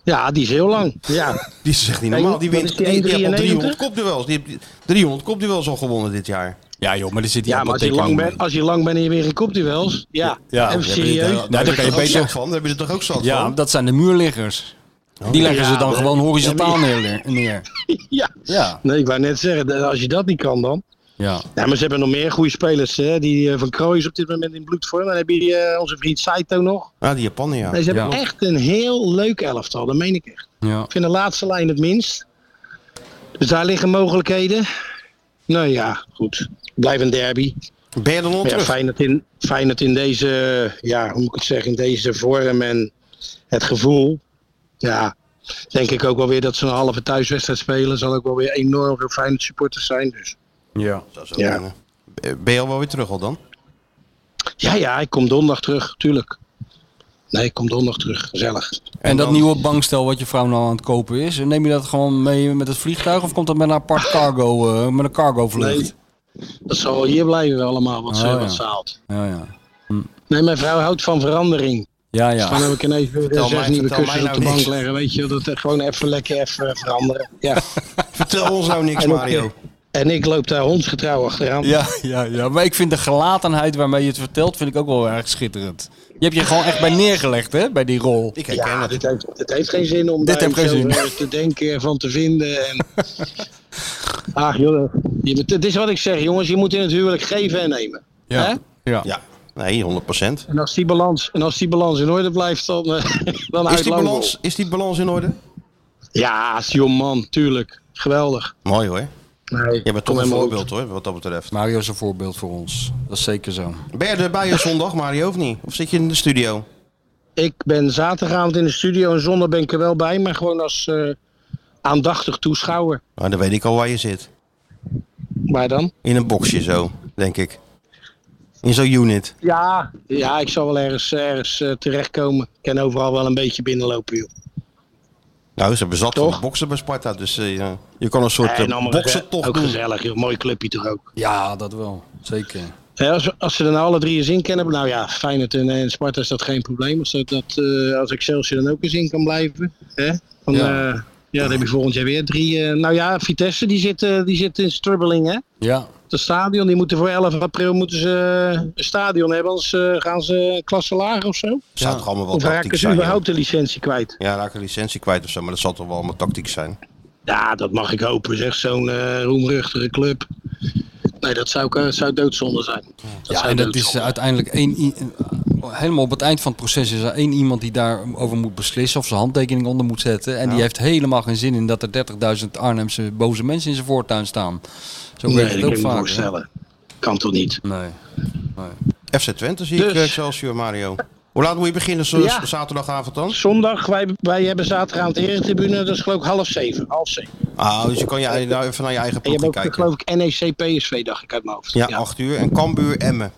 Speaker 9: Ja, die is heel lang. Ja,
Speaker 2: Die is echt niet
Speaker 9: Nee,
Speaker 2: normaal.
Speaker 9: wat
Speaker 2: Die,
Speaker 9: is
Speaker 2: wint,
Speaker 9: die,
Speaker 2: die, die heeft al
Speaker 9: 1,93?
Speaker 2: 300 kopduels. Die heeft 300 kopduels al gewonnen dit jaar.
Speaker 3: Ja joh, maar er zit hier
Speaker 9: ja
Speaker 3: allemaal
Speaker 9: maar als je, lang
Speaker 3: tekening
Speaker 9: bent, als je lang bent en je weer in kopduels. Ja,
Speaker 3: Ja,
Speaker 9: even
Speaker 3: ja,
Speaker 9: serieus.
Speaker 3: Oh, Ja, Nou, daar kan je
Speaker 2: Daar hebben ze
Speaker 3: beter...
Speaker 2: toch van? Daar hebben ze toch ook zat
Speaker 3: Ja,
Speaker 2: van?
Speaker 3: dat zijn de muurliggers. Die leggen ze
Speaker 9: Ja,
Speaker 3: dan
Speaker 9: maar-
Speaker 3: gewoon horizontaal neer. neer.
Speaker 9: Ja.
Speaker 3: Ja,
Speaker 9: Nee, ik wou net zeggen, dat- als je dat niet kan dan.
Speaker 3: ja.
Speaker 9: Ja, maar ze hebben nog meer goede spelers. Hè? Die eh, van Krooi is op dit moment in bloedvorm. Dan heb je die, eh, onze vriend Saito nog.
Speaker 2: Ja, Ah, die Japaner, ja.
Speaker 9: Nee, ze hebben
Speaker 3: Ja.
Speaker 9: echt een heel leuk elftal. Dat meen ik echt.
Speaker 3: ja.
Speaker 9: Ik vind de laatste lijn het minst. Dus daar liggen mogelijkheden. Nou ja, goed. Blijf een derby.
Speaker 2: Ben je dan al
Speaker 9: Maar ja,
Speaker 2: terug?
Speaker 9: fijn dat in, fijn dat in deze, ja, hoe moet ik het zeggen, in deze vorm en het gevoel. Ja, denk ik ook wel weer dat ze een halve thuiswedstrijd spelen. Zal ook wel weer enorm veel fijne supporters zijn. Dus.
Speaker 2: Dat zou
Speaker 9: Ja.
Speaker 2: kunnen. Ben je al wel weer terug al dan?
Speaker 9: Ja, ja, ik kom donderdag terug, tuurlijk. Nee, ik kom donderdag terug. Gezellig.
Speaker 3: En dat
Speaker 2: dan-
Speaker 3: nieuwe bankstel wat je vrouw nou aan het kopen is, neem je dat gewoon mee met het vliegtuig of komt dat met een apart cargo, eh, met een cargo vlucht?
Speaker 9: Dat zal wel hier blijven allemaal wat, ze,
Speaker 3: Oh, ja.
Speaker 9: wat ze haalt.
Speaker 3: Ja, ja.
Speaker 9: Nee, mijn vrouw houdt van verandering.
Speaker 3: Ja,
Speaker 9: Dus dan
Speaker 3: ja.
Speaker 9: heb ik ineens weer
Speaker 2: Vertel
Speaker 9: zes
Speaker 2: mij-
Speaker 9: nieuwe
Speaker 2: vertel
Speaker 9: kussens
Speaker 2: mij
Speaker 9: op de
Speaker 2: nou
Speaker 9: bank
Speaker 2: niks.
Speaker 9: leggen. Weet je, dat eh, gewoon even lekker even veranderen. Ja.
Speaker 2: Vertel ons nou niks,
Speaker 9: En op-
Speaker 2: Mario.
Speaker 9: En ik loop daar hondsgetrouw achteraan.
Speaker 3: Ja, ja, ja. Maar ik vind de gelatenheid waarmee je het vertelt, vind ik ook wel erg schitterend. Je hebt je gewoon echt bij neergelegd, hè, bij die rol.
Speaker 2: Ik herken
Speaker 9: Ja,
Speaker 2: het.
Speaker 9: dit heeft, het heeft geen zin om
Speaker 3: Dit
Speaker 9: daar
Speaker 3: heeft geen
Speaker 9: iets over te denken en van te vinden. En... Ach joh, je moet- het is wat ik zeg jongens, je moet in het huwelijk geven en nemen.
Speaker 3: Ja. Ja.
Speaker 2: Ja, nee, 100 procent.
Speaker 9: En als die balans, en als die balans in orde blijft, dan, eh, dan
Speaker 2: Is
Speaker 9: uit
Speaker 2: die,
Speaker 9: Langel.
Speaker 2: balans, is die balans in orde?
Speaker 9: Ja, jong man, tuurlijk. Geweldig.
Speaker 2: Mooi hoor.
Speaker 9: Nee,
Speaker 2: Je bent toch een
Speaker 9: helemaal goed.
Speaker 2: voorbeeld hoor, wat dat betreft.
Speaker 3: Mario is een voorbeeld voor ons. Dat is zeker zo.
Speaker 2: Ben je erbij op zondag, Mario, of niet? Of zit je in de studio?
Speaker 9: Ik ben zaterdagavond in de studio en zondag ben ik er wel bij, maar gewoon als eh, aandachtig toeschouwer.
Speaker 2: Nou, dan weet ik al waar je zit.
Speaker 9: Maar dan?
Speaker 2: In een boxje zo, denk ik. In zo'n unit.
Speaker 9: Ja. Ja, ik zal wel ergens, ergens eh, terechtkomen. Ik kan overal wel een beetje binnenlopen, joh.
Speaker 2: Nou, ze bezat
Speaker 9: Toch?
Speaker 2: van boksen bij Sparta, dus eh, ja, je kan een soort
Speaker 9: En
Speaker 2: eh,
Speaker 9: allemaal geze-
Speaker 2: boksentocht
Speaker 9: ook
Speaker 2: doen.
Speaker 9: gezellig, joh. Mooi clubje toch ook.
Speaker 3: Ja, dat wel. Zeker.
Speaker 9: Hè, als, als ze er nou alle drie eens in kennen, nou ja, Feyenoord en, en Sparta is dat geen probleem. Als, dat, dat, eh, als Excelsior dan ook eens in kan blijven. Hè? Van,
Speaker 3: Ja.
Speaker 9: ja. ja, dan heb je volgend jaar weer drie. eh, nou ja, Vitesse die zit, eh, die zit in strubbeling, hè?
Speaker 3: Ja.
Speaker 9: Het stadion, die moeten voor 11 april moeten ze eh, een stadion hebben, anders eh, gaan ze een klasse lager of zo.
Speaker 2: Zou toch allemaal wel
Speaker 9: Of
Speaker 2: tactiek
Speaker 9: raken ze
Speaker 2: zijn? joh?
Speaker 9: überhaupt de licentie kwijt?
Speaker 2: Ja, raak een licentie kwijt of zo, maar dat zal toch wel allemaal tactiek zijn.
Speaker 9: Ja, dat mag ik hopen, zeg. Zo'n eh roemruchtige club. Nee, dat zou, ik, eh, zou doodzonde zijn. Dat
Speaker 3: Ja,
Speaker 9: zou
Speaker 3: en dat
Speaker 9: doodzonde
Speaker 3: is
Speaker 9: zijn.
Speaker 3: eh, uiteindelijk één. i- eh, Helemaal op het eind van het proces is er één iemand die daarover moet beslissen of zijn handtekening onder moet zetten. En die heeft helemaal geen zin in dat er 30.000 Arnhemse boze mensen in zijn voortuin staan. Zo
Speaker 9: Nee,
Speaker 3: werkt het
Speaker 9: dat kan
Speaker 3: ook
Speaker 9: ik me
Speaker 3: vaak. hè?
Speaker 9: voorstellen. Kan toch niet?
Speaker 3: Nee.
Speaker 2: FC Twente zie ik
Speaker 9: Dus-
Speaker 2: eh, Excelsior, Mario. Hoe laat moet je beginnen? Zo,
Speaker 9: Ja.
Speaker 2: Zaterdagavond dan?
Speaker 9: Zondag, wij, wij hebben zaterdag aan de Eretribune, dat is geloof ik half zeven. Half zeven.
Speaker 2: Ah, dus je kan je, nou even naar je eigen
Speaker 9: En je
Speaker 2: ploeg
Speaker 9: hebt
Speaker 2: gaan
Speaker 9: ook
Speaker 2: kijken.
Speaker 9: geloof ik E NEC PSV, dacht ik uit mijn hoofd.
Speaker 2: Ja, 8 uur. En Cambuur Emmen.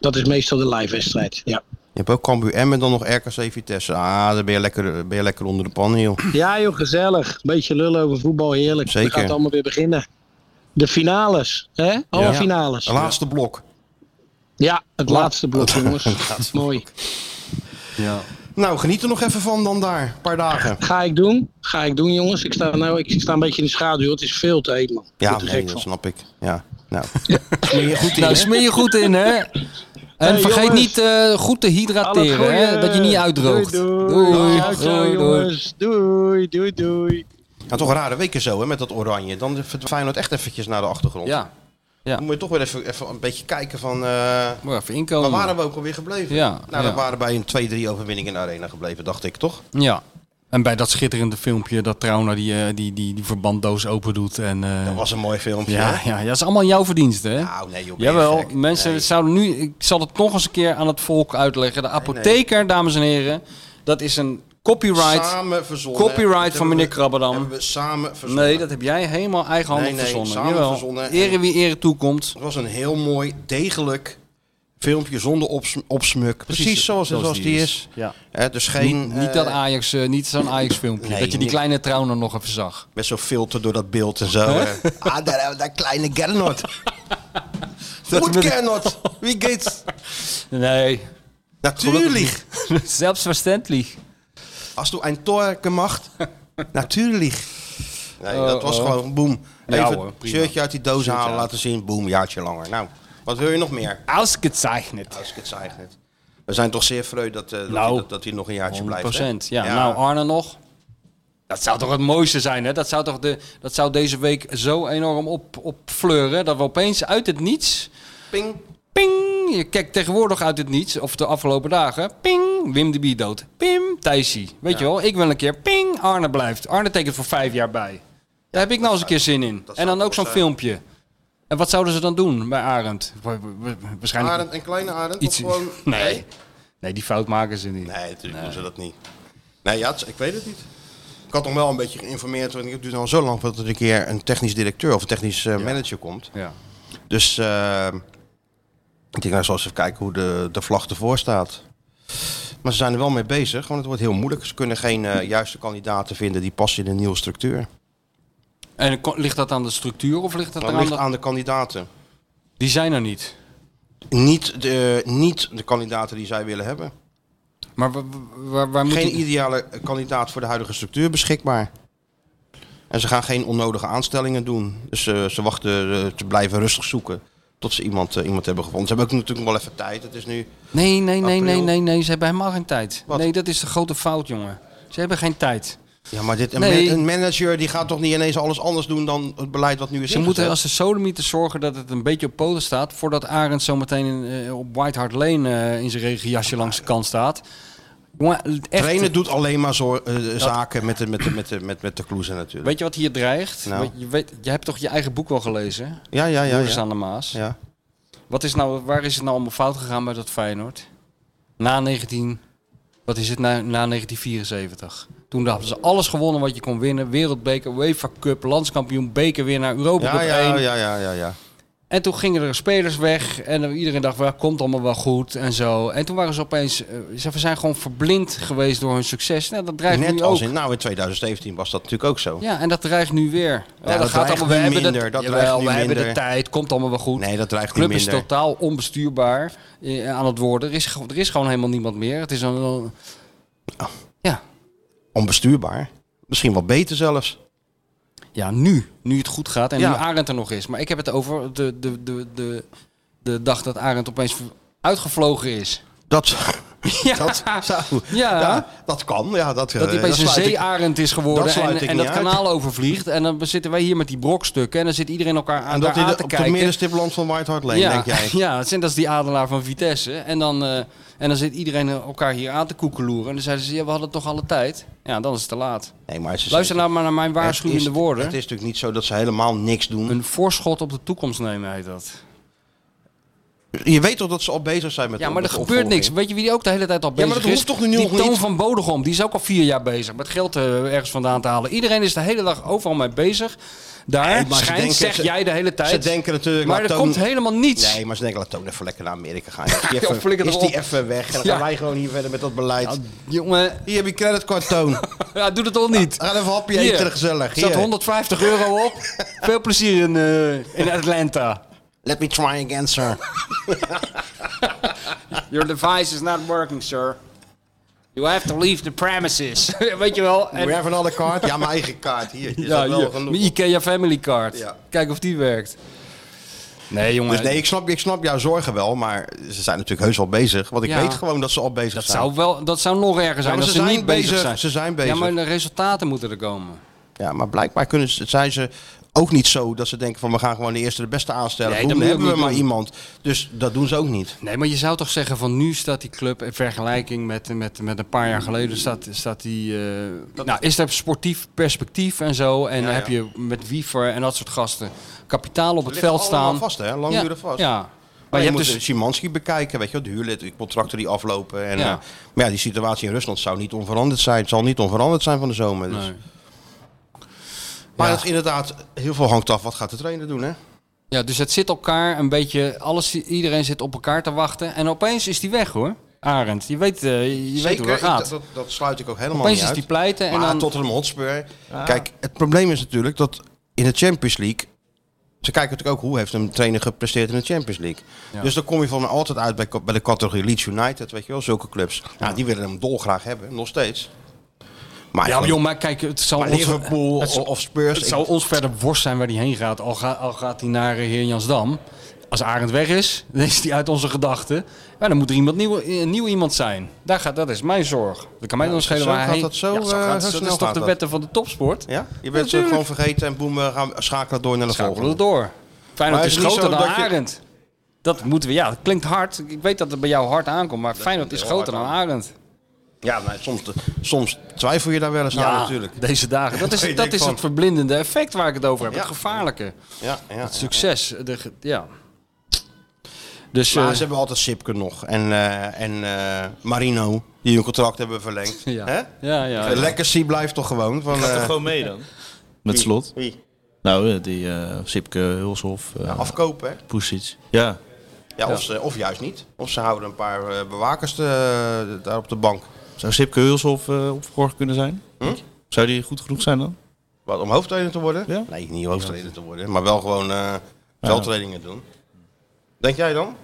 Speaker 9: dat is meestal de live wedstrijd. Ja.
Speaker 2: Je hebt ook Cambuur Emmen, dan nog RKC Vitesse. Ah, dan ben je lekker, ben je lekker onder de pan, joh.
Speaker 9: ja joh, gezellig. Beetje lullen over voetbal, heerlijk.
Speaker 2: Zeker.
Speaker 9: Dan gaat het allemaal weer beginnen. De finales, hè? Alle finales.
Speaker 2: Laatste blok.
Speaker 9: Ja, het laatste blok jongens. Mooi.
Speaker 3: Ja.
Speaker 2: Nou, geniet er nog even van dan daar. Een paar dagen.
Speaker 9: Ga ik doen. Ga ik doen jongens. Ik sta, nou, ik, sta een beetje in de schaduw, het is veel te heet man. Ik
Speaker 2: Ja,
Speaker 9: word er
Speaker 2: nee,
Speaker 9: gek
Speaker 2: dat
Speaker 9: van.
Speaker 2: snap ik. Ja, nou.
Speaker 3: Nou, smeer je goed in, hè? En
Speaker 9: Hey,
Speaker 3: vergeet
Speaker 9: jongens.
Speaker 3: niet eh, goed te hydrateren,
Speaker 9: Alle
Speaker 3: hè?
Speaker 9: goeie.
Speaker 3: Dat je niet uitdroogt.
Speaker 9: Doei, doei.
Speaker 3: Doei,
Speaker 9: Ciao, ciao,
Speaker 3: doei, doei.
Speaker 9: jongens. Doei, doei, doei.
Speaker 2: Ja, toch rare weken zo, hè, met dat oranje. Dan verdwijnt het echt eventjes naar de achtergrond.
Speaker 3: Ja,
Speaker 2: Dan moet je toch weer even, even een beetje kijken van... eh,
Speaker 3: maar even
Speaker 2: waar
Speaker 3: inkomen.
Speaker 2: waren we ook alweer gebleven?
Speaker 3: Ja,
Speaker 2: nou, dat
Speaker 3: ja.
Speaker 2: waren bij een 2-3 overwinning in de arena gebleven, dacht ik, toch?
Speaker 3: Ja. En bij dat schitterende filmpje dat Trauna die, eh, die, die, die verbanddoos open doet. En, eh, dat
Speaker 2: was een mooi filmpje.
Speaker 3: Ja,
Speaker 2: hè?
Speaker 3: ja, ja, dat is allemaal jouw verdienste. Hè?
Speaker 2: Nou, nee, joh, ben je
Speaker 3: Jawel,
Speaker 2: gek.
Speaker 3: mensen
Speaker 2: Nee.
Speaker 3: zouden nu... Ik zal het nog eens een keer aan het volk uitleggen. De apotheker, dames en heren, dat is een copyright,
Speaker 2: Samen verzonnen. Dat
Speaker 3: copyright van
Speaker 2: hebben
Speaker 3: meneer
Speaker 2: we-
Speaker 3: Krabberdam.
Speaker 2: Hebben we samen verzonnen.
Speaker 3: Nee, dat heb jij helemaal eigenhandig
Speaker 2: Nee, nee,
Speaker 3: verzonnen.
Speaker 2: samen
Speaker 3: Jawel.
Speaker 2: verzonnen.
Speaker 3: Ere wie ere toekomt.
Speaker 2: Het was een heel mooi, degelijk filmpje zonder ops- opsmuk. Precies, zoals, zoals die is.
Speaker 3: Ja.
Speaker 2: Hè, dus geen...
Speaker 3: niet, niet
Speaker 2: eh,
Speaker 3: dat Ajax, eh, niet zo'n Ajax filmpje.
Speaker 2: Nee,
Speaker 3: dat je die
Speaker 2: niet.
Speaker 3: kleine trouwen nog even zag.
Speaker 2: Met zo'n filter door dat beeld en zo. hè. ah, daar, daar kleine Gernot. Goed Gernot. Wie geht's?
Speaker 3: Nee.
Speaker 2: Natuurlijk.
Speaker 3: Zelfverständlich.
Speaker 2: Als du ein Tor gemacht. Natuurlijk. Nee,
Speaker 3: Oh,
Speaker 2: dat was
Speaker 3: oh.
Speaker 2: gewoon boem.
Speaker 3: Ja,
Speaker 2: Even
Speaker 3: hoor, prima.
Speaker 2: shirtje uit die doos halen,
Speaker 3: uit.
Speaker 2: laten zien. Boem, jaartje langer. Nou, wat wil je nog meer?
Speaker 3: Ausgezeichnet.
Speaker 2: Als ik het zei net. We zijn toch zeer vreugd dat, eh, dat,
Speaker 3: Nou,
Speaker 2: hij, dat, dat hij nog een jaartje
Speaker 3: 100%.
Speaker 2: blijft. hè?
Speaker 3: Ja. nou Arne nog. Dat zou toch het mooiste zijn, hè? Dat zou, toch de, dat zou deze week zo enorm op, opfleuren. Dat we opeens uit het niets...
Speaker 2: Ping.
Speaker 3: Ping! Je kijkt tegenwoordig uit het niets, of de afgelopen dagen. Ping! Wim de Bie dood. Pim! Thijsie. Weet je wel, ik wil een keer. Ping! Arne blijft. Arne tekent voor vijf jaar bij. Daar heb ik nou eens een keer zin in.
Speaker 2: dat zou
Speaker 3: En dan
Speaker 2: cool
Speaker 3: ook zo'n
Speaker 2: zijn.
Speaker 3: filmpje. En wat zouden ze dan doen bij Arend? Wa- wa- wa- Waarschijnlijk
Speaker 2: Arend, een kleine Arend?
Speaker 3: iets...
Speaker 2: Of gewoon...
Speaker 3: Nee. nee, die fout maken ze niet.
Speaker 2: Nee, natuurlijk doen ze dat niet. Nee, ja, het- ik weet het niet. Ik had nog wel een beetje geïnformeerd. Want het duurt al zo lang voordat er een keer een technisch directeur of een technisch eh, manager komt.
Speaker 3: Ja.
Speaker 2: Dus eh, ik denk, nou, zal eens even kijken hoe de, de vlag ervoor staat. Maar ze zijn er wel mee bezig, want het wordt heel moeilijk. Ze kunnen geen eh, juiste kandidaten vinden die passen in een nieuwe structuur.
Speaker 3: En ko- ligt dat aan de structuur of ligt dat,
Speaker 2: Dat
Speaker 3: aan...
Speaker 2: ligt
Speaker 3: de-
Speaker 2: aan de kandidaten.
Speaker 3: Die zijn er niet.
Speaker 2: Niet de, niet de kandidaten die zij willen hebben.
Speaker 3: Maar wa- wa- waar, waar moet
Speaker 2: Geen
Speaker 3: die-
Speaker 2: ideale kandidaat voor de huidige structuur beschikbaar. En ze gaan geen onnodige aanstellingen doen. Dus eh, ze wachten, eh, ze blijven rustig zoeken tot ze iemand, eh, iemand hebben gevonden. Ze hebben ook natuurlijk wel even tijd. Het is nu
Speaker 3: Nee, nee, nee, nee,
Speaker 2: April.
Speaker 3: nee, nee. Ze hebben helemaal geen tijd.
Speaker 2: Wat?
Speaker 3: Nee, dat is de grote fout, jongen. Ze hebben geen tijd.
Speaker 2: Ja, maar dit, een,
Speaker 3: Nee.
Speaker 2: man- een manager die gaat toch niet ineens alles anders doen dan het beleid wat nu is
Speaker 3: Ze moeten
Speaker 2: ingezet?
Speaker 3: als de sodomieten zorgen dat het een beetje op poten staat... voordat Arend zo meteen in, eh, op White Hart Lane eh, in zijn regenjasje langs de kant staat. Jongen, echt...
Speaker 2: Trainen doet alleen maar zo, eh, zaken met de, met de, met de, met, met de kloezen natuurlijk.
Speaker 3: Weet je wat hier dreigt?
Speaker 2: Nou.
Speaker 3: Weet- Je, weet, je hebt toch je eigen boek wel gelezen?
Speaker 2: ja, ja, ja.
Speaker 3: Joris
Speaker 2: ja.
Speaker 3: aan de Maas.
Speaker 2: ja.
Speaker 3: Wat is nou, waar is het nou allemaal fout gegaan bij dat Feyenoord? Na 19... Wat is het na, na 1974? Toen hadden ze alles gewonnen wat je kon winnen. Wereldbeker, UEFA Cup, landskampioen, bekerwinnaar, Europa
Speaker 2: Ja,
Speaker 3: Cup
Speaker 2: ja,
Speaker 3: 1.
Speaker 2: ja, ja, ja, ja.
Speaker 3: En toen gingen er spelers weg en dan iedereen dacht, "Wel, komt allemaal wel goed en zo. En toen waren ze opeens, eh, ze zijn gewoon verblind geweest door hun succes. Nou, dat dreigt
Speaker 2: Net
Speaker 3: nu
Speaker 2: als
Speaker 3: ook.
Speaker 2: in, nou, in 2017 was dat natuurlijk ook zo.
Speaker 3: Ja, en dat dreigt nu weer. Oh,
Speaker 2: dat dreigt nu
Speaker 3: hebben de-
Speaker 2: minder, dat
Speaker 3: Jawel,
Speaker 2: dreigt nu
Speaker 3: we hebben de
Speaker 2: minder.
Speaker 3: tijd, komt allemaal wel goed.
Speaker 2: Nee, dat
Speaker 3: De
Speaker 2: dreigt niet
Speaker 3: club
Speaker 2: minder.
Speaker 3: is totaal onbestuurbaar eh, aan het worden. Er is, ge- er is gewoon helemaal niemand meer. Het is een, een-
Speaker 2: Oh.
Speaker 3: ja.
Speaker 2: Onbestuurbaar. Misschien wel beter zelfs.
Speaker 3: ja, nu. Nu het goed gaat en
Speaker 2: Ja.
Speaker 3: nu Arend er nog is. Maar ik heb het over de, de, de, de, de dag dat Arend opeens uitgevlogen is.
Speaker 2: Dat,
Speaker 3: Ja.
Speaker 2: dat zou...
Speaker 3: Ja.
Speaker 2: dat kan. Ja, dat, eh,
Speaker 3: Dat hij opeens een
Speaker 2: sluit ik-
Speaker 3: zeearend is geworden
Speaker 2: dat sluit ik
Speaker 3: en, en
Speaker 2: niet
Speaker 3: dat
Speaker 2: uit.
Speaker 3: kanaal overvliegt. En dan zitten wij hier met die brokstukken en dan zit iedereen elkaar aan,
Speaker 2: En dat
Speaker 3: daar
Speaker 2: hij
Speaker 3: aan
Speaker 2: de-
Speaker 3: te
Speaker 2: op de
Speaker 3: kijken.
Speaker 2: middenstip landt van White Hart Lane,
Speaker 3: ja,
Speaker 2: denk jij.
Speaker 3: ja, het zijn- dat is die adelaar van Vitesse. En dan, eh, en dan zit iedereen elkaar hier aan te koekeloeren. En dan zeiden ze, ja, we hadden toch alle tijd? Ja, dan is het te laat.
Speaker 2: Nee, maar ze
Speaker 3: Luister nou maar naar mijn
Speaker 2: Het
Speaker 3: waarschuwende
Speaker 2: is-
Speaker 3: woorden.
Speaker 2: Het is natuurlijk niet zo dat ze helemaal niks doen.
Speaker 3: Een voorschot op de toekomst nemen heet dat.
Speaker 2: Je weet toch dat ze al bezig zijn met
Speaker 3: Ja,
Speaker 2: de-
Speaker 3: maar er
Speaker 2: met de
Speaker 3: gebeurt niks.
Speaker 2: opvolging?
Speaker 3: Weet je wie die ook de hele tijd al
Speaker 2: maar
Speaker 3: bezig is?
Speaker 2: dat hoeft toch nu
Speaker 3: Die
Speaker 2: nog niet?
Speaker 3: Toon van Bodegom, die is ook al vier jaar bezig met geld eh, ergens vandaan te halen. Iedereen is de hele dag overal mee bezig. Daar
Speaker 2: Nee, maar ze
Speaker 3: schijnt,
Speaker 2: denken-
Speaker 3: zeg
Speaker 2: ze-
Speaker 3: jij de hele tijd.
Speaker 2: Ze denken natuurlijk...
Speaker 3: maar
Speaker 2: laat
Speaker 3: er
Speaker 2: Toon-
Speaker 3: komt helemaal niets.
Speaker 2: Nee, maar ze denken, laat Toon even lekker naar Amerika gaan. Is die
Speaker 3: Ja,
Speaker 2: even,
Speaker 3: flikker
Speaker 2: is
Speaker 3: erop.
Speaker 2: die even weg en dan
Speaker 3: Ja.
Speaker 2: gaan wij gewoon hier verder met dat beleid.
Speaker 3: Ja, jongen,
Speaker 2: hier heb je creditcard, Toon.
Speaker 3: ja, doe dat al niet.
Speaker 2: Ga even een hapje
Speaker 3: Hier.
Speaker 2: eten, ah, gezellig.
Speaker 3: Er staat
Speaker 2: Hier.
Speaker 3: 150 euro op. Veel plezier in, eh, in Atlanta.
Speaker 2: Let me try again, sir.
Speaker 3: Your device is not working, sir. You have to leave the premises. Weet je wel? En-
Speaker 2: We have another card. Ja, mijn eigen kaart. Hier, is
Speaker 3: ja,
Speaker 2: dat wel
Speaker 3: hier,
Speaker 2: genoeg?
Speaker 3: mijn IKEA Family Card.
Speaker 2: Ja.
Speaker 3: Kijk of die werkt. Nee, jongen.
Speaker 2: Dus nee, ik snap, ik snap jouw zorgen wel, maar ze zijn natuurlijk heus al bezig. Want ik
Speaker 3: Ja.
Speaker 2: weet gewoon dat ze al bezig
Speaker 3: dat,
Speaker 2: zijn.
Speaker 3: zou wel, dat zou nog erger zijn.
Speaker 2: maar
Speaker 3: dat
Speaker 2: ze
Speaker 3: ze
Speaker 2: zijn
Speaker 3: niet bezig,
Speaker 2: bezig,
Speaker 3: zijn.
Speaker 2: ze zijn bezig.
Speaker 3: Ja, maar de resultaten moeten er komen.
Speaker 2: Ja, maar blijkbaar kunnen ze, zijn ze ook niet zo dat ze denken van we gaan gewoon de eerste de beste aanstellen.
Speaker 3: Nee,
Speaker 2: Boem,
Speaker 3: dat
Speaker 2: dan
Speaker 3: moet je
Speaker 2: hebben we
Speaker 3: ook
Speaker 2: maar
Speaker 3: niet
Speaker 2: iemand. Dus dat doen ze ook niet.
Speaker 3: Nee, maar je zou toch zeggen van nu staat die club in vergelijking met, met, met een paar jaar geleden staat, staat die... eh, nou, is er sportief perspectief en zo. En
Speaker 2: Ja,
Speaker 3: dan heb
Speaker 2: ja.
Speaker 3: je met Wiefer en dat soort gasten kapitaal op het
Speaker 2: Ligt
Speaker 3: veld staan.
Speaker 2: allemaal vast, hè? Lang
Speaker 3: ja,
Speaker 2: duren vast.
Speaker 3: Ja.
Speaker 2: Maar, je, hebt dus Szymanski bekijken, weet je wel, de huurlid, de contracten die aflopen. En,
Speaker 3: Ja.
Speaker 2: eh, maar ja, die situatie in Rusland zou niet onveranderd zijn. Het zal niet onveranderd zijn van de zomer. Dus.
Speaker 3: Nee.
Speaker 2: Maar
Speaker 3: Ja.
Speaker 2: dat, inderdaad, heel veel hangt af wat gaat de trainer doen, hè?
Speaker 3: Ja, dus het zit elkaar een beetje, alles, iedereen zit op elkaar te wachten. En opeens is die weg hoor, Arend. Je weet, eh, je weet hoe
Speaker 2: Zeker,
Speaker 3: dat
Speaker 2: ik-
Speaker 3: gaat.
Speaker 2: Dat, dat sluit ik ook helemaal
Speaker 3: Opeens
Speaker 2: niet
Speaker 3: is
Speaker 2: uit.
Speaker 3: die pleiten en
Speaker 2: maar
Speaker 3: dan-
Speaker 2: Tottenham Hotspur. Kijk, het probleem is natuurlijk dat in de Champions League... Ze kijken natuurlijk ook hoe heeft een trainer gepresteerd in de Champions League.
Speaker 3: Ja.
Speaker 2: Dus dan kom je van mij altijd uit bij, bij de categorie Leeds United, weet je wel, zulke clubs. Nou, die willen hem dolgraag hebben, nog steeds. Maar
Speaker 3: ja,
Speaker 2: gewoon-
Speaker 3: joh, maar kijk, het zal
Speaker 2: Maar
Speaker 3: ons,
Speaker 2: Liverpool
Speaker 3: het, zal-
Speaker 2: of Spurs,
Speaker 3: Het zou
Speaker 2: ik-
Speaker 3: ons verder worst zijn waar die heen gaat. Al, ga- al gaat hij naar eh, Heer Jansdam. Als Arend weg is, dan is hij uit onze gedachten. Maar dan moet er iemand nieuw, een nieuw iemand zijn. Daar gaat, dat is mijn zorg. Dat kan mij dan schelen
Speaker 2: dus zo
Speaker 3: waar hij
Speaker 2: gaat
Speaker 3: heen-
Speaker 2: dat zo,
Speaker 3: Ja,
Speaker 2: eh,
Speaker 3: gaat,
Speaker 2: zo
Speaker 3: dat
Speaker 2: snel
Speaker 3: is toch
Speaker 2: gaat
Speaker 3: de
Speaker 2: dat.
Speaker 3: wetten van de topsport?
Speaker 2: Ja? Je bent ze
Speaker 3: Natuurlijk.
Speaker 2: gewoon vergeten en boem, we gaan schakelen door naar de
Speaker 3: Schakelen
Speaker 2: volgende.
Speaker 3: door. Feyenoord
Speaker 2: Maar
Speaker 3: is
Speaker 2: is het niet
Speaker 3: groter dan
Speaker 2: zo dat je-
Speaker 3: Arend. Dat moeten we, ja, dat klinkt hard. Ik weet dat het bij jou hard aankomt, maar Feyenoord is
Speaker 2: heel
Speaker 3: groter
Speaker 2: hard
Speaker 3: dan Arend.
Speaker 2: Ja, maar soms, soms twijfel je daar wel eens aan natuurlijk.
Speaker 3: Nou, deze dagen. Dat
Speaker 2: Ik
Speaker 3: is, dat
Speaker 2: denk
Speaker 3: is
Speaker 2: van-
Speaker 3: het verblindende effect waar ik het over heb.
Speaker 2: Ja.
Speaker 3: Het gevaarlijke.
Speaker 2: Ja, ja,
Speaker 3: Het
Speaker 2: ja.
Speaker 3: succes. De, ge- ja. Dus
Speaker 2: Maar
Speaker 3: eh,
Speaker 2: ze hebben altijd Sipke nog. En, eh, en eh, Marino, die hun contract hebben verlengd.
Speaker 3: ja.
Speaker 2: Hè?
Speaker 3: Ja, ja, ja.
Speaker 2: Legacy blijft toch gewoon? Van,
Speaker 4: Gaat er
Speaker 2: eh,
Speaker 4: gewoon mee dan? Met slot?
Speaker 2: Wie?
Speaker 4: Nou, eh, die eh Sipke, Hulshof, eh
Speaker 2: Afkopen, hè?
Speaker 4: Pusic. Ja.
Speaker 2: Ja, Of, ze, of juist niet. Of ze houden een paar eh, bewakers eh, daar op de bank.
Speaker 4: Zou Sipke Hulshof eh opgeborgen kunnen zijn?
Speaker 2: Hm?
Speaker 4: Zou die goed genoeg zijn dan?
Speaker 2: Wat, om hoofdtrainer te worden?
Speaker 4: Ja.
Speaker 2: Nee, niet hoofdtrainer te worden. Maar wel gewoon eh veldtrainingen doen. Denk jij dan?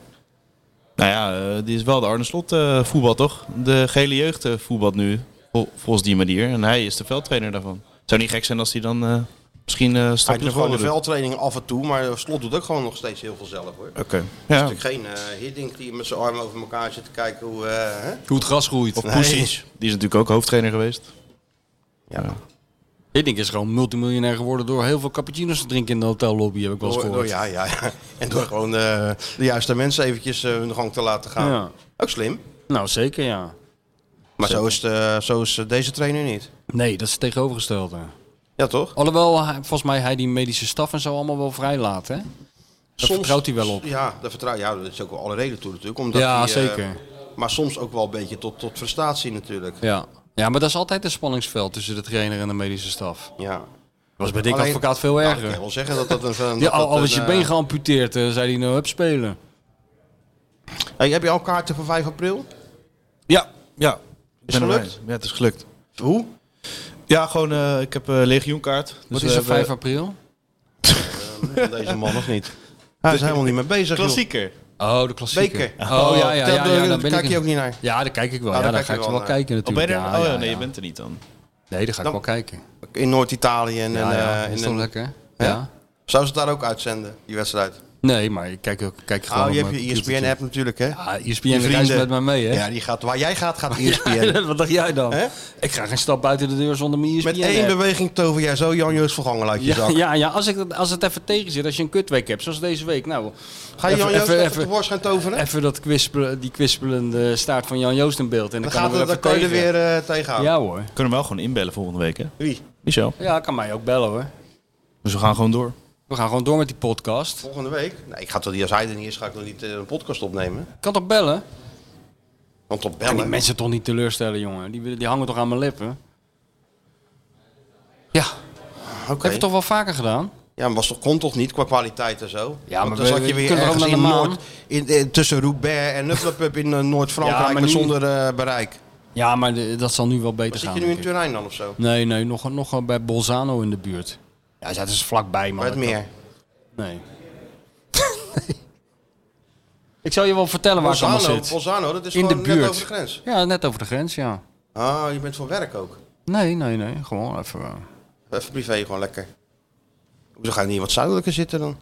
Speaker 4: Nou ja, eh, die is wel de Arne Slot eh, voetbal, toch? De gele jeugd eh, voetbal nu, vol- volgens die manier. En hij is de veldtrainer daarvan. Zou niet gek zijn als hij dan eh, misschien eh
Speaker 2: Hij
Speaker 4: stapje
Speaker 2: doet gewoon de
Speaker 4: veld.
Speaker 2: veldtrainingen af en toe. Maar Slot doet ook gewoon nog steeds heel veel zelf, hoor.
Speaker 4: Oké.
Speaker 2: Het
Speaker 4: Ja.
Speaker 2: is natuurlijk geen eh Hiddink die met zijn armen over elkaar zit te kijken hoe... eh, hè?
Speaker 11: Hoe het gras groeit.
Speaker 4: Of
Speaker 2: Nee.
Speaker 4: Pusic. Die is natuurlijk ook hoofdtrainer geweest.
Speaker 2: Ja,
Speaker 11: Hiddink is gewoon multimiljonair geworden door heel veel cappuccino's te drinken in de hotellobby, heb ik wel eens
Speaker 2: Door- door-
Speaker 11: gehoord.
Speaker 2: ja, ja, ja. En door gewoon eh, de juiste mensen eventjes eh, hun gang te laten gaan.
Speaker 11: Ja.
Speaker 2: Ook slim.
Speaker 11: Nou, zeker ja.
Speaker 2: Maar zo is, de, zo is eh, deze trainer niet.
Speaker 11: Nee, dat is het tegenovergestelde.
Speaker 2: Ja, toch?
Speaker 11: Alhoewel, hij- volgens mij hij die medische staf en zo allemaal wel vrij laat, hè? Dat vertrouwt hij wel op.
Speaker 2: Ja, daar vertrouw, ja, dat is ook wel alle reden toe natuurlijk. Omdat
Speaker 11: Ja,
Speaker 2: hij, eh,
Speaker 11: zeker.
Speaker 2: maar soms ook wel een beetje tot, tot frustratie natuurlijk.
Speaker 11: Ja. ja, maar dat is altijd een spanningsveld tussen de trainer en de medische staf.
Speaker 2: Ja.
Speaker 11: was bij Dick
Speaker 2: Alleen-
Speaker 11: Advocaat veel
Speaker 2: Nou, ik
Speaker 11: erger.
Speaker 2: kan wel zeggen dat dat een... dat
Speaker 11: Ja, al,
Speaker 2: dat
Speaker 11: al is
Speaker 2: een,
Speaker 11: je been
Speaker 2: eh,
Speaker 11: geamputeerd, eh, zei hij nou, heb spelen.
Speaker 2: hey, heb je al kaarten voor 5 april?
Speaker 4: Ja. Ja. Is
Speaker 2: gelukt?
Speaker 4: Ja, het is gelukt.
Speaker 2: Hoe?
Speaker 4: Ja, gewoon, eh, ik heb een legioenkaart. Dus
Speaker 11: Wat
Speaker 4: we
Speaker 11: is er
Speaker 4: hebben-
Speaker 11: 5 april?
Speaker 2: Van deze man of niet? Hij is helemaal niet mee bezig, joh.
Speaker 4: Klassieker.
Speaker 11: Oh, de klassieker.
Speaker 2: Beker.
Speaker 11: Oh, ja, ja,
Speaker 2: dat-
Speaker 11: ja, ja,
Speaker 2: daar
Speaker 11: daar ben
Speaker 2: kijk
Speaker 11: ik
Speaker 2: je
Speaker 11: in.
Speaker 2: ook niet naar.
Speaker 11: Ja, daar kijk ik wel.
Speaker 2: Ja,
Speaker 11: Ja,
Speaker 2: daar
Speaker 11: daar ga
Speaker 2: kijk
Speaker 11: ik
Speaker 2: je
Speaker 11: wel
Speaker 2: wel naar.
Speaker 11: kijken
Speaker 4: Oh, ben
Speaker 11: natuurlijk.
Speaker 4: je er?
Speaker 11: Ja,
Speaker 4: oh
Speaker 11: ja,
Speaker 4: ja, nee,
Speaker 11: ja.
Speaker 4: je bent er niet dan.
Speaker 11: Nee, daar ga ik wel kijken.
Speaker 2: In Noord-Italië en...
Speaker 11: Ja,
Speaker 2: en,
Speaker 11: ja,
Speaker 2: eh,
Speaker 11: is
Speaker 2: in-
Speaker 11: toch lekker?
Speaker 2: Hè?
Speaker 11: Ja.
Speaker 2: Zou ze het daar ook uitzenden, die wedstrijd?
Speaker 11: Nee, maar ik kijk, ook- kijk gewoon
Speaker 2: Oh, je
Speaker 11: op
Speaker 2: hebt
Speaker 11: mijn Ah, E
Speaker 2: je
Speaker 11: computer.
Speaker 2: ESPN-app natuurlijk, hè?
Speaker 11: Ja, ESPN
Speaker 2: Je
Speaker 11: reist
Speaker 2: vrienden.
Speaker 11: met mij mee, hè?
Speaker 2: Ja, die gaat, waar jij gaat, E gaat ESPN.
Speaker 11: Wat dacht jij dan?
Speaker 2: Hè?
Speaker 11: Ik ga geen stap buiten de deur zonder mijn E ESPN.
Speaker 2: Met één
Speaker 11: app.
Speaker 2: beweging tover jij zo Jan Joost Vergangen uit je
Speaker 11: Ja,
Speaker 2: zak.
Speaker 11: ja, ja als, ik, dat- als het even tegen zit, als je een kutweek hebt, zoals deze week. Nou,
Speaker 2: Ga je Jan Joost even,
Speaker 11: even,
Speaker 2: tevoorschijn toveren?
Speaker 11: even dat kwispelen, die kwispelende staart van Jan Joost in beeld. En dan,
Speaker 2: dan
Speaker 11: kan
Speaker 2: gaat
Speaker 11: ik
Speaker 2: het,
Speaker 11: er
Speaker 2: dan
Speaker 11: even
Speaker 2: kan je er
Speaker 11: tegen.
Speaker 2: weer eh, tegenaan.
Speaker 11: Ja hoor.
Speaker 4: Kunnen we wel gewoon inbellen volgende week, hè?
Speaker 2: Wie?
Speaker 4: Michel.
Speaker 11: Ja, kan mij ook bellen hoor.
Speaker 4: Dus we gaan gewoon door.
Speaker 11: We gaan gewoon door met die podcast.
Speaker 2: Volgende week? Nee, ik ga toch niet, als hij er niet is, ga ik nog niet eh, een podcast opnemen.
Speaker 11: Kan toch bellen?
Speaker 2: Want op
Speaker 11: Kan die
Speaker 2: bellen.
Speaker 11: mensen toch niet teleurstellen, jongen? Die, willen- die hangen toch aan mijn lippen? Ja,
Speaker 2: Oké.
Speaker 11: dat heb je toch wel vaker gedaan?
Speaker 2: Ja, maar was toch, kon toch niet qua kwaliteit en zo?
Speaker 11: Ja,
Speaker 2: Want
Speaker 11: maar
Speaker 2: dan
Speaker 11: we-
Speaker 2: zat
Speaker 11: we
Speaker 2: je weer
Speaker 11: kunnen
Speaker 2: ergens
Speaker 11: ook naar
Speaker 2: in
Speaker 11: de maan.
Speaker 2: Noord, in, in- tussen Roubaix en Nufflepub in eh, Noord-Frankrijk,
Speaker 11: Ja, maar
Speaker 2: maar
Speaker 11: nu-
Speaker 2: zonder eh, bereik.
Speaker 11: Ja, maar de- dat zal nu wel beter
Speaker 2: Zit
Speaker 11: gaan.
Speaker 2: je nu in
Speaker 11: denk ik.
Speaker 2: Turijn dan of zo?
Speaker 11: nee, nee, nog, nog bij Bolzano in de buurt. Ja, dat is vlakbij, man.
Speaker 2: Bij het
Speaker 11: Dat-
Speaker 2: meer.
Speaker 11: Nee. Ik zal je wel vertellen waar ik
Speaker 2: Bolzano,
Speaker 11: allemaal zit.
Speaker 2: Bolzano, dat is
Speaker 11: In de
Speaker 2: gewoon net
Speaker 11: buurt.
Speaker 2: over de grens.
Speaker 11: Ja, net over de grens, ja.
Speaker 2: Ah, je bent voor werk ook.
Speaker 11: Nee, nee, nee. Gewoon even... eh.
Speaker 2: Even privé gewoon lekker. Hoezo ga je niet wat zuidelijker zitten dan?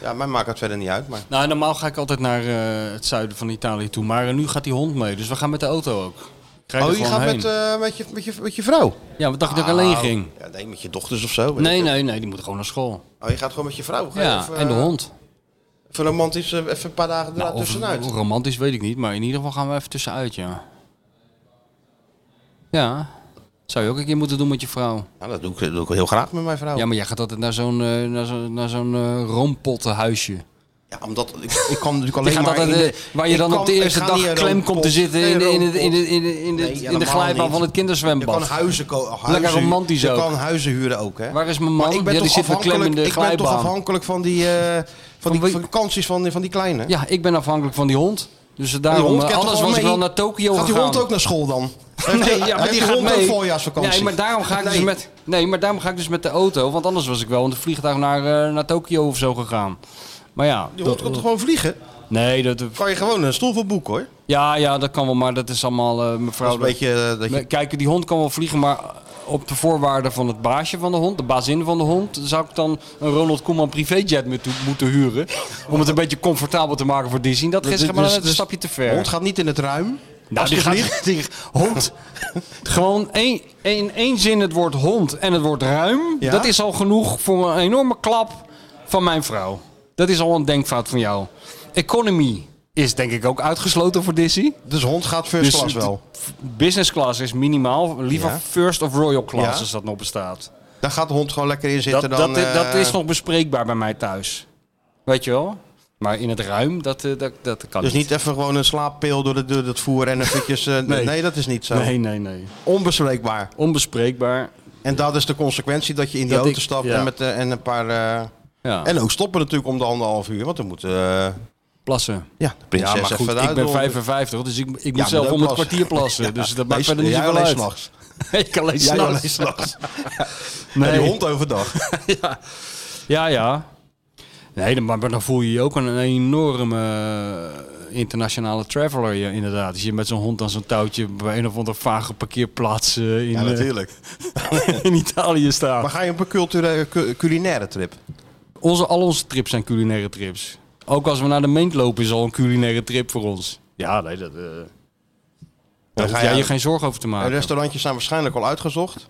Speaker 2: Ja, mij maakt het verder niet uit, maar...
Speaker 11: Nou, normaal ga ik altijd naar eh, het zuiden van Italië toe. Maar eh, nu gaat die hond mee. Dus we gaan met de auto ook.
Speaker 3: Krijg je
Speaker 2: oh, je
Speaker 3: gewoon
Speaker 2: gaat
Speaker 3: heen.
Speaker 2: met, eh, met, je, met, je, met je vrouw? Nou,
Speaker 3: Ja, wat dacht je dat ik alleen ging?
Speaker 2: Ja, nee, met je dochters of zo. weet
Speaker 3: Nee,
Speaker 2: ik
Speaker 3: nee, nee, die moet gewoon naar school.
Speaker 2: veel. Oh, je gaat gewoon met je vrouw? ga je?
Speaker 3: Ja,
Speaker 2: Of, eh,
Speaker 3: en de hond.
Speaker 2: Even romantisch, eh, even een paar dagen
Speaker 3: Nou, of
Speaker 2: ertussenuit.
Speaker 3: hoe romantisch weet ik niet, maar in ieder geval gaan we even tussenuit, ja. Ja, zou je ook een keer moeten doen met je vrouw.
Speaker 2: Nou, dat doe ik, dat doe ik heel graag met mijn vrouw.
Speaker 3: Ja, maar jij gaat altijd naar zo'n eh, naar zo'n naar zo'n eh, roompottenhuisje.
Speaker 2: Ja, omdat ik, ik kan natuurlijk
Speaker 3: Die
Speaker 2: alleen
Speaker 3: gaat
Speaker 2: maar...
Speaker 3: altijd,
Speaker 2: in de-
Speaker 3: eh, waar je
Speaker 2: ik
Speaker 3: dan
Speaker 2: kan-
Speaker 3: op de
Speaker 2: ik
Speaker 3: eerste
Speaker 2: ga
Speaker 3: dag
Speaker 2: niet in
Speaker 3: klem
Speaker 2: een
Speaker 3: komt te
Speaker 2: roompot.
Speaker 3: zitten
Speaker 2: Nee,
Speaker 3: in de, in de,
Speaker 2: roompot.
Speaker 3: in de, in de, in de,
Speaker 2: Nee,
Speaker 3: in de
Speaker 2: helemaal
Speaker 3: glijbaan
Speaker 2: niet.
Speaker 3: van het
Speaker 2: Je kan
Speaker 3: kinderzwembad.
Speaker 2: huizen, ko- huizen
Speaker 3: romantisch
Speaker 2: Je
Speaker 3: ook.
Speaker 2: kan huizen huren ook, hè?
Speaker 3: Waar is mijn man?
Speaker 2: Maar ik ben,
Speaker 3: ja, die
Speaker 2: toch,
Speaker 3: zit weer klem in
Speaker 2: afhankelijk, ik
Speaker 3: de
Speaker 2: ben toch
Speaker 3: glijbaan.
Speaker 2: afhankelijk van die, eh, van die
Speaker 3: wie-
Speaker 2: vakanties van, van die kleine.
Speaker 3: Ja, ik ben afhankelijk van die hond. Dus daarom,
Speaker 2: hond
Speaker 3: eh,
Speaker 2: kent toch
Speaker 3: anders
Speaker 2: wel
Speaker 3: was ik
Speaker 2: mee?
Speaker 3: wel naar Tokio
Speaker 2: Gaat die
Speaker 3: gegaan.
Speaker 2: hond ook naar school dan? Heeft- heeft hond ook voorjaarsvakantie?
Speaker 3: Nee, maar daarom ga ik dus
Speaker 2: Nee.
Speaker 3: met. Nee, maar daarom ga ik dus met de auto. Want anders was ik wel in het vliegtuig naar, eh, naar Tokio of zo gegaan. Maar ja,
Speaker 2: Die hond kan toch gewoon vliegen?
Speaker 3: nee, dat,
Speaker 2: Kan je gewoon een stoel voor boeken, hoor.
Speaker 3: ja, ja, dat kan wel, maar dat is allemaal eh,
Speaker 2: Dat is
Speaker 3: mevrouw.
Speaker 2: een beetje... eh, dat je,
Speaker 3: Me- Kijk, die hond kan wel vliegen, maar op de voorwaarden van het baasje van de hond, de bazin van de hond, zou ik dan een Ronald Koeman privéjet met- moeten huren. Om het een beetje comfortabel te maken voor Disney. Dat is
Speaker 2: dit-
Speaker 3: maar net
Speaker 2: dus-
Speaker 3: een
Speaker 2: dus
Speaker 3: stapje te
Speaker 2: de
Speaker 3: ver.
Speaker 2: hond gaat niet in het ruim.
Speaker 3: Nou, die, gaat, die hond. Gewoon één, in één zin het woord hond en het woord ruim.
Speaker 2: Ja?
Speaker 3: Dat is al genoeg voor een enorme klap van mijn vrouw. Dat is al een denkfout van jou. Economy is denk ik ook uitgesloten voor Dizzy.
Speaker 2: Dus hond gaat first
Speaker 3: Dus
Speaker 2: class
Speaker 3: het-
Speaker 2: wel.
Speaker 3: Business class is minimaal. Liever
Speaker 2: Ja.
Speaker 3: first of royal class
Speaker 2: Ja.
Speaker 3: als dat nog bestaat.
Speaker 2: Daar gaat de hond gewoon lekker in
Speaker 3: Dat,
Speaker 2: zitten dan...
Speaker 3: dat, i- dat
Speaker 2: eh,
Speaker 3: is nog bespreekbaar bij mij thuis. Weet je wel? Maar in het ruim, dat, eh, dat, dat kan
Speaker 2: Dus niet even gewoon een slaappil door, de, door het voer en eventjes... eh, nee.
Speaker 3: Nee.
Speaker 2: dat is niet zo.
Speaker 3: Nee, nee, nee.
Speaker 2: Onbespreekbaar.
Speaker 3: Onbespreekbaar.
Speaker 2: En dat is de consequentie dat je in die
Speaker 3: Dat
Speaker 2: auto
Speaker 3: ik-
Speaker 2: stapt
Speaker 3: ja.
Speaker 2: en, met, eh, en een paar... eh,
Speaker 3: Ja.
Speaker 2: En ook stoppen natuurlijk om de anderhalf uur, want dan moet eh,
Speaker 3: plassen.
Speaker 2: ja, de prinses
Speaker 3: ja, maar
Speaker 2: even
Speaker 3: goed,
Speaker 2: eruit
Speaker 3: ik ben
Speaker 2: door.
Speaker 3: 55, dus ik, ik moet
Speaker 2: maar
Speaker 3: zelf
Speaker 2: dan
Speaker 3: om het
Speaker 2: plassen.
Speaker 3: kwartier plassen.
Speaker 2: Ja.
Speaker 3: Dus dat
Speaker 2: Nee,
Speaker 3: maakt verder niet
Speaker 2: jij
Speaker 3: zoveel
Speaker 2: alleen
Speaker 3: uit.
Speaker 2: s'nachts.
Speaker 3: Ik alleen
Speaker 2: Jij
Speaker 3: s'nachts.
Speaker 2: alleen s'nachts.
Speaker 3: Nee.
Speaker 2: En die hond overdag.
Speaker 3: Ja, ja. Nee, dan- maar dan voel je je ook een, een enorme eh, internationale traveler je, inderdaad. Als je met zo'n hond aan zo'n touwtje bij een of andere vage parkeerplaats eh, in, eh, in Italië staat.
Speaker 2: Maar ga je op een culturele, cu- culinaire trip?
Speaker 3: Onze, al onze trips zijn culinaire trips. Ook als we naar de meent lopen is al een culinaire trip voor ons. Ja, nee, dat, eh daar
Speaker 2: ga
Speaker 3: hoef jij
Speaker 2: je-
Speaker 3: je geen zorgen over te
Speaker 2: En
Speaker 3: maken.
Speaker 2: restaurantjes zijn waarschijnlijk al uitgezocht.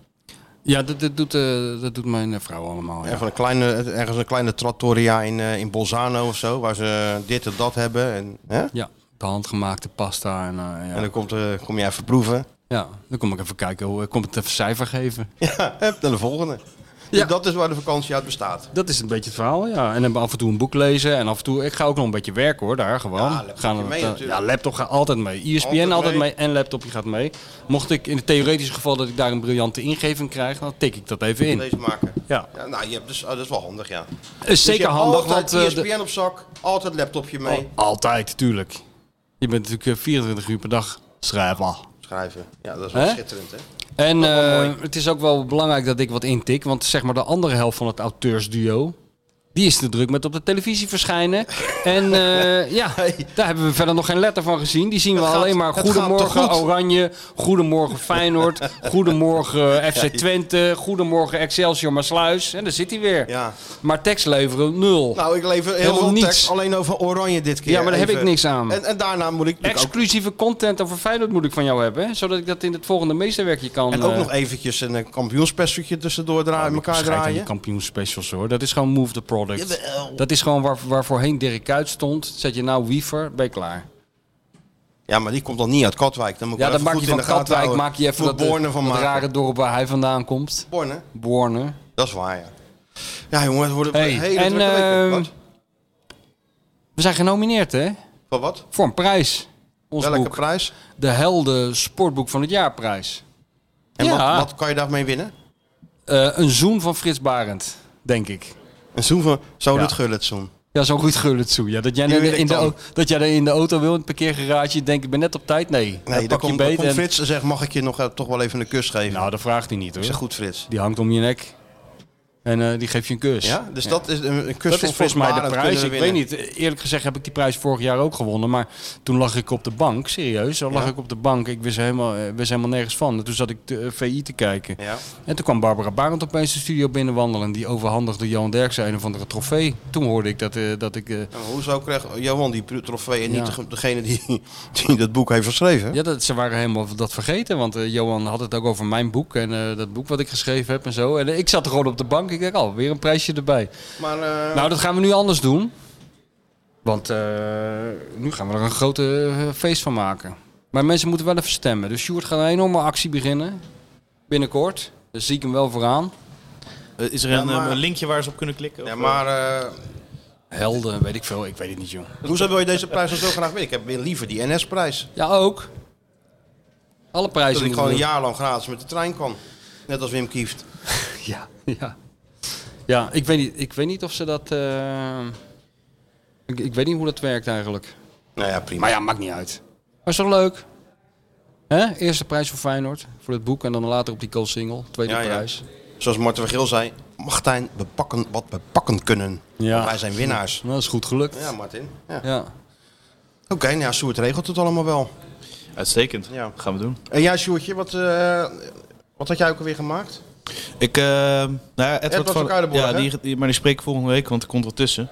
Speaker 3: Ja, dat, dat, doet, eh, dat doet mijn eh, vrouw allemaal. Ja.
Speaker 2: Even een kleine, ergens een kleine trattoria in, eh, in Bolzano of zo, waar ze dit en dat hebben. En, hè?
Speaker 3: Ja, de handgemaakte pasta. En, eh, ja.
Speaker 2: en dan komt, eh, kom je even proeven.
Speaker 3: ja, dan kom ik even kijken hoe ik kom het even cijfer geven.
Speaker 2: Ja, hup, dan de volgende.
Speaker 3: Ja.
Speaker 2: En dat is waar de vakantie uit bestaat.
Speaker 3: Dat is een beetje het verhaal, ja. En dan af en toe een boek lezen. En af en toe, ik ga ook nog een beetje werken hoor, daar gewoon.
Speaker 2: Ja, laptopje
Speaker 3: Gaan we-
Speaker 2: mee natuurlijk.
Speaker 3: ja, laptop gaat altijd mee. E ISBN
Speaker 2: Altijd
Speaker 3: altijd,
Speaker 2: mee.
Speaker 3: mee. en laptopje gaat mee. Mocht ik in het theoretische geval dat ik daar een briljante ingeving krijg, dan tik ik dat even in.
Speaker 2: Deze maken.
Speaker 3: Ja.
Speaker 2: Ja, nou, je hebt dus, oh, dat is wel handig, ja.
Speaker 3: Is zeker handig, want... eh, de- Oh.
Speaker 2: ESPN op zak, altijd laptopje mee.
Speaker 3: Altijd, tuurlijk. Je bent natuurlijk eh, 24 uur per dag schrijver.
Speaker 2: Schrijven. Ja, dat is wel
Speaker 3: Hè?
Speaker 2: schitterend, hè?
Speaker 3: En
Speaker 2: wel
Speaker 3: eh,
Speaker 2: mooi.
Speaker 3: het is ook wel belangrijk dat ik wat intik. Want zeg maar de andere helft van het auteursduo... die is te druk met op de televisie verschijnen. en eh, ja, daar hebben we verder nog geen letter van gezien. Die zien we
Speaker 2: Het gaat-
Speaker 3: alleen maar
Speaker 2: het gaat toch
Speaker 3: Goedemorgen
Speaker 2: goed?
Speaker 3: Oranje... Goedemorgen Feyenoord... Goedemorgen FC Twente... Goedemorgen Excelsior Maasluis. En daar zit hij weer.
Speaker 2: Ja.
Speaker 3: Maar tekst leveren, nul.
Speaker 2: Nou, ik lever heel
Speaker 3: Helemaal
Speaker 2: veel
Speaker 3: niets.
Speaker 2: tekst alleen over oranje dit keer.
Speaker 3: Ja, maar daar heb
Speaker 2: even.
Speaker 3: ik niks aan.
Speaker 2: En, en daarna moet ik natuurlijk ook,
Speaker 3: Exclusieve content over Feyenoord moet ik van jou hebben. hè? Zodat ik dat in het volgende meesterwerkje kan...
Speaker 2: en ook
Speaker 3: eh, Oh,
Speaker 2: nog eventjes een eh, kampioenspestertje tussendoor draaien, elkaar
Speaker 3: Schijt aan die
Speaker 2: draaien.
Speaker 3: kampioenspecials hoor. Dat is gewoon move the product. Dat is gewoon waar, waar voorheen Dirk Kuyt stond. Zet je nou Wiever, ben je klaar.
Speaker 2: Ja, maar die komt dan niet uit Katwijk. Dan moet ik
Speaker 3: Ja,
Speaker 2: wel
Speaker 3: dan
Speaker 2: even
Speaker 3: maak je
Speaker 2: goed in
Speaker 3: van
Speaker 2: de gaten
Speaker 3: Katwijk
Speaker 2: houden.
Speaker 3: maak je even
Speaker 2: Moet
Speaker 3: dat, eh,
Speaker 2: Borne van
Speaker 3: dat
Speaker 2: maken.
Speaker 3: rare dorp waar hij vandaan komt.
Speaker 2: Borne,
Speaker 3: Borne.
Speaker 2: dat is waar, ja. Ja, jongen, het wordt een
Speaker 3: Hey,
Speaker 2: hele
Speaker 3: en,
Speaker 2: drukke week.
Speaker 3: ehm,
Speaker 2: Wat?
Speaker 3: We zijn genomineerd hè?
Speaker 2: Wat? wat?
Speaker 3: Voor een prijs. Ons
Speaker 2: Welke
Speaker 3: boek.
Speaker 2: prijs?
Speaker 3: De Helden Sportboek van het Jaarprijs.
Speaker 2: En
Speaker 3: ja,
Speaker 2: wat, wat kan je daarmee winnen?
Speaker 3: eh, een zoen van Frits Barend, denk ik.
Speaker 2: Een zoen van zo
Speaker 3: Ja.
Speaker 2: dit gullet zoen.
Speaker 3: Ja, zo'n goed gullet zoen. Ja, dat, jij
Speaker 2: Die wil
Speaker 3: in,
Speaker 2: ik
Speaker 3: de,
Speaker 2: dan.
Speaker 3: au- dat jij er in de auto wil, in het parkeergarage, denk ik ben net op tijd. Nee,
Speaker 2: Nee,
Speaker 3: pak
Speaker 2: dan
Speaker 3: je
Speaker 2: komt, dan
Speaker 3: beet.
Speaker 2: komt
Speaker 3: en-
Speaker 2: Frits en zegt, mag ik je nog eh, toch wel even een kus geven?
Speaker 3: Nou, dat vraagt hij niet hoor.
Speaker 2: ik zeg, goed Frits.
Speaker 3: Die hangt om je nek. En eh, die geeft je een kus.
Speaker 2: Ja, dus dat is een- een kus
Speaker 3: Dat
Speaker 2: voor
Speaker 3: is volgens mij de
Speaker 2: voortvarend
Speaker 3: prijs. Ik
Speaker 2: kunnen
Speaker 3: weet
Speaker 2: winnen.
Speaker 3: niet. Eerlijk gezegd heb ik die prijs vorig jaar ook gewonnen. Maar toen lag ik op de bank. Serieus. Dan lag
Speaker 2: Ja.
Speaker 3: ik op de bank. Ik wist helemaal, eh, wist helemaal nergens van. En toen zat ik de eh, VI te kijken.
Speaker 2: Ja.
Speaker 3: En toen kwam Barbara Barend opeens de studio binnenwandelen. Die overhandigde Johan Derksen een of andere trofee. Toen hoorde ik dat, eh, dat ik... eh,
Speaker 2: Ja, maar hoezo kreeg Johan die trofee en
Speaker 3: Ja.
Speaker 2: niet de- degene die, die dat boek heeft geschreven?
Speaker 3: Ja, dat, ze waren helemaal dat vergeten. Want eh, Johan had het ook over mijn boek en eh, dat boek wat ik geschreven heb en zo. En eh, ik zat er gewoon op de bank. Ik dacht, al weer een prijsje erbij.
Speaker 2: Maar eh,
Speaker 3: Nou, dat gaan we nu anders doen. Want eh, nu gaan we er een grote eh, feest van maken. Maar mensen moeten wel even stemmen. Dus Sjoerd gaat een enorme actie beginnen. Binnenkort. Dus zie ik hem wel vooraan. Nou,
Speaker 4: Eh, Is er
Speaker 2: Ja,
Speaker 4: een, eh,
Speaker 2: maar-
Speaker 4: een linkje waar ze op kunnen klikken?
Speaker 2: ja,
Speaker 4: Of,
Speaker 2: maar eh,
Speaker 3: Helden, weet ik veel. Ik weet het niet, jong.
Speaker 2: hoezo wil je deze prijs dan zo graag winnen? Ik heb weer liever die NS-prijs.
Speaker 3: Ja, ook. Alle prijzen
Speaker 2: Dat ik
Speaker 3: moeten
Speaker 2: gewoon een
Speaker 3: we-
Speaker 2: jaar lang gratis met de trein kan. Net als Wim Kieft.
Speaker 3: Ja, ja. Ja, ik weet niet, ik weet niet of ze dat. eh, ik, ik weet niet hoe dat werkt eigenlijk.
Speaker 2: Nou ja, prima.
Speaker 3: Maar ja, maakt niet uit. Maar is toch leuk? Hè? Eerste prijs voor Feyenoord, voor het boek. En dan later op die Cool Single, tweede
Speaker 2: Ja, ja.
Speaker 3: prijs.
Speaker 2: Zoals Marten van Geel zei, Martijn, we pakken wat we pakken kunnen.
Speaker 3: Ja.
Speaker 2: Want Wij zijn winnaars.
Speaker 3: Nou, dat is goed gelukt.
Speaker 2: Ja,
Speaker 3: Ja.
Speaker 2: Martin. Ja. Oké, nou ja, Sjoerd regelt het allemaal wel.
Speaker 4: eh, Uitstekend.
Speaker 2: Ja.
Speaker 4: Gaan we doen.
Speaker 2: En jij, Sjoerdje, wat, eh, wat had jij ook alweer gemaakt?
Speaker 4: Ik, eh nou ja, Edward,
Speaker 2: Edward van Kuilenborg,
Speaker 4: Ja,
Speaker 2: hè?
Speaker 4: die, die- maar die spreek ik volgende week, want er komt wat tussen.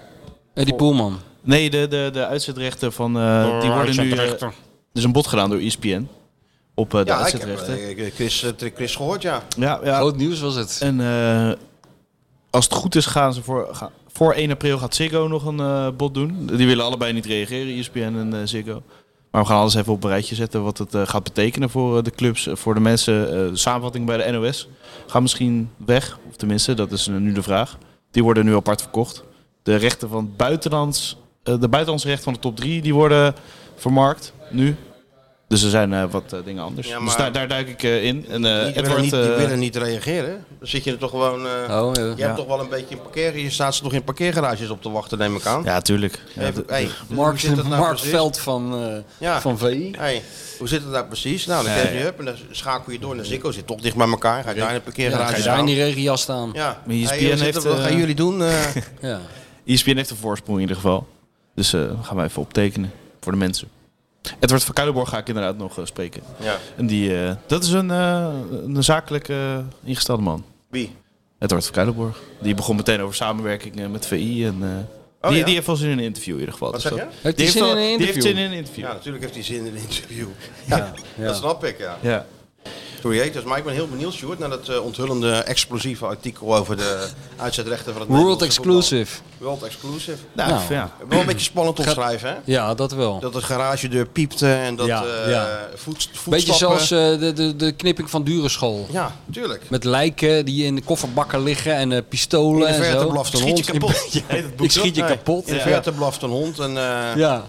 Speaker 3: Eddie Poelman.
Speaker 4: Nee, de, de, de uitzetrechten van... eh, die worden nu... eh, er is een bod gedaan door E ESPN. Op eh, de
Speaker 2: ja, ik heb
Speaker 4: uitzetrechten.
Speaker 2: eh, Chris, eh, Chris gehoord, ja.
Speaker 4: ja, ja.
Speaker 3: Groot nieuws was het.
Speaker 4: En eh, als het goed is, gaan ze voor, gaan- voor 1 april gaat Ziggo nog een eh bod doen. Die willen allebei niet reageren, ESPN en eh, Ziggo. Maar we gaan alles even op een rijtje zetten wat het eh, gaat betekenen voor eh, de clubs, eh, voor de mensen. Eh, de samenvatting bij de NOS gaat misschien weg, of tenminste, dat is eh, nu de vraag. Die worden nu apart verkocht. De rechten van het buitenlands, eh, de buitenlandse rechten van de top 3, die worden vermarkt nu. Dus er zijn eh, wat eh, dingen anders.
Speaker 2: Ja,
Speaker 4: Dus
Speaker 2: maar-
Speaker 4: daar, daar duik ik eh, in. En, eh
Speaker 2: Die willen,
Speaker 4: Edward,
Speaker 2: niet, die
Speaker 4: eh,
Speaker 2: willen niet reageren. Dan zit je er toch gewoon... eh,
Speaker 3: Oh, ja.
Speaker 2: Je hebt toch wel een beetje een parkeer... Je staat ze toch in parkeergarages op te wachten, neem ik aan.
Speaker 4: Ja, tuurlijk. Ja,
Speaker 2: Even-
Speaker 4: d-
Speaker 2: hey,
Speaker 3: Mark,
Speaker 2: hoe zit dat nou
Speaker 3: Mark
Speaker 2: precies?
Speaker 3: Veld van, eh,
Speaker 2: Ja.
Speaker 3: van VI.
Speaker 2: Hey, hoe zit het nou precies? Nou, dan geef je hup en dan schakel je door naar Zikko. Zit toch dicht bij elkaar. Ga je daar in een
Speaker 3: Ja, dan ga
Speaker 2: parkeergarage
Speaker 3: je daar E in
Speaker 2: staan.
Speaker 3: die regenjas staan. Ja.
Speaker 2: Ja.
Speaker 4: Maar ESPN
Speaker 2: Hey, hoe zit het?
Speaker 4: heeft,
Speaker 2: Wat gaan
Speaker 4: eh,
Speaker 2: jullie doen? eh?
Speaker 4: ESPN heeft een voorsprong in ieder geval. Dus eh, dat gaan we even optekenen voor de mensen. Edward van Kuilenborg ga ik inderdaad nog eh, spreken.
Speaker 2: ja.
Speaker 4: En die, eh, dat is een, eh, een zakelijk eh, ingestelde man.
Speaker 2: Wie?
Speaker 4: Edward van Kuilenborg. Die begon meteen over samenwerking eh, met VI. En, eh,
Speaker 2: Oh,
Speaker 4: die,
Speaker 2: ja?
Speaker 4: die heeft wel zin in een interview in ieder geval.
Speaker 2: Wat
Speaker 4: Dus
Speaker 2: zeg
Speaker 4: dat-
Speaker 2: je?
Speaker 3: Heeft hij zin
Speaker 4: wel-
Speaker 3: in een
Speaker 4: die heeft
Speaker 3: interview?
Speaker 4: zin in een interview.
Speaker 2: Ja,
Speaker 4: Ja.
Speaker 2: natuurlijk heeft hij zin in een interview. Ja,
Speaker 3: ja.
Speaker 2: dat snap ik, ja.
Speaker 4: Ja.
Speaker 2: Creators. Maar ik ben heel benieuwd, Sjoerd, naar dat eh, onthullende explosieve artikel over de uitzetrechten van het
Speaker 3: World
Speaker 2: Nederlandse
Speaker 3: exclusive.
Speaker 2: voetbal. World exclusive.
Speaker 4: Nou,
Speaker 3: Nou.
Speaker 4: ja.
Speaker 2: Wel een beetje spannend opschrijven, hè?
Speaker 3: Ja, dat wel.
Speaker 2: Dat het garagedeur piepte en dat
Speaker 3: Ja,
Speaker 2: eh,
Speaker 3: ja.
Speaker 2: voet,
Speaker 3: Beetje
Speaker 2: voetstappen...
Speaker 3: zoals eh, de, de, de knipping van Durenschool.
Speaker 2: Ja, tuurlijk.
Speaker 3: Met lijken die in de kofferbakken liggen en eh,
Speaker 2: In
Speaker 3: pistolen
Speaker 2: de
Speaker 3: en
Speaker 2: verte
Speaker 3: zo.
Speaker 2: blaft een
Speaker 4: Schiet je
Speaker 2: hond.
Speaker 4: kapot. Ja, heet het boek
Speaker 3: Ik schiet je
Speaker 4: zo?
Speaker 2: Nee,
Speaker 3: kapot.
Speaker 2: In de
Speaker 3: Ja.
Speaker 2: verte blaft een hond en eh,
Speaker 3: Ja,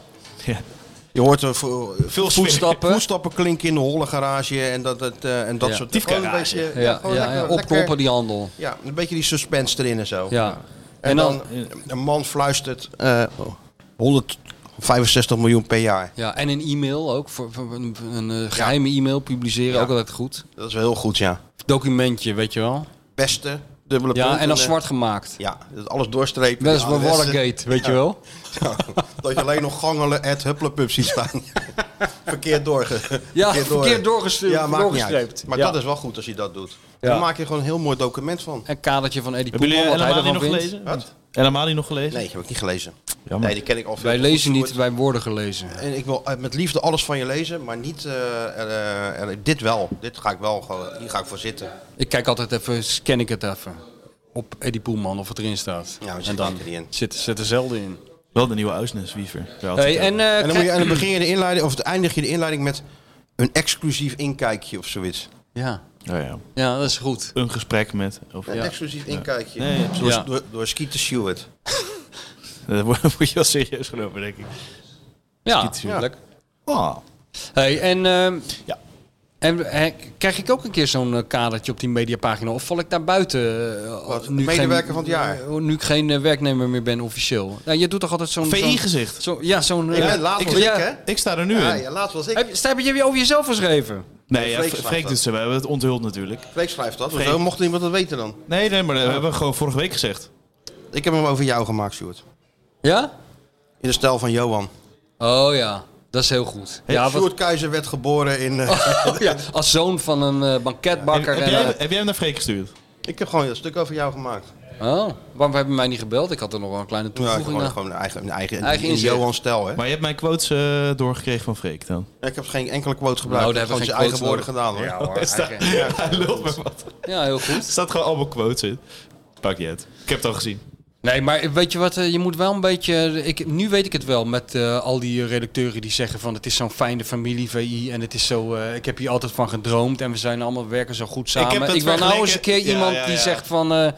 Speaker 2: je hoort er vo-
Speaker 4: Veel
Speaker 3: voetstappen.
Speaker 2: voetstappen klinken in de holle garage en dat, dat, eh, en dat
Speaker 3: Ja.
Speaker 2: soort
Speaker 4: Diefgarage.
Speaker 2: Gewoon een beetje-
Speaker 3: Ja,
Speaker 2: ja,
Speaker 3: ja,
Speaker 2: gewoon
Speaker 3: ja,
Speaker 2: lekker- lekker-
Speaker 3: opkloppen die handel.
Speaker 2: Ja, een beetje die suspense erin en zo.
Speaker 3: Ja.
Speaker 2: En, dan, een man fluistert eh, 165 miljoen per jaar.
Speaker 3: ja, en een e-mail ook. Voor, voor een, een, eh, geheime e-mail publiceren,
Speaker 2: Ja.
Speaker 3: ook altijd goed.
Speaker 2: Dat is wel heel goed, ja.
Speaker 3: Documentje, weet je wel.
Speaker 2: Beste, dubbele punt.
Speaker 3: Ja, en dan
Speaker 2: eh,
Speaker 3: zwart gemaakt.
Speaker 2: Ja, dat alles doorstrepen.
Speaker 3: Dat is
Speaker 2: Ja,
Speaker 3: bij
Speaker 2: de rest-
Speaker 3: Watergate, weet je wel.
Speaker 2: Ja, dat je alleen nog gangelen at hupplepup ziet staan. verkeerd doorge...
Speaker 3: Ja,
Speaker 2: door-
Speaker 3: verkeerd doorgestuurd,
Speaker 2: Ja, maakt niet uit.
Speaker 3: doorgestreept.
Speaker 2: Maar
Speaker 3: Ja.
Speaker 2: dat is wel goed als je dat doet.
Speaker 3: Ja.
Speaker 2: Dan maak je gewoon een heel mooi document van.
Speaker 3: Een kadertje van Eddie
Speaker 4: Hebben
Speaker 3: Poelman,
Speaker 4: jullie
Speaker 3: wat hij
Speaker 4: helemaal
Speaker 3: ervan
Speaker 4: nog
Speaker 3: vindt.
Speaker 4: gelezen?
Speaker 2: Wat?
Speaker 4: Helemaal nog gelezen?
Speaker 2: Nee, die heb ik niet gelezen.
Speaker 4: Jammer.
Speaker 2: Nee, die ken ik al veel.
Speaker 3: Wij
Speaker 2: te
Speaker 3: lezen
Speaker 2: goed,
Speaker 3: niet,
Speaker 2: Sjoerd.
Speaker 3: wij worden gelezen.
Speaker 2: En ik wil eh, met liefde alles van je lezen, maar niet... eh, eh, eh, dit wel. Dit ga ik wel. gewoon- Hier ga ik voor zitten.
Speaker 3: Ik kijk altijd even, scan ik het even. Op Eddie Poelman, of het erin staat.
Speaker 2: Ja, maar zit
Speaker 3: en dan
Speaker 2: er niet in.
Speaker 3: zit, zit er zelden in.
Speaker 4: Wel de nieuwe Uisnes, Wiever. Daar had
Speaker 3: Hey,
Speaker 4: ik het
Speaker 3: en,
Speaker 4: over.
Speaker 3: eh,
Speaker 2: En dan,
Speaker 3: kijk-
Speaker 2: moet je, en dan begin je de inleiding, of dan eindig je de inleiding met een exclusief inkijkje of zoiets.
Speaker 3: ja.
Speaker 4: Nou ja.
Speaker 3: ja, dat is goed.
Speaker 4: Een gesprek met... Of,
Speaker 2: Een exclusief inkijkje.
Speaker 4: Nee, ja.
Speaker 2: Door,
Speaker 3: Ja.
Speaker 2: door, door Skeeter Stewart.
Speaker 4: Dat moet je wel serieus genomen, denk ik.
Speaker 3: Ja,
Speaker 4: Iets, ja.
Speaker 3: natuurlijk.
Speaker 4: Ah.
Speaker 3: Hey, en ehm,
Speaker 4: Ja.
Speaker 3: En eh, krijg ik ook een keer zo'n eh, kadertje op die mediapagina? Of val ik daar buiten? eh,
Speaker 2: Wat,
Speaker 3: ik
Speaker 2: medewerker van het jaar?
Speaker 3: eh, Nu ik geen eh, werknemer meer ben officieel. Ja, je doet toch altijd zo'n... zo'n-
Speaker 4: VI-gezicht.
Speaker 3: Zo, ja, zo'n...
Speaker 2: Ik
Speaker 3: eh,
Speaker 2: ben laat
Speaker 4: ik-
Speaker 2: was ik,
Speaker 3: ja.
Speaker 2: hè?
Speaker 4: Ik sta er nu
Speaker 2: Ja,
Speaker 4: in.
Speaker 2: ja, laatst was ik.
Speaker 3: Heb, Stijn, heb je over jezelf geschreven?
Speaker 4: Nee, ja,
Speaker 2: Freek
Speaker 4: Freek,
Speaker 2: slaat dat.
Speaker 4: doet ze. We hebben het onthuld natuurlijk.
Speaker 2: Freek schrijft dat.
Speaker 4: Freek.
Speaker 2: Zo mocht niemand dat weten dan.
Speaker 4: Nee, nee, maar dat hebben we gewoon vorige week gezegd.
Speaker 2: Ik heb hem over jou gemaakt, Sjoerd.
Speaker 3: Ja?
Speaker 2: In de stijl van Johan.
Speaker 3: Oh ja, dat is heel goed. Ja, wat-
Speaker 2: Sjoerd Keizer werd geboren in... eh,
Speaker 3: Oh, ja, als zoon van een eh,
Speaker 4: Heb,
Speaker 3: banketbakker.
Speaker 4: heb
Speaker 3: en,
Speaker 4: jij,
Speaker 3: eh,
Speaker 4: heb jij hem naar Freek gestuurd?
Speaker 2: ik heb gewoon een stuk over jou gemaakt.
Speaker 3: oh, waarom hebben mij niet gebeld? Ik had er nog wel een kleine
Speaker 2: Ja, ik heb gewoon,
Speaker 3: toevoeging aan.
Speaker 2: gewoon een eigen, een eigen,
Speaker 3: Eigen
Speaker 2: in
Speaker 3: inzicht.
Speaker 2: Johan stijl, hè.
Speaker 4: Maar je hebt mijn quotes eh, doorgekregen van Freek dan.
Speaker 2: ik heb geen enkele quote gebruikt.
Speaker 3: Nou, daar
Speaker 2: ik heb
Speaker 3: hebben we
Speaker 2: gewoon
Speaker 3: geen
Speaker 2: zijn eigen woorden gedaan, hoor.
Speaker 3: Ja, hoor, eigen-
Speaker 4: Hij lult me wat.
Speaker 3: ja, heel goed.
Speaker 4: Er staat gewoon allemaal quotes in. Pak je het. Ik heb het al gezien.
Speaker 3: Nee, maar weet je wat, eh, je moet wel een beetje... eh, Ik, nu weet ik het wel met eh, al die eh, redacteuren die zeggen van... het is zo'n fijne familie, VI, en het is zo... eh, ik heb hier altijd van gedroomd en we zijn allemaal we werken zo goed samen.
Speaker 4: heb het
Speaker 3: wil nou eens een keer
Speaker 4: vergeleken- ja,
Speaker 3: iemand
Speaker 4: ja,
Speaker 3: die
Speaker 4: ja.
Speaker 3: zegt van... eh,
Speaker 2: Ik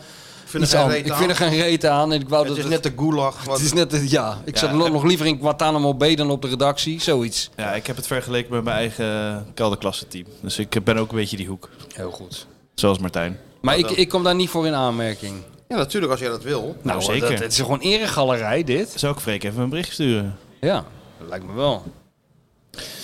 Speaker 3: iets
Speaker 2: geen
Speaker 3: anders.
Speaker 2: reet
Speaker 3: ik
Speaker 2: aan.
Speaker 3: vind er geen reet aan en ik wou
Speaker 2: Het
Speaker 3: dat
Speaker 2: is net de gulag. Wat,
Speaker 3: Het is net, een- ja, ik
Speaker 4: Ja,
Speaker 3: zat nog,
Speaker 4: en-
Speaker 3: nog liever in Guantanamo Bay dan op de redactie, zoiets.
Speaker 4: Ja, ik heb het vergeleken met mijn eigen kelderklasse team. Dus ik ben ook een beetje die hoek.
Speaker 3: Heel goed. Nou,
Speaker 4: Zoals Martijn.
Speaker 3: Maar ik, ik kom daar niet voor in aanmerking.
Speaker 2: Ja, natuurlijk, als jij dat wil.
Speaker 4: Nou, zeker.
Speaker 3: Nou, dat- het is gewoon eregalerij, dit.
Speaker 4: Zou ik Freek even een bericht sturen?
Speaker 3: Ja, dat lijkt me wel.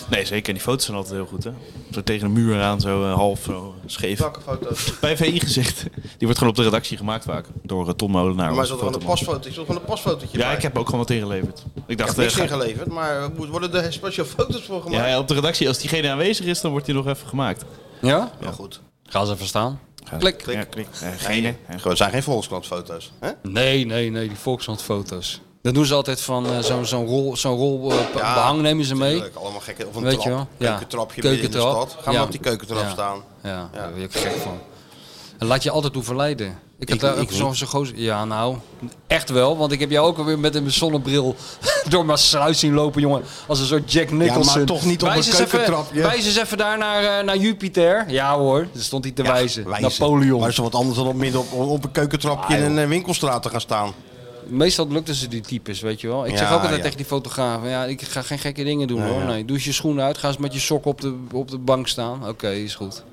Speaker 4: Nee, zeker. En die foto's zijn altijd heel goed, hè? Zo tegen de muur aan, zo eh, half zo scheef.
Speaker 2: Takkenfoto's.
Speaker 4: Bij VI gezicht. Die wordt gewoon op de redactie gemaakt vaak. Door eh, Tom Molenaar.
Speaker 2: Maar
Speaker 4: onze
Speaker 2: er zat gewoon een
Speaker 4: fotoman.
Speaker 2: pasfoto. Ik zat gewoon een pasfotootje
Speaker 4: Ja,
Speaker 2: bij.
Speaker 4: ik heb ook gewoon wat ingeleverd. Ik
Speaker 2: Ik
Speaker 4: dacht,
Speaker 2: heb
Speaker 4: eh,
Speaker 2: niks
Speaker 4: ga-
Speaker 2: ingeleverd, maar er moet- worden er speciaal foto's voor gemaakt.
Speaker 4: ja, ja, op de redactie, als diegene aanwezig is, dan wordt die nog even gemaakt.
Speaker 3: Ja?
Speaker 2: Maar goed.
Speaker 3: Ga ze even staan. Klik.
Speaker 4: Ja, klik. Eh, gene. Eh,
Speaker 2: Gewoon, het zijn geen volkskrantfoto's. hè?
Speaker 3: Nee, nee, nee, die Volkskrant-foto's. Dat doen ze altijd van eh, zo'n zo'n rol, zo'n rol eh, be-
Speaker 2: Ja,
Speaker 3: behang nemen ze mee.
Speaker 2: Tuurlijk, allemaal gekke. Of een
Speaker 3: Weet
Speaker 2: trap.
Speaker 3: je wel? Ja.
Speaker 2: Keukentrapje midden in de
Speaker 3: Keukentrap.
Speaker 2: stad. Ga maar
Speaker 3: Ja.
Speaker 2: op die keukentrap
Speaker 3: Ja.
Speaker 2: staan.
Speaker 3: Ja,
Speaker 2: Ja.
Speaker 3: daar word je ook gek van. En laat je altijd toe verleiden. Ik heb
Speaker 2: Ik-
Speaker 3: daar
Speaker 2: ik
Speaker 3: ook zo'n zo'n gozer... Ja, nou, echt wel. Want ik heb jou ook alweer met een zonnebril door mijn sluis zien lopen, jongen. Als een soort Jack Nicholson.
Speaker 2: toch niet op
Speaker 3: Wijs
Speaker 2: een
Speaker 3: eens even-
Speaker 2: keukentrapje.
Speaker 3: Wijs eens even daar naar, eh, naar Jupiter. Ja hoor, daar stond hij te wijzen. Napoleon.
Speaker 2: Maar is toch wat anders dan op midden op, op een keukentrapje in een eh, winkelstraat te gaan staan.
Speaker 3: Meestal lukten ze die types, weet je wel. Ik zeg
Speaker 2: Ja,
Speaker 3: ook altijd
Speaker 2: ja.
Speaker 3: tegen die fotograaf, ja, ik ga geen gekke dingen doen hoor. Nee, doe eens je schoenen uit, ga eens met je sok op de, op de bank staan. Oké, is goed.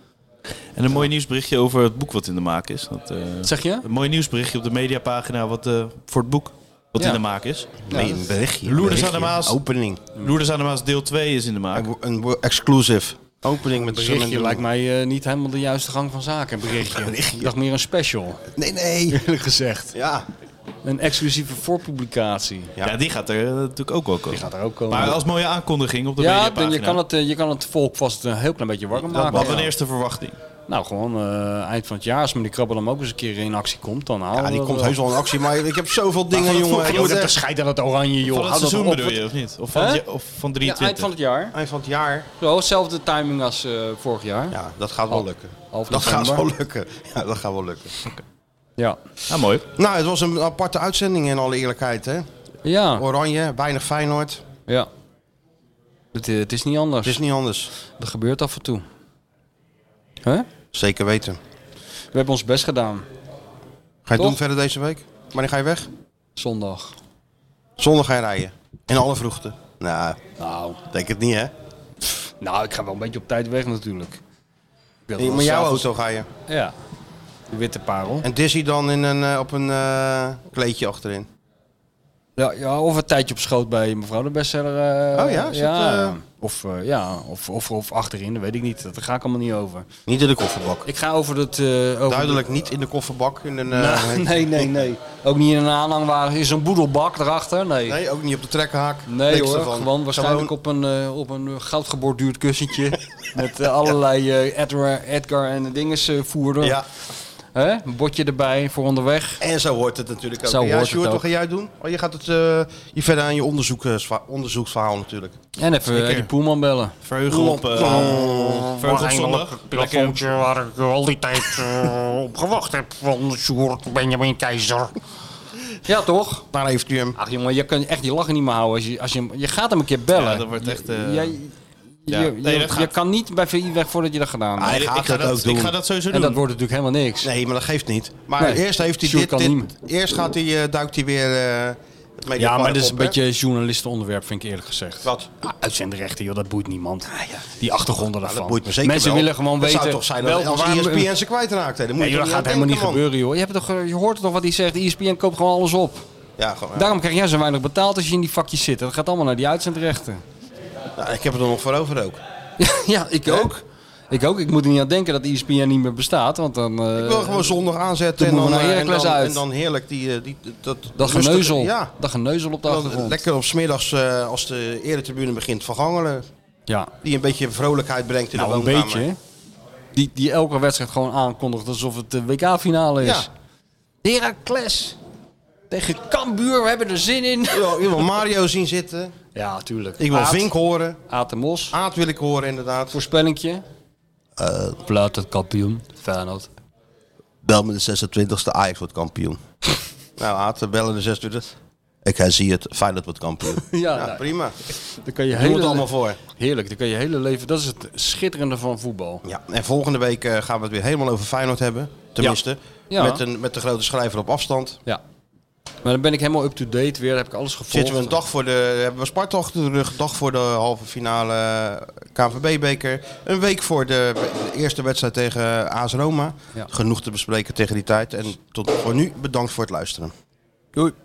Speaker 4: En een mooi nieuwsberichtje over het boek wat in de maak is. Dat, eh,
Speaker 3: Wat zeg je?
Speaker 4: een mooi nieuwsberichtje op de mediapagina wat, eh, voor het boek wat
Speaker 3: Ja.
Speaker 4: in de maak is.
Speaker 2: Nee, een berichtje.
Speaker 4: Loerders
Speaker 2: berichtje,
Speaker 4: aan de Maas.
Speaker 2: Opening.
Speaker 4: Loerders aan de Maas deel 2 is in de maak.
Speaker 2: Een- Een wo- exclusive. Opening met
Speaker 3: Berichtje
Speaker 2: Simon-
Speaker 3: lijkt mij eh, niet helemaal de juiste gang van zaken, een berichtje. Ik dacht meer een special,
Speaker 2: Nee, nee.
Speaker 3: eerlijk gezegd.
Speaker 2: Ja.
Speaker 3: Een exclusieve voorpublicatie.
Speaker 4: Ja. die gaat er eh, natuurlijk ook wel komen.
Speaker 3: Die gaat er ook komen.
Speaker 4: Maar als mooie aankondiging op de
Speaker 3: ja, dan-
Speaker 4: mediapagina.
Speaker 3: je kan, het, eh, je kan het volk vast een heel klein beetje warm maken.
Speaker 4: Wat een
Speaker 3: Ja.
Speaker 4: eerste verwachting.
Speaker 3: Nou, gewoon eh, eind van het jaar, als meneer Krabbel hem ook eens een keer in actie komt, dan halen
Speaker 2: ja, die
Speaker 3: we
Speaker 2: komt
Speaker 3: Oh, wel.
Speaker 2: heus wel in actie. Maar ik heb zoveel dingen,
Speaker 4: van het
Speaker 2: jongen.
Speaker 4: vroeger,
Speaker 2: Ik
Speaker 3: Joh,
Speaker 2: moet
Speaker 3: dat
Speaker 2: echt-
Speaker 3: de scheid aan het oranje, joh.
Speaker 4: Van het
Speaker 3: Hou dat
Speaker 4: seizoen
Speaker 3: op.
Speaker 4: bedoel je, of niet? Of van,
Speaker 3: Hè?
Speaker 4: het ja- of van
Speaker 3: Ja,
Speaker 4: 23?
Speaker 3: eind van het jaar.
Speaker 2: Eind van het jaar.
Speaker 3: Wel hetzelfde timing als eh, vorig jaar. Ja.
Speaker 2: Ja, dat gaat
Speaker 3: Oh,
Speaker 2: wel lukken.
Speaker 3: half
Speaker 2: dat gaat wel
Speaker 3: november.
Speaker 2: lukken. Ja, dat gaat wel lukken.
Speaker 3: Ja.
Speaker 4: Ah, mooi.
Speaker 2: Nou, het was een aparte uitzending in alle eerlijkheid, hè?
Speaker 3: ja.
Speaker 2: Oranje, weinig Feyenoord.
Speaker 3: Het, eh, het is niet anders.
Speaker 2: Het is niet anders.
Speaker 3: Dat gebeurt af en toe. Hè?
Speaker 2: Zeker weten.
Speaker 3: We hebben ons best gedaan.
Speaker 2: Ga je het
Speaker 3: Toch?
Speaker 2: doen verder deze week? Wanneer ga je weg?
Speaker 3: Zondag.
Speaker 2: Zondag ga je rijden. In alle vroegte. Nou,
Speaker 3: Nou,
Speaker 2: denk het niet, hè?
Speaker 3: nou, ik ga wel een beetje op tijd weg natuurlijk. Ik wil wel
Speaker 2: Met jouw
Speaker 3: s'avonds-
Speaker 2: auto ga je.
Speaker 3: Ja. De witte parel.
Speaker 2: En Dizzy dan in een, eh, op een eh, kleedje achterin.
Speaker 3: Ja, ja, of een tijdje op schoot bij mevrouw de bestseller. eh,
Speaker 2: Oh ja, is
Speaker 3: ja.
Speaker 2: dat, eh?
Speaker 3: Of, eh, ja of, of, of achterin, dat weet ik niet. Daar ga ik allemaal niet over.
Speaker 2: Niet in de kofferbak.
Speaker 3: Ik ga over het... eh, over
Speaker 2: Duidelijk niet in de kofferbak. In een, eh,
Speaker 3: Nou, nee, nee, nee. Ook niet in een aanhangwagen. Is een boedelbak erachter? Nee. Nee,
Speaker 2: Nee, ook niet op de trekhaak. Niks
Speaker 3: hoor,
Speaker 2: ervan.
Speaker 3: gewoon waarschijnlijk
Speaker 2: Gewoon-
Speaker 3: op een, eh, op een eh, goudgeborduurd kussentje. met eh, allerlei eh, Edward- Edgar, en de dinges eh, voerder.
Speaker 2: Ja,
Speaker 3: Hè? Een bordje erbij voor onderweg.
Speaker 2: en zo hoort het natuurlijk ook.
Speaker 3: Zo
Speaker 2: Zo ja,
Speaker 3: hoort
Speaker 2: Sjoerd,
Speaker 3: het
Speaker 2: wat
Speaker 3: ook.
Speaker 2: ga jij doen? Oh, je gaat het, eh, je verder aan je onderzoek, eh, zwa- onderzoeksverhaal natuurlijk.
Speaker 3: En even eh, die Poelman bellen.
Speaker 4: Verheugel op, eh, verheugel op zondag. Lekker.
Speaker 9: Telefoontje waar ik al die tijd eh, op gewacht heb van Sjoerd Benjamin Keizer.
Speaker 3: Ja, toch?
Speaker 2: Daar heeft u hem.
Speaker 3: Ach jongen, je kan echt je lachen niet meer houden. Als je, als je, je gaat hem een keer bellen.
Speaker 4: Ja, dat wordt echt... eh,
Speaker 3: Jij-
Speaker 4: ja.
Speaker 3: je,
Speaker 4: Nee,
Speaker 3: je-
Speaker 4: dat gaat-
Speaker 3: je kan niet bij VI weg voordat je dat gedaan hebt.
Speaker 2: hij
Speaker 4: nee,
Speaker 2: gaat
Speaker 4: Ah, ik, ga
Speaker 2: dat ook
Speaker 4: dat, ik
Speaker 2: doen.
Speaker 4: ga dat sowieso
Speaker 3: En dat
Speaker 4: doen.
Speaker 3: wordt natuurlijk helemaal niks.
Speaker 2: Nee, maar dat geeft niet. Maar
Speaker 3: Nee,
Speaker 2: eerst heeft hij
Speaker 3: Sjoerd
Speaker 2: dit,
Speaker 3: kan
Speaker 2: dit-
Speaker 3: niet
Speaker 2: Eerst gaat hij, eh, duikt hij weer eh, Media
Speaker 3: Ja, maar
Speaker 2: Park
Speaker 3: dit is
Speaker 2: op, hè?
Speaker 3: een beetje journalistenonderwerp, vind ik eerlijk gezegd.
Speaker 2: Wat? Nou,
Speaker 3: Ah, uitzendrechten, joh, dat boeit niemand. Die achtergronden daarvan.
Speaker 2: Ah, Dat boeit me zeker
Speaker 3: Mensen
Speaker 2: wel.
Speaker 3: willen gewoon
Speaker 2: Het
Speaker 3: weten...
Speaker 2: zou toch zijn dat
Speaker 3: welke-
Speaker 2: als E
Speaker 3: waarom-
Speaker 2: ESPN ze kwijtraakt. hè? Dan moet
Speaker 3: Nee,
Speaker 2: je
Speaker 3: joh, dat
Speaker 2: toch
Speaker 3: gaat
Speaker 2: niet aan
Speaker 3: helemaal niet
Speaker 2: denken, man.
Speaker 3: gebeuren, joh. Je, hebt toch, eh, je hoort toch wat hij zegt? ESPN koopt gewoon alles op.
Speaker 2: Ja, gewoon, ja.
Speaker 3: Daarom krijg jij zo weinig betaald als je in die vakjes zit. Dat gaat allemaal naar die uitzendrechten.
Speaker 2: Ja, Nou, ik heb het er nog voor over
Speaker 3: Eh,
Speaker 2: ook.
Speaker 3: ja, ik ook. Ik ook. Ik moet er niet aan denken dat E ESPN niet meer bestaat, want dan... eh,
Speaker 2: Ik wil gewoon zondag aanzetten
Speaker 3: toen
Speaker 2: en dan,
Speaker 3: moeten we naar
Speaker 2: eh, en, dan,
Speaker 3: Heracles uit.
Speaker 2: en dan heerlijk die, eh, die, dat,
Speaker 3: Dat
Speaker 2: rustige-
Speaker 3: geneuzel.
Speaker 2: Ja.
Speaker 3: Dat geneuzel op de
Speaker 2: En dan
Speaker 3: achtergrond.
Speaker 2: lekker op smiddags eh, als de eretribune begint van Gangelen.
Speaker 3: Ja.
Speaker 2: Die een beetje vrolijkheid brengt in
Speaker 3: Nou,
Speaker 2: de
Speaker 3: een
Speaker 2: woonkamer.
Speaker 3: beetje. hè. Die, die elke wedstrijd gewoon aankondigt alsof het de WK-finale is. Heracles tegen Cambuur, we hebben er zin in.
Speaker 2: Ja, ik wil Mario zien zitten.
Speaker 3: Ja, tuurlijk.
Speaker 2: Ik wil
Speaker 3: Aad-
Speaker 2: Vink horen.
Speaker 3: Aad de Mos.
Speaker 2: Aad wil ik horen inderdaad.
Speaker 3: Voorspellingje. Plaat Eh, het kampioen. Feyenoord.
Speaker 2: Bel me de 26e, Ajax wordt kampioen. nou Aad, we bellen de 26e. Ik hij zie het, Feyenoord wordt kampioen.
Speaker 3: Ja,
Speaker 2: Ja,
Speaker 3: nou,
Speaker 2: prima.
Speaker 3: daar kan je
Speaker 2: Doe het
Speaker 3: hele...
Speaker 2: allemaal voor.
Speaker 3: Heerlijk, daar kan je hele leven... Dat is het schitterende van voetbal.
Speaker 2: Ja, en volgende week eh, gaan we het weer helemaal over Feyenoord hebben. Tenminste,
Speaker 3: Ja.
Speaker 2: Met, een, met de grote schrijver op afstand.
Speaker 3: Ja. Maar dan ben ik helemaal up-to-date weer. Heb ik alles gevolgd.
Speaker 2: Zitten we een dag voor de. Hebben we Sparta achter de rug? Een dag voor de halve finale eh, KNVB-beker. Een week voor de, de eerste wedstrijd tegen AS Roma.
Speaker 3: Ja.
Speaker 2: Genoeg te bespreken tegen die tijd. En tot voor nu bedankt voor het luisteren.
Speaker 3: Doei.